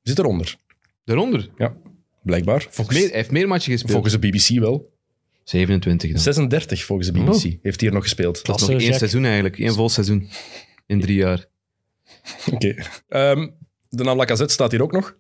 [SPEAKER 1] Zit eronder,
[SPEAKER 3] Daaronder?
[SPEAKER 1] blijkbaar.
[SPEAKER 3] Meer,
[SPEAKER 1] Volgens,
[SPEAKER 3] hij heeft meer matchen gespeeld.
[SPEAKER 1] volgens de BBC wel.
[SPEAKER 3] 27 dan.
[SPEAKER 1] 36 volgens de BBC heeft hij er nog gespeeld.
[SPEAKER 3] Oh. Dat is nog
[SPEAKER 2] Klasse,
[SPEAKER 3] één
[SPEAKER 2] Jack.
[SPEAKER 3] seizoen eigenlijk. Één vol seizoen. In drie jaar.
[SPEAKER 1] Oké. Ehm, de naam Lacazette staat hier ook nog.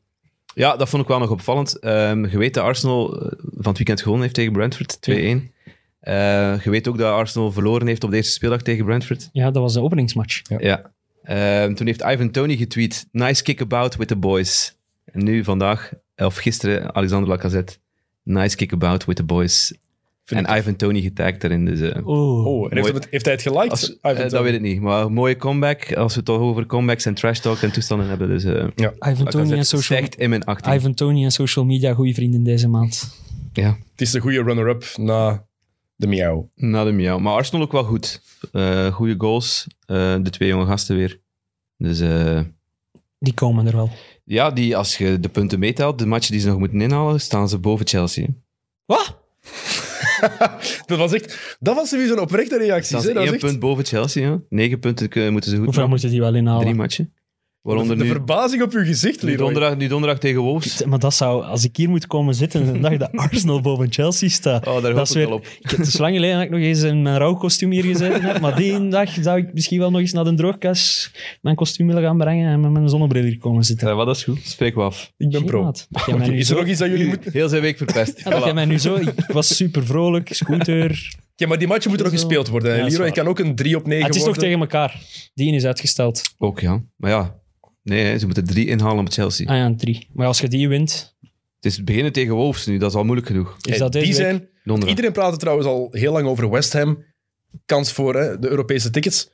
[SPEAKER 3] Ja, dat vond ik wel nog opvallend. Ehm je weet dat Arsenal eh, van het weekend gewonnen heeft tegen Brentford, 2-1. Eh, je weet ook dat Arsenal verloren heeft op de eerste speeldag tegen Brentford.
[SPEAKER 2] Ja, dat was de openingsmatch.
[SPEAKER 3] Ja. Ehm, toen heeft Ivan Tony getweet, nice kick-about with the boys. En nu vandaag, of gisteren, Alexander Lacazette, nice kick-about with the boys.
[SPEAKER 1] Vind
[SPEAKER 3] en Ivan Tony getagd daarin. Dus, eh,
[SPEAKER 2] Oh.
[SPEAKER 1] Oh, en heeft,
[SPEAKER 3] Mooi.
[SPEAKER 1] het- heeft hij het geliked? Ah,
[SPEAKER 3] als-
[SPEAKER 1] Ivan
[SPEAKER 3] eh, dat
[SPEAKER 1] Tony?
[SPEAKER 3] weet ik niet, maar een mooie comeback. Als we het al over comebacks en trash talk en toestanden hebben. Dus, eh,
[SPEAKER 2] Ivan Tony
[SPEAKER 3] Lacazette
[SPEAKER 2] en social...
[SPEAKER 3] stijgt in mijn 18.
[SPEAKER 2] Ivan Tony en social media, goede vrienden deze maand.
[SPEAKER 3] Ja.
[SPEAKER 1] Het is een goede runner-up na de miauw.
[SPEAKER 3] Na de miauw. Maar Arsenal ook wel goed. Eh goede goals. Eh, de twee jonge gasten weer. Dus eh,
[SPEAKER 2] Die komen er wel.
[SPEAKER 3] ja, die, als je de punten meetelt, de matchen die ze nog moeten inhalen, staan ze boven Chelsea. hè.
[SPEAKER 2] Wat?
[SPEAKER 1] Dat was echt... Dat was sowieso een oprechte reactie.
[SPEAKER 3] Staan
[SPEAKER 1] hè.
[SPEAKER 3] ze
[SPEAKER 1] Dat was
[SPEAKER 3] één
[SPEAKER 1] echt-
[SPEAKER 3] punt boven Chelsea. Ja. Negen punten kunnen- moeten ze goed
[SPEAKER 2] Hoeveel
[SPEAKER 3] maken.
[SPEAKER 2] moeten die wel inhalen?
[SPEAKER 3] Drie matchen.
[SPEAKER 1] De,
[SPEAKER 3] Waaronder
[SPEAKER 1] de
[SPEAKER 3] nu,
[SPEAKER 1] verbazing op uw gezicht,
[SPEAKER 3] nu,
[SPEAKER 1] Leroy.
[SPEAKER 3] donderdag, nu donderdag tegen Wolves.
[SPEAKER 2] Maar dat zou, als ik hier moet komen zitten en een dag dat Arsenal boven Chelsea staat.
[SPEAKER 3] Oh, daar hoop
[SPEAKER 2] dat is
[SPEAKER 3] ik
[SPEAKER 2] weer-
[SPEAKER 3] wel op.
[SPEAKER 2] Ik heb het is lang geleden dat ik nog eens in mijn rouwkostuum hier gezeten heb. Maar die dag zou ik misschien wel nog eens naar de droogkast mijn kostuum willen gaan brengen en met mijn zonnebril hier komen zitten.
[SPEAKER 3] Ja, wat dat is goed. Spreek we af.
[SPEAKER 1] Ik ben pro.
[SPEAKER 2] Maat, dat jij mij nu
[SPEAKER 1] Is er
[SPEAKER 2] zo-
[SPEAKER 1] nog iets dat jullie moeten...
[SPEAKER 3] Heel zijn week verpest.
[SPEAKER 2] Ja, dat jij
[SPEAKER 3] Voilà.
[SPEAKER 2] mij nu zo... Ik was super vrolijk, scooter.
[SPEAKER 1] Ja, maar die matchen moeten nog
[SPEAKER 2] Zo.
[SPEAKER 1] gespeeld worden. hè,
[SPEAKER 2] Ja, dat is
[SPEAKER 1] Leroy
[SPEAKER 2] waar. Ah,
[SPEAKER 1] kan ook een 3 op 9
[SPEAKER 2] het is toch
[SPEAKER 1] worden.
[SPEAKER 2] tegen elkaar. Die is uitgesteld.
[SPEAKER 3] Ook ja. Maar ja, nee, hè, ze moeten drie inhalen op Chelsea.
[SPEAKER 2] Ah ja, een drie. Maar als je die wint,
[SPEAKER 3] Het is beginnen tegen Wolves nu. Dat is al moeilijk genoeg.
[SPEAKER 2] is
[SPEAKER 1] Hey,
[SPEAKER 2] dat deze
[SPEAKER 1] die
[SPEAKER 2] week-
[SPEAKER 1] zijn...
[SPEAKER 3] Donderdag.
[SPEAKER 1] Iedereen praat er trouwens al heel lang over West Ham. Kans voor hè, de Europese tickets.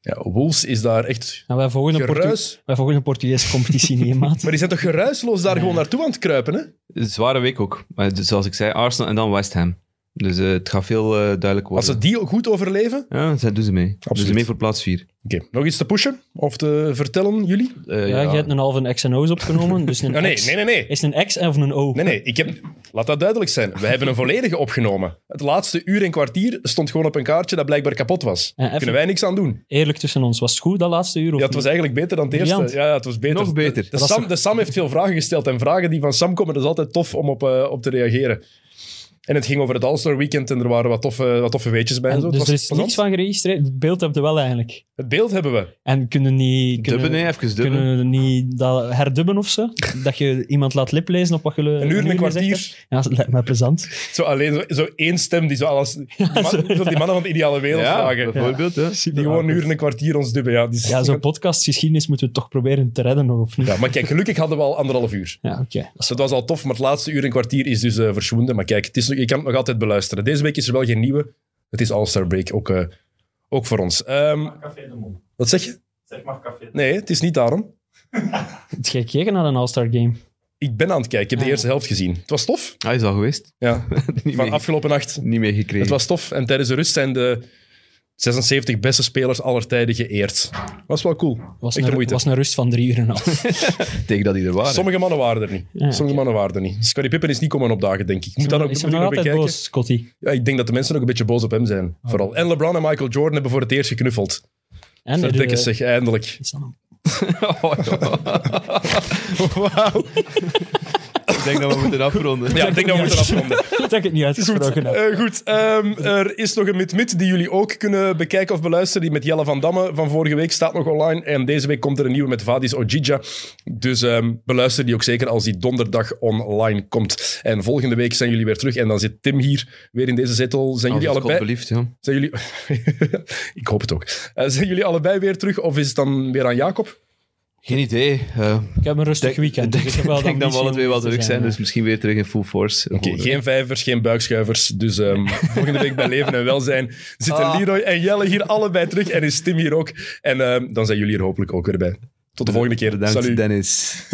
[SPEAKER 1] Ja, Wolves is daar echt
[SPEAKER 2] Nou, wij, volgen de Portu-
[SPEAKER 1] geruis.
[SPEAKER 2] wij volgen de Portugese competitie niet, hè, maat.
[SPEAKER 1] Maar die zijn toch geruisloos daar gewoon naartoe aan het kruipen, hè?
[SPEAKER 3] Een zware week ook. Maar dus zoals ik zei, Arsenal en dan West Ham. Dus eh, het gaat veel eh, duidelijk
[SPEAKER 1] Als
[SPEAKER 3] worden.
[SPEAKER 1] ze die goed overleven...
[SPEAKER 3] Ja, zij doen ze mee. Doen
[SPEAKER 1] Absoluut.
[SPEAKER 3] ze mee voor plaats 4.
[SPEAKER 1] Oké, nog iets te pushen of te vertellen, jullie?
[SPEAKER 3] Eh,
[SPEAKER 2] ja, je hebt een halve X en O's opgenomen. Dus een
[SPEAKER 1] Ah, nee,
[SPEAKER 2] X-
[SPEAKER 1] nee, nee, nee.
[SPEAKER 2] Is het een X of een O?
[SPEAKER 1] Nee, nee, ik heb... Laat dat duidelijk zijn. We hebben een volledige opgenomen. Het laatste uur en kwartier stond gewoon op een kaartje dat blijkbaar kapot was.
[SPEAKER 2] Eh, even-
[SPEAKER 1] Kunnen wij niks aan doen.
[SPEAKER 2] Eerlijk tussen ons, was het goed dat laatste uur? Of
[SPEAKER 1] Ja, het was
[SPEAKER 2] niet?
[SPEAKER 1] eigenlijk beter dan het eerste.
[SPEAKER 2] Briljant.
[SPEAKER 1] Ja, ja, het was beter.
[SPEAKER 3] Nog beter.
[SPEAKER 1] De, de
[SPEAKER 3] Dat
[SPEAKER 2] was
[SPEAKER 1] Sam,
[SPEAKER 2] toch-
[SPEAKER 1] de Sam heeft veel vragen gesteld en vragen die van Sam komen, dat is altijd tof om op, eh, op te reageren. En het ging over het All-Star Weekend en er waren wat toffe, wat toffe weetjes bij. En
[SPEAKER 2] En
[SPEAKER 1] zo. Het
[SPEAKER 2] dus
[SPEAKER 1] was
[SPEAKER 2] er is
[SPEAKER 1] plezant.
[SPEAKER 2] niks van geregistreerd. Het beeld heb je wel eigenlijk.
[SPEAKER 1] Het beeld hebben we.
[SPEAKER 2] En kunnen niet... Kunnen,
[SPEAKER 3] Dubben, hè, even dubben.
[SPEAKER 2] Kunnen we niet dat herdubben of zo? Dat je iemand laat liplezen op wat je...
[SPEAKER 1] Een uur en een
[SPEAKER 2] gezegd
[SPEAKER 1] kwartier.
[SPEAKER 2] hebt? Ja, dat lijkt mij plezant.
[SPEAKER 1] Zo alleen zo, zo één stem die zo alles. Die, man-
[SPEAKER 2] zo.
[SPEAKER 1] zo die mannen van de ideale wereld
[SPEAKER 3] Ja,
[SPEAKER 1] vragen.
[SPEAKER 3] bijvoorbeeld. Hè.
[SPEAKER 1] Die gewoon een uur en een kwartier ons dubben. Ja, die is-
[SPEAKER 2] Ja, zo'n podcastgeschiedenis moeten we toch proberen te redden, nog, of niet?
[SPEAKER 1] Ja, maar kijk, gelukkig hadden we al anderhalf uur.
[SPEAKER 2] Ja, oké.
[SPEAKER 1] Dus dat was al tof, maar het laatste uur en kwartier is dus eh verschwonden. Maar kijk, het is, nog- je kan het nog altijd beluisteren. Deze week is er wel geen nieuwe. Het is All-Star Break, ook, eh, ook voor ons. Ehm,
[SPEAKER 4] Café de Mol.
[SPEAKER 1] wat zeg je?
[SPEAKER 4] Zeg maar Café de
[SPEAKER 1] Nee, het is niet daarom.
[SPEAKER 2] Het jij gekeken naar een All-Star Game?
[SPEAKER 1] Ik ben aan het kijken. Ik heb de
[SPEAKER 2] Ah.
[SPEAKER 1] eerste helft gezien. Het was tof.
[SPEAKER 3] Hij is al geweest.
[SPEAKER 1] Ja,
[SPEAKER 3] niet,
[SPEAKER 1] van
[SPEAKER 3] meer,
[SPEAKER 1] afgelopen nacht.
[SPEAKER 3] niet meer gekregen.
[SPEAKER 1] Het was tof. En tijdens de rust zijn de 76 beste spelers aller tijden geëerd. Was wel cool.
[SPEAKER 2] Was
[SPEAKER 1] Echt de
[SPEAKER 2] een,
[SPEAKER 1] moeite.
[SPEAKER 2] was een rust van drie uur en een half.
[SPEAKER 3] tegen dat hij er waren.
[SPEAKER 1] Sommige mannen waren er niet.
[SPEAKER 2] Ja,
[SPEAKER 1] Sommige mannen waren er niet. Scottie Pippen is niet komen opdagen, denk ik. Ik Moet dat ook,
[SPEAKER 2] Is
[SPEAKER 1] moet
[SPEAKER 2] hij
[SPEAKER 1] ik
[SPEAKER 2] nog
[SPEAKER 1] nog
[SPEAKER 2] altijd
[SPEAKER 1] bekijken.
[SPEAKER 2] boos, Scotty?
[SPEAKER 1] Ja, ik denk dat de mensen ook een beetje boos op hem zijn. Vooral. En LeBron en Michael Jordan hebben voor het eerst geknuffeld.
[SPEAKER 2] En er,
[SPEAKER 1] Verdikken
[SPEAKER 2] eh,
[SPEAKER 1] zich, eindelijk.
[SPEAKER 2] is dat een-
[SPEAKER 1] Wauw.
[SPEAKER 3] Ik denk dat we moeten afronden.
[SPEAKER 1] Ja, ik denk dat we moeten afronden.
[SPEAKER 2] Dat ik het niet uitgesproken heb.
[SPEAKER 1] Eh, goed, ehm, er is nog een mid-mid die jullie ook kunnen bekijken of beluisteren. Die met Jelle van Damme van vorige week staat nog online. En deze week komt er een nieuwe met Vadis Ojija. Dus ehm, beluister die ook zeker als die donderdag online komt. En volgende week zijn jullie weer terug. En dan zit Tim hier weer in deze zetel. Zijn jullie allebei...
[SPEAKER 3] beliefd, ja.
[SPEAKER 1] Zijn jullie... ik hoop het ook. Eh, zijn jullie allebei weer terug of is het dan weer aan Jacob?
[SPEAKER 3] Geen idee. Eh,
[SPEAKER 2] Ik heb een rustig
[SPEAKER 3] denk-
[SPEAKER 2] weekend.
[SPEAKER 3] denk-
[SPEAKER 2] dus ik heb wel
[SPEAKER 3] ik denk dat
[SPEAKER 2] ambitie
[SPEAKER 3] we alle
[SPEAKER 2] om
[SPEAKER 3] twee wel
[SPEAKER 2] te
[SPEAKER 3] terug zijn,
[SPEAKER 2] ja.
[SPEAKER 3] dus misschien weer terug in full force.
[SPEAKER 1] Oké, geen vijvers, geen buikschuivers. Dus ehm, volgende week bij Leven en Welzijn zitten
[SPEAKER 3] Ah.
[SPEAKER 1] Leroy en Jelle hier allebei terug. En is Tim hier ook. En ehm, dan zijn jullie er hopelijk ook weer bij. Tot de volgende keer.
[SPEAKER 3] Bedankt,
[SPEAKER 1] Salut.
[SPEAKER 3] Dennis.